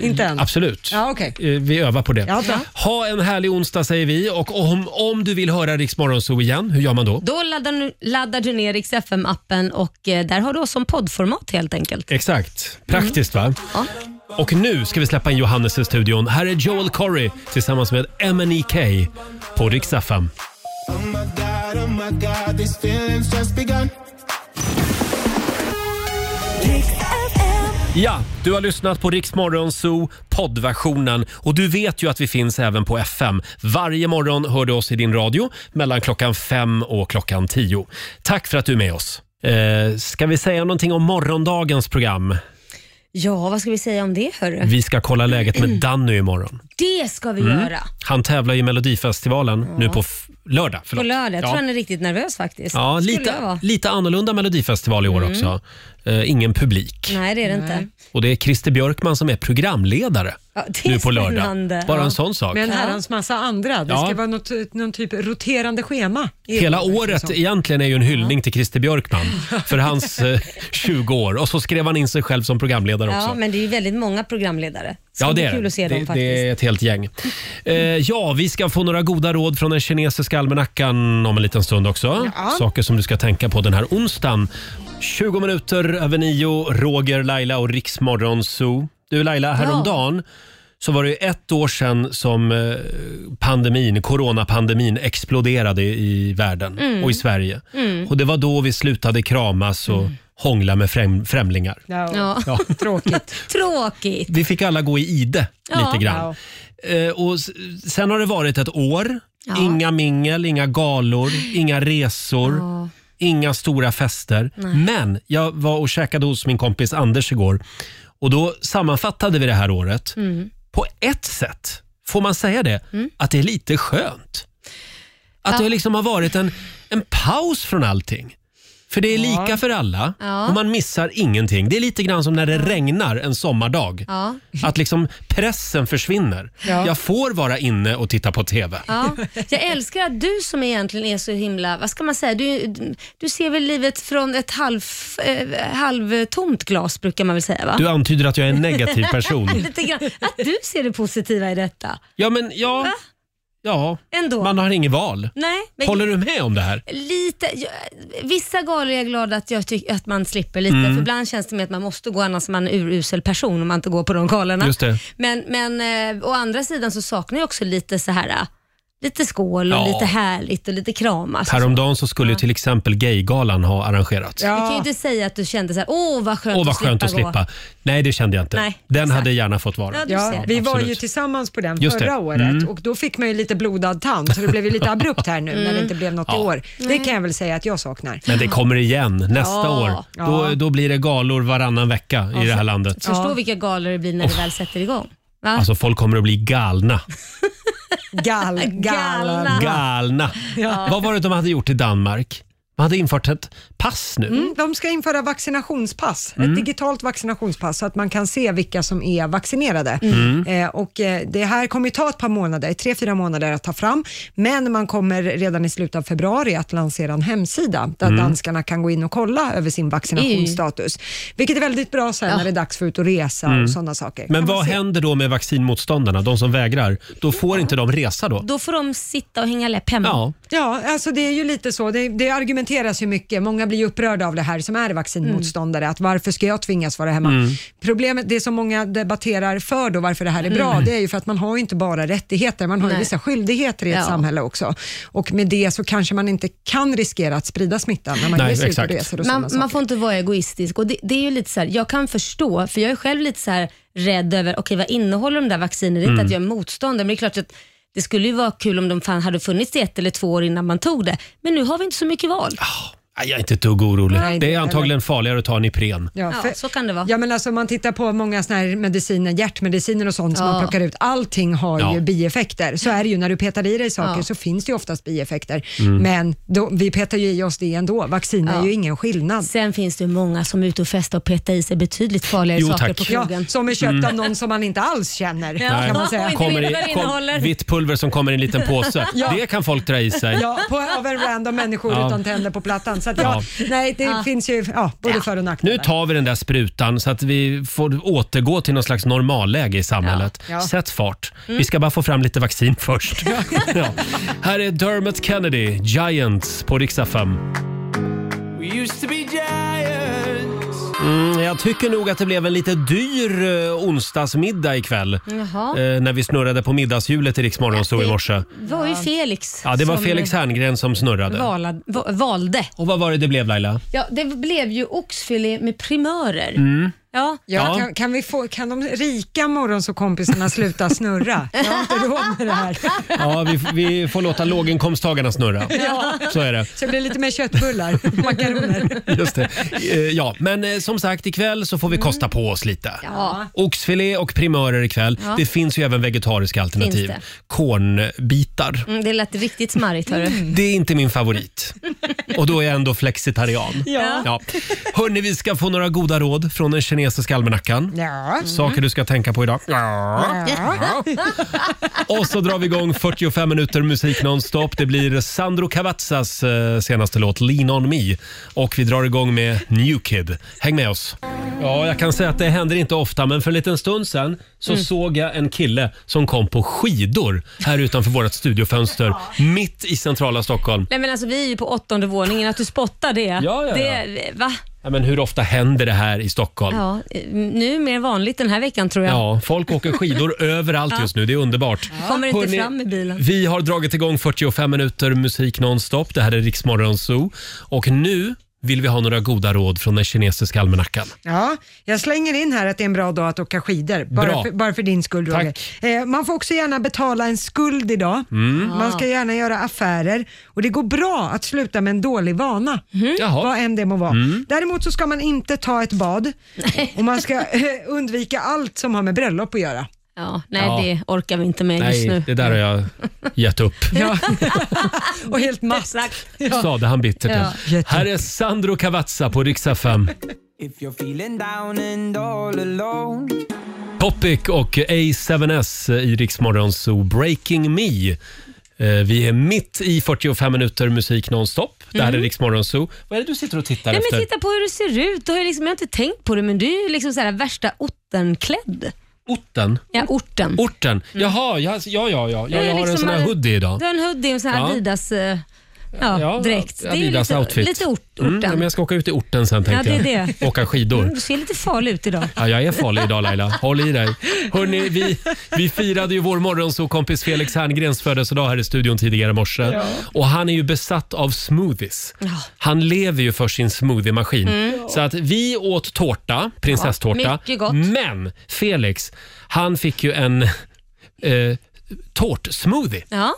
Speaker 2: Inte än?
Speaker 1: Absolut.
Speaker 2: Ja, okej.
Speaker 1: Eh, Vi övar på det.
Speaker 2: Ja, bra.
Speaker 1: ha en härlig onsdag säger vi. Och om, om du vill höra Rix Morgonzoo igen, hur gör man då?
Speaker 3: Då laddar du, laddar du ner Rix FM-appen och eh, där har du oss som poddformat helt enkelt.
Speaker 1: Exakt. Praktiskt
Speaker 3: Mm.
Speaker 1: va? Och nu ska vi släppa in Johannes i studion. Här är Joel Corry tillsammans med MNEK på Rix FM.
Speaker 4: God, oh my God, these feelings just begun.
Speaker 1: Ja, du har lyssnat på Rix Morgonzoo poddversionen och du vet ju att vi finns även på FM. Varje morgon hör du oss i din radio mellan klockan fem och klockan tio. Tack för att du är med oss. Eh, ska vi säga någonting om morgondagens program?
Speaker 3: Ja, vad ska vi säga om det hörru?
Speaker 1: Vi ska kolla läget med Danny imorgon.
Speaker 3: Det ska vi
Speaker 1: Mm.
Speaker 3: göra.
Speaker 1: Han tävlar i Melodifestivalen nu på f- lördag.
Speaker 3: På
Speaker 1: Förlåt.
Speaker 3: lördag. Jag tror
Speaker 1: Ja.
Speaker 3: han är riktigt nervös faktiskt.
Speaker 1: Ja,
Speaker 3: Skulle jag
Speaker 1: lite,
Speaker 3: vara.
Speaker 1: lite annorlunda Melodifestival i år
Speaker 3: Mm.
Speaker 1: också. Eh, ingen publik.
Speaker 3: Nej, det är det inte.
Speaker 1: Och det är Christer Björkman som är programledare
Speaker 3: Ja, det är
Speaker 1: nu på
Speaker 3: spännande.
Speaker 1: lördag. Bara
Speaker 3: Ja.
Speaker 1: en sån sak.
Speaker 2: Med en herrans massa andra. Det
Speaker 1: Ja.
Speaker 2: ska vara något, någon typ roterande schema.
Speaker 1: Hela året egentligen är ju en hyllning till Christer Björkman för hans eh, 20 år. Och så skrev han in sig själv som programledare
Speaker 3: Ja,
Speaker 1: också.
Speaker 3: men det är ju väldigt många programledare. Det
Speaker 1: Ja, det är
Speaker 3: kul att se
Speaker 1: det.
Speaker 3: dem
Speaker 1: det,
Speaker 3: faktiskt.
Speaker 1: det är ett helt gäng. Eh, ja, vi ska få några goda råd från den kinesiska almanackan om en liten stund också.
Speaker 3: Ja.
Speaker 1: Saker som du ska tänka på den här onsdagen. 20 minuter över nio, Roger, Laila och Riksmorgon Zoo. Du Laila, häromdagen så var det ju ett år sedan som eh, pandemin, coronapandemin exploderade i världen
Speaker 4: Mm.
Speaker 1: och i Sverige.
Speaker 4: Mm.
Speaker 1: Och det var då vi slutade kramas och
Speaker 3: Mm.
Speaker 1: hångla med främ- främlingar.
Speaker 3: Ja.
Speaker 1: Ja.
Speaker 2: Tråkigt.
Speaker 3: Tråkigt.
Speaker 1: Vi fick alla gå i ide
Speaker 3: Ja.
Speaker 1: lite grann. Eh, och s- sen har det varit ett år.
Speaker 3: Ja.
Speaker 1: Inga mingel, inga galor, inga resor.
Speaker 3: Ja.
Speaker 1: Inga stora fester.
Speaker 3: Nej.
Speaker 1: Men jag var och käkade hos min kompis Anders igår och då sammanfattade vi det här året.
Speaker 3: Mm.
Speaker 1: På ett sätt, får man säga det, att det är lite skönt. Att
Speaker 3: Ja.
Speaker 1: det liksom har varit en, en paus från allting. För det är
Speaker 3: Ja.
Speaker 1: lika för alla
Speaker 3: Ja.
Speaker 1: och man missar ingenting. Det är lite grann som när det regnar en sommardag.
Speaker 3: Ja.
Speaker 1: Att liksom pressen försvinner.
Speaker 3: Ja.
Speaker 1: Jag får vara inne och titta på TV.
Speaker 3: Ja, jag älskar att du som egentligen är så himla, vad ska man säga, du, du ser väl livet från ett halv, eh, halvtomt glas brukar man väl säga va?
Speaker 1: Du antyder att jag är en negativ person.
Speaker 3: Lite grann. Att du ser det positiva i detta.
Speaker 1: Ja, men ja, ja.
Speaker 3: Ändå.
Speaker 1: man har inget val.
Speaker 3: Nej, men
Speaker 1: Håller du med om det här?
Speaker 3: Lite, jag, vissa galor är jag glad att, jag tycker att man slipper lite,
Speaker 1: Mm.
Speaker 3: för ibland känns det med att man måste gå annars är man en urusel person om man inte går på de galorna.
Speaker 1: Just det.
Speaker 3: Men, men eh, å andra sidan så saknar jag också lite så här, eh, lite skål och
Speaker 1: Ja.
Speaker 3: lite härligt och lite kramas.
Speaker 1: Häromdagen så skulle ju till exempel Gaygalan ha arrangerats.
Speaker 3: Du kan ju inte säga att du kände så här, åh vad skönt,
Speaker 1: Åh, vad skönt att
Speaker 3: gå.
Speaker 1: slippa. Nej, det kände jag inte.
Speaker 3: Nej,
Speaker 1: Den hade gärna fått vara.
Speaker 3: Ja, du
Speaker 2: Ja,
Speaker 3: ser.
Speaker 2: vi var ju
Speaker 1: Absolut.
Speaker 2: tillsammans på den
Speaker 1: Just det.
Speaker 2: förra året
Speaker 1: Mm.
Speaker 2: och då fick man ju lite blodad tand så det blev ju lite abrupt här nu när det
Speaker 3: Mm.
Speaker 2: inte blev något i
Speaker 1: Ja.
Speaker 2: år. Det kan jag väl säga att jag saknar.
Speaker 1: Men det kommer igen nästa
Speaker 2: Ja.
Speaker 1: år.
Speaker 2: Ja.
Speaker 1: Då, då blir det galor varannan vecka i det här landet.
Speaker 3: Förstå vilka galor det blir när det väl sätter igång. Va?
Speaker 1: Alltså folk kommer att bli galna.
Speaker 2: Gal,
Speaker 3: galna.
Speaker 1: Galna. Vad var det de hade gjort i Danmark? De hade infört ett pass nu.
Speaker 2: Mm, de ska införa vaccinationspass,
Speaker 1: Mm.
Speaker 2: ett digitalt vaccinationspass så att man kan se vilka som är vaccinerade.
Speaker 1: Mm.
Speaker 2: Eh, och eh, det här kommer ju ta ett par månader, tre, fyra månader att ta fram, men man kommer redan i slutet av februari att lansera en hemsida där
Speaker 16: Mm.
Speaker 2: danskarna kan gå in och kolla över sin vaccinationsstatus, vilket är väldigt bra sen när det är dags för ut och resa
Speaker 1: Mm.
Speaker 2: och sådana saker.
Speaker 1: Men
Speaker 2: Kan man
Speaker 1: vad
Speaker 2: se.
Speaker 1: händer då med vaccinmotståndarna, de som vägrar? Då får inte de resa då?
Speaker 3: Då får de sitta och hänga läpp hemma.
Speaker 1: Ja.
Speaker 2: Ja, alltså det är ju lite så. Det, det argumenteras ju mycket. Många blir ju upprörda av det här som är vaccinmotståndare. Att varför ska jag tvingas vara hemma?
Speaker 17: Mm.
Speaker 2: Problemet, det som många debatterar för då, varför det här är bra,
Speaker 17: Mm.
Speaker 2: det är ju för att man har ju inte bara rättigheter, man har ju
Speaker 17: Nej.
Speaker 2: vissa skyldigheter i ett
Speaker 17: Ja.
Speaker 2: samhälle också. Och med det så kanske man inte kan riskera att sprida smittan när man ger sig ut och reser och sådana
Speaker 3: man,
Speaker 2: saker.
Speaker 3: man får inte vara egoistisk. Och det, det är ju lite så här, jag kan förstå, för jag är själv lite så här rädd över okej vad innehåller de där vaccinerna. Det är inte
Speaker 17: Mm.
Speaker 3: att jag är motståndare, men det är klart att det skulle ju vara kul om de fan hade funnits i ett eller två år innan man tog det. Men nu har vi inte så mycket val.
Speaker 1: Ah. Nej, jag är inte ett dugg orolig.
Speaker 2: Nej,
Speaker 1: det är
Speaker 2: inte
Speaker 1: antagligen farligare att ta en Ipren.
Speaker 2: Ja,
Speaker 3: Ja,
Speaker 2: så kan det vara. Ja, men alltså, om man tittar på många såna här mediciner, hjärtmediciner och sånt som
Speaker 3: Ja.
Speaker 2: man plockar ut, allting har
Speaker 1: Ja.
Speaker 2: ju bieffekter. Så är det ju, när du petar i dig saker
Speaker 3: Ja.
Speaker 2: så finns det ju oftast bieffekter.
Speaker 3: Mm.
Speaker 2: Men då, vi petar ju i oss det ändå. Vaccin är
Speaker 3: Ja.
Speaker 2: ju ingen skillnad.
Speaker 3: Sen finns det ju många som är ute och festar och petar i sig betydligt farligare
Speaker 1: Jo,
Speaker 3: saker
Speaker 1: tack.
Speaker 3: på
Speaker 1: Ja,
Speaker 3: krogen.
Speaker 2: som är köpt
Speaker 1: Mm.
Speaker 2: av någon som man inte alls känner.
Speaker 1: Nej.
Speaker 2: Kan man säga.
Speaker 1: Kommer i, kom, vitt pulver som kommer i en liten påse.
Speaker 2: Ja.
Speaker 1: Det kan folk dra i sig.
Speaker 2: Ja, på, av en random människor
Speaker 1: Ja.
Speaker 2: utan tänder på plattan. Så att ja, nej, det finns ju ja, både för och nackdelar.
Speaker 1: Nu tar vi den där sprutan så att vi får återgå till någon slags normalläge i samhället.
Speaker 2: Ja. Ja.
Speaker 1: Sätt fart.
Speaker 2: Mm.
Speaker 1: Vi ska bara få fram lite vaccin först. ja. Här är Dermot Kennedy, Giants, på riksdag 5.
Speaker 17: We used to be giants.
Speaker 1: Mm, jag tycker nog att det blev en lite dyr eh, onsdagsmiddag ikväll.
Speaker 3: Jaha.
Speaker 1: Eh, när vi snurrade på middagshjulet i Rix Morgonzoo i morse.
Speaker 3: Det var ju Felix
Speaker 1: Ja, det var
Speaker 3: som
Speaker 1: Felix Herngren som snurrade.
Speaker 3: valad, va- valde.
Speaker 1: Och vad var det det blev Laila?
Speaker 3: Ja, det blev ju oxfilé med primörer.
Speaker 1: Mm.
Speaker 3: Ja.
Speaker 1: Ja.
Speaker 2: Kan, kan, vi få, kan de rika morgonsåkompisarna sluta snurra? Jag har inte råd med det här.
Speaker 1: Ja, vi, vi får låta låginkomsttagarna snurra.
Speaker 2: Ja.
Speaker 1: Så är det.
Speaker 2: Så det blir lite mer köttbullar, makaroner.
Speaker 1: Just det. Eh, Ja, men eh, som sagt, ikväll så
Speaker 3: Mm.
Speaker 1: får vi kosta på oss lite.
Speaker 2: Ja.
Speaker 1: Oxfilé och primörer ikväll.
Speaker 3: Ja.
Speaker 1: Det finns ju även vegetariska
Speaker 3: Finns
Speaker 1: alternativ.
Speaker 3: det?
Speaker 1: Kornbitar.
Speaker 3: Mm, det lät riktigt smarrigt hörru.
Speaker 1: Det är inte min favorit. Och då är jag ändå flexitarian.
Speaker 3: Ja.
Speaker 1: Hörni, vi ska få några goda råd från den kinesiska almanackan.
Speaker 2: Ja.
Speaker 1: Mm. Saker du ska tänka på idag.
Speaker 17: Ja.
Speaker 1: Och så drar vi igång 45 minuter musik nonstop. Det blir Sandro Cavazzas eh, senaste låt Lean on me. Och vi drar igång med New Kid. Häng med oss. Ja, jag kan säga att det händer inte ofta, men för en liten stund sedan så
Speaker 17: Mm.
Speaker 1: såg jag en kille som kom på skidor här utanför vårt studiofönster, mitt i centrala Stockholm.
Speaker 3: Nej men alltså vi är ju på åttonde våningen, att du spottar det.
Speaker 1: ja, ja.
Speaker 3: det va?
Speaker 1: Ja, men hur ofta händer det här i Stockholm? Ja.
Speaker 3: Ja, eh, nu mer vanligt den här veckan tror jag.
Speaker 1: folk åker skidor överallt
Speaker 3: Ja.
Speaker 1: just nu. Det är underbart.
Speaker 3: Kommer inte
Speaker 1: Hörrni,
Speaker 3: fram i bilen.
Speaker 1: Vi har dragit igång 45 minuter musik nonstop. Det här är Riksmorgon Zoo. Och nu vill vi ha några goda råd från den kinesiska
Speaker 3: Mm.
Speaker 1: almanackan.
Speaker 2: Ja, jag slänger in här att det är en bra dag att åka skidor.
Speaker 1: Bra.
Speaker 2: Bara, för, bara för din skull Roger. Eh, man får också gärna betala en skuld idag.
Speaker 1: Mm.
Speaker 2: Man ska gärna göra affärer och det går bra att sluta med en dålig vana.
Speaker 1: Mhm.
Speaker 2: Vad än det må vara.
Speaker 17: Mm.
Speaker 2: Däremot så ska man inte ta ett bad och man ska eh, undvika allt som har med bröllop att göra.
Speaker 3: Ja, nej
Speaker 1: Ja.
Speaker 3: det orkar vi inte med just
Speaker 1: Nej,
Speaker 3: nu.
Speaker 1: det där har jag gett upp.
Speaker 2: och helt matt.
Speaker 1: Sade han bittert.
Speaker 8: Ja.
Speaker 1: Här är Sandro Cavazza på riksdag 5.
Speaker 8: If you're feeling down and all alone
Speaker 1: Topic och A7S i Riksmorgon Zoo Breaking Me. Eh, Vi är mitt i 45 minuter musik nonstop. Det här är
Speaker 3: Mm.
Speaker 1: Riksmorgon Zoo. Vad är det du sitter och tittar
Speaker 3: Nej,
Speaker 1: efter?
Speaker 3: men titta på hur du ser ut. Du har ju liksom, jag har inte tänkt på det, men du är ju liksom så här värsta ortenklädd.
Speaker 1: Orten?
Speaker 3: Ja, orten.
Speaker 1: Orten? Jaha, ja, ja, ja. ja.
Speaker 3: Du Mm. är liksom
Speaker 1: Jag har en sån här hoodie idag.
Speaker 3: Du har en hoodie och en sån här
Speaker 1: Ja.
Speaker 3: Adidas, eh, ja,
Speaker 1: Ja,
Speaker 3: dräkt. Det är ju
Speaker 1: Adidas
Speaker 3: lite,
Speaker 1: outfit.
Speaker 3: lite ort,
Speaker 1: Mm,
Speaker 3: orten.
Speaker 1: ja, men jag ska åka ut i orten sen
Speaker 3: Ja,
Speaker 1: tänkte
Speaker 3: det är
Speaker 1: jag.
Speaker 3: det.
Speaker 1: Åka skidor.
Speaker 3: Mm, Du ser lite farlig ut idag.
Speaker 1: Ja, jag är farlig idag Laila. Håll i dig. Hörrni, vi, vi firade ju vår morgonsåkompis Felix Herngrens födelsedag här i studion tidigare i morse.
Speaker 17: Ja.
Speaker 1: Och han är ju besatt av smoothies.
Speaker 17: Ja.
Speaker 1: Han lever ju för sin smoothie-maskin.
Speaker 17: Mm.
Speaker 1: Så att vi åt tårta, prinsesstårta.
Speaker 17: Ja, mycket gott.
Speaker 1: Men Felix, han fick ju en eh, tårtsmoothie.
Speaker 3: Ja.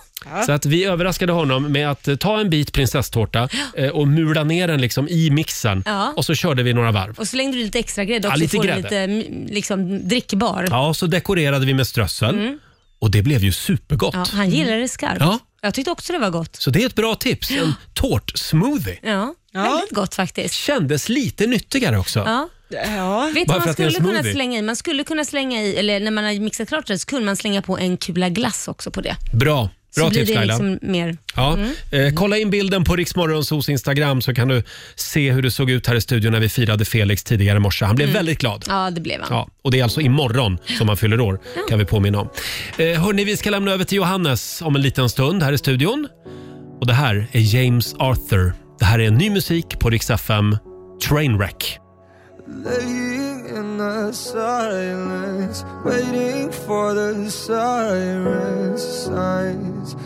Speaker 1: Så att vi överraskade honom med att eh, ta en bit prinsesstårta eh, och mula ner den liksom i mixen.
Speaker 3: Ja.
Speaker 1: Och så körde vi några varv.
Speaker 3: Och så slängde du lite extra grädde
Speaker 1: Ja,
Speaker 3: också,
Speaker 1: lite
Speaker 3: får den
Speaker 1: grädde.
Speaker 3: lite mm, liksom, drickbar.
Speaker 1: Ja, så dekorerade vi med strössel
Speaker 3: Mm.
Speaker 1: och det blev ju supergott.
Speaker 3: Ja, han gillade det skarpt.
Speaker 1: Ja.
Speaker 3: Jag tyckte också det var gott.
Speaker 1: Så det är ett bra tips. En tårtsmoothie.
Speaker 3: Ja, väldigt gott faktiskt.
Speaker 1: Kändes lite nyttigare också.
Speaker 3: Ja. Vet du
Speaker 1: Bara
Speaker 3: vad
Speaker 1: för
Speaker 3: man
Speaker 1: att det är en
Speaker 3: skulle kunna
Speaker 1: smoothie.
Speaker 3: slänga i? Man skulle kunna slänga i, eller när man har mixat klart det, så kunde man slänga på en kula glass också på det.
Speaker 1: Bra. Bra
Speaker 3: så
Speaker 1: tips
Speaker 3: blir det
Speaker 1: Laila.
Speaker 3: liksom mer...
Speaker 1: Ja.
Speaker 3: Mm.
Speaker 1: Eh, kolla in bilden på Riksmorgonsos Instagram så kan du se hur det såg ut här i studion när vi firade Felix tidigare i morse. Han blev
Speaker 3: Mm.
Speaker 1: väldigt glad.
Speaker 3: Ja, det blev han.
Speaker 1: Ja, och det är alltså imorgon som han fyller år, kan vi påminna om. Eh, hörni, vi ska lämna över till Johannes om en liten stund här i studion. Och det här är James Arthur. Det här är ny musik på Rix FM, Trainwreck.
Speaker 18: Laying in the silence, waiting for the sirens, signs.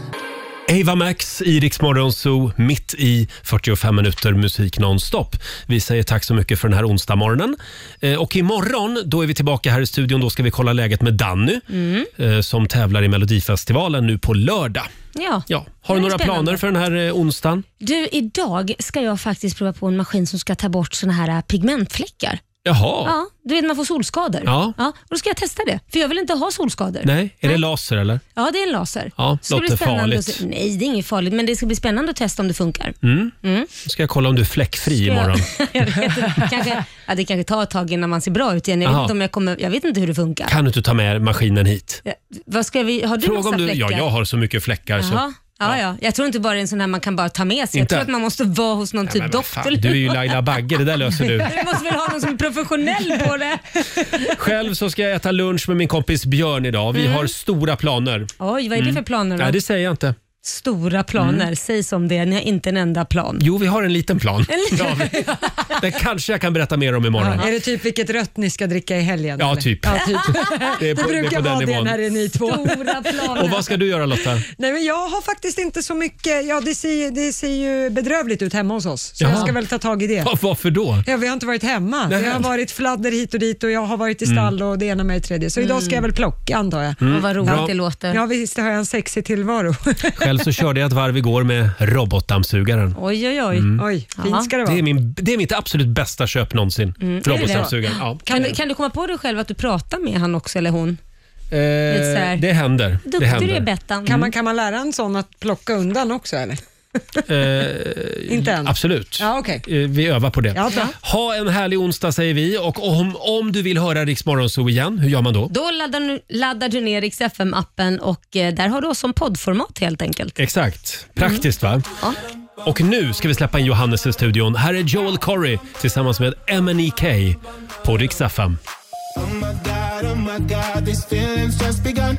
Speaker 1: Ava Max i Rix Morgon Zoo, mitt i 45 minuter musik nonstop. Vi säger tack så mycket för den här onsdag morgonen. Eh, Och imorgon, då är vi tillbaka här i studion. Då ska vi kolla läget med Danny
Speaker 19: Mm.
Speaker 1: eh, som tävlar i Melodifestivalen nu på lördag.
Speaker 3: Ja.
Speaker 1: Ja. Har du
Speaker 3: Det är
Speaker 1: några
Speaker 3: spännande.
Speaker 1: planer för den här eh, onsdagen?
Speaker 3: Du, idag ska jag faktiskt prova på en maskin som ska ta bort såna här äh, pigmentfläckar.
Speaker 1: Jaha.
Speaker 3: Ja, du vet man får solskador.
Speaker 1: Ja.
Speaker 3: och då ska jag testa det, för jag vill inte ha solskador.
Speaker 1: Nej, är det laser eller?
Speaker 3: Ja, det är en laser.
Speaker 1: Ja,
Speaker 3: Ska bli
Speaker 1: låter
Speaker 3: spännande
Speaker 1: farligt.
Speaker 3: att se- Nej, det är inget farligt, men det ska bli spännande att testa om det funkar.
Speaker 1: Mm.
Speaker 3: Mm.
Speaker 1: Då ska jag kolla om du är fläckfri
Speaker 3: Ska jag-
Speaker 1: imorgon.
Speaker 3: jag vet inte, kanske, ja, det kanske tar ett tag innan man ser bra ut igen. Jag vet,
Speaker 1: Jaha.
Speaker 3: inte, om jag kommer, jag vet inte hur det funkar.
Speaker 1: Kan du inte ta med maskinen hit?
Speaker 3: Ja, Vad ska vi, har du
Speaker 1: Fråga
Speaker 3: massa
Speaker 1: om du... Ja,
Speaker 3: fläckar?
Speaker 1: jag har så mycket fläckar så...
Speaker 3: Jaha. Ja, ja. Jag tror inte bara det är en sån här man kan bara ta med
Speaker 1: Inte?
Speaker 3: sig. Jag tror att man måste vara hos någon
Speaker 1: Ja,
Speaker 3: typ
Speaker 1: men vad
Speaker 3: doktor.
Speaker 1: fan, Du är ju Laila Bagge, det där löser du.
Speaker 3: Du måste väl ha någon som är professionell på det.
Speaker 1: Själv så ska jag äta lunch med min kompis Björn idag. Vi
Speaker 3: Mm.
Speaker 1: har stora planer.
Speaker 3: Oj, vad är det
Speaker 1: Mm.
Speaker 3: för planer då?
Speaker 1: Nej, det säger jag inte.
Speaker 3: Stora planer,
Speaker 1: Mm.
Speaker 3: säg som det är. Ni har inte en enda plan.
Speaker 1: Jo, vi har en liten plan.
Speaker 3: En liten-
Speaker 1: Ja, vi- det kanske jag kan berätta mer om imorgon.
Speaker 2: Är det typ vilket rött ni ska dricka i helgen?
Speaker 1: Ja,
Speaker 2: eller?
Speaker 1: typ.
Speaker 2: Ja, typ.
Speaker 1: Det
Speaker 2: Det,
Speaker 1: är på- det är
Speaker 2: brukar
Speaker 1: på den
Speaker 2: vara det
Speaker 1: nivån.
Speaker 2: när det är ni två.
Speaker 1: Och vad ska du göra Lotta?
Speaker 2: Nej, men jag har faktiskt inte så mycket. Ja, det, ser, det ser ju bedrövligt ut hemma hos oss, så
Speaker 1: Jaha.
Speaker 2: jag ska väl ta tag i det.
Speaker 1: Va- Varför då?
Speaker 2: Ja, vi har inte varit hemma.
Speaker 1: Nej.
Speaker 2: Det har varit fladder hit och dit och jag har varit i
Speaker 1: Mm.
Speaker 2: stall och det ena med det tredje. Så idag ska jag väl plocka antar jag.
Speaker 1: Mm, Och vad roligt bra. det
Speaker 3: låter.
Speaker 2: Ja, visst det har jag en sexig tillvaro.
Speaker 1: Själv så körde jag ett varv igår med robotdammsugaren.
Speaker 3: Oj, oj, oj.
Speaker 1: Mm.
Speaker 2: Oj,
Speaker 3: Ja.
Speaker 2: fint ska det vara.
Speaker 1: Det är, min, det är mitt absolut bästa köp någonsin.
Speaker 3: Mm, är det det?
Speaker 1: Robotdammsugaren. Ja.
Speaker 3: Kan, du, kan du komma på dig själv att du pratar med han också eller hon? lite så
Speaker 1: Eh,
Speaker 3: här-
Speaker 1: det händer. det
Speaker 3: Duktig
Speaker 1: händer.
Speaker 3: du är Bettan.
Speaker 1: Mm.
Speaker 2: Kan man, kan man lära en sån att plocka undan också eller?
Speaker 1: Eh,
Speaker 2: Inte än?
Speaker 1: Absolut.
Speaker 2: Ja, okej.
Speaker 1: Eh, Vi övar på det.
Speaker 2: Ja, bra.
Speaker 1: ha en härlig onsdag säger vi och om, om du vill höra Rix Morgonzoo igen, hur gör man då?
Speaker 3: Då laddar du, laddar du ner Rix FM-appen och eh, där har du oss som poddformat helt enkelt.
Speaker 1: Exakt. Praktiskt
Speaker 3: Mm.
Speaker 1: va? Och nu ska vi släppa in Johannes i studion. Här är Joel Corry tillsammans med MNEK på Rix FM.
Speaker 4: God, oh my God, these feelings just begun.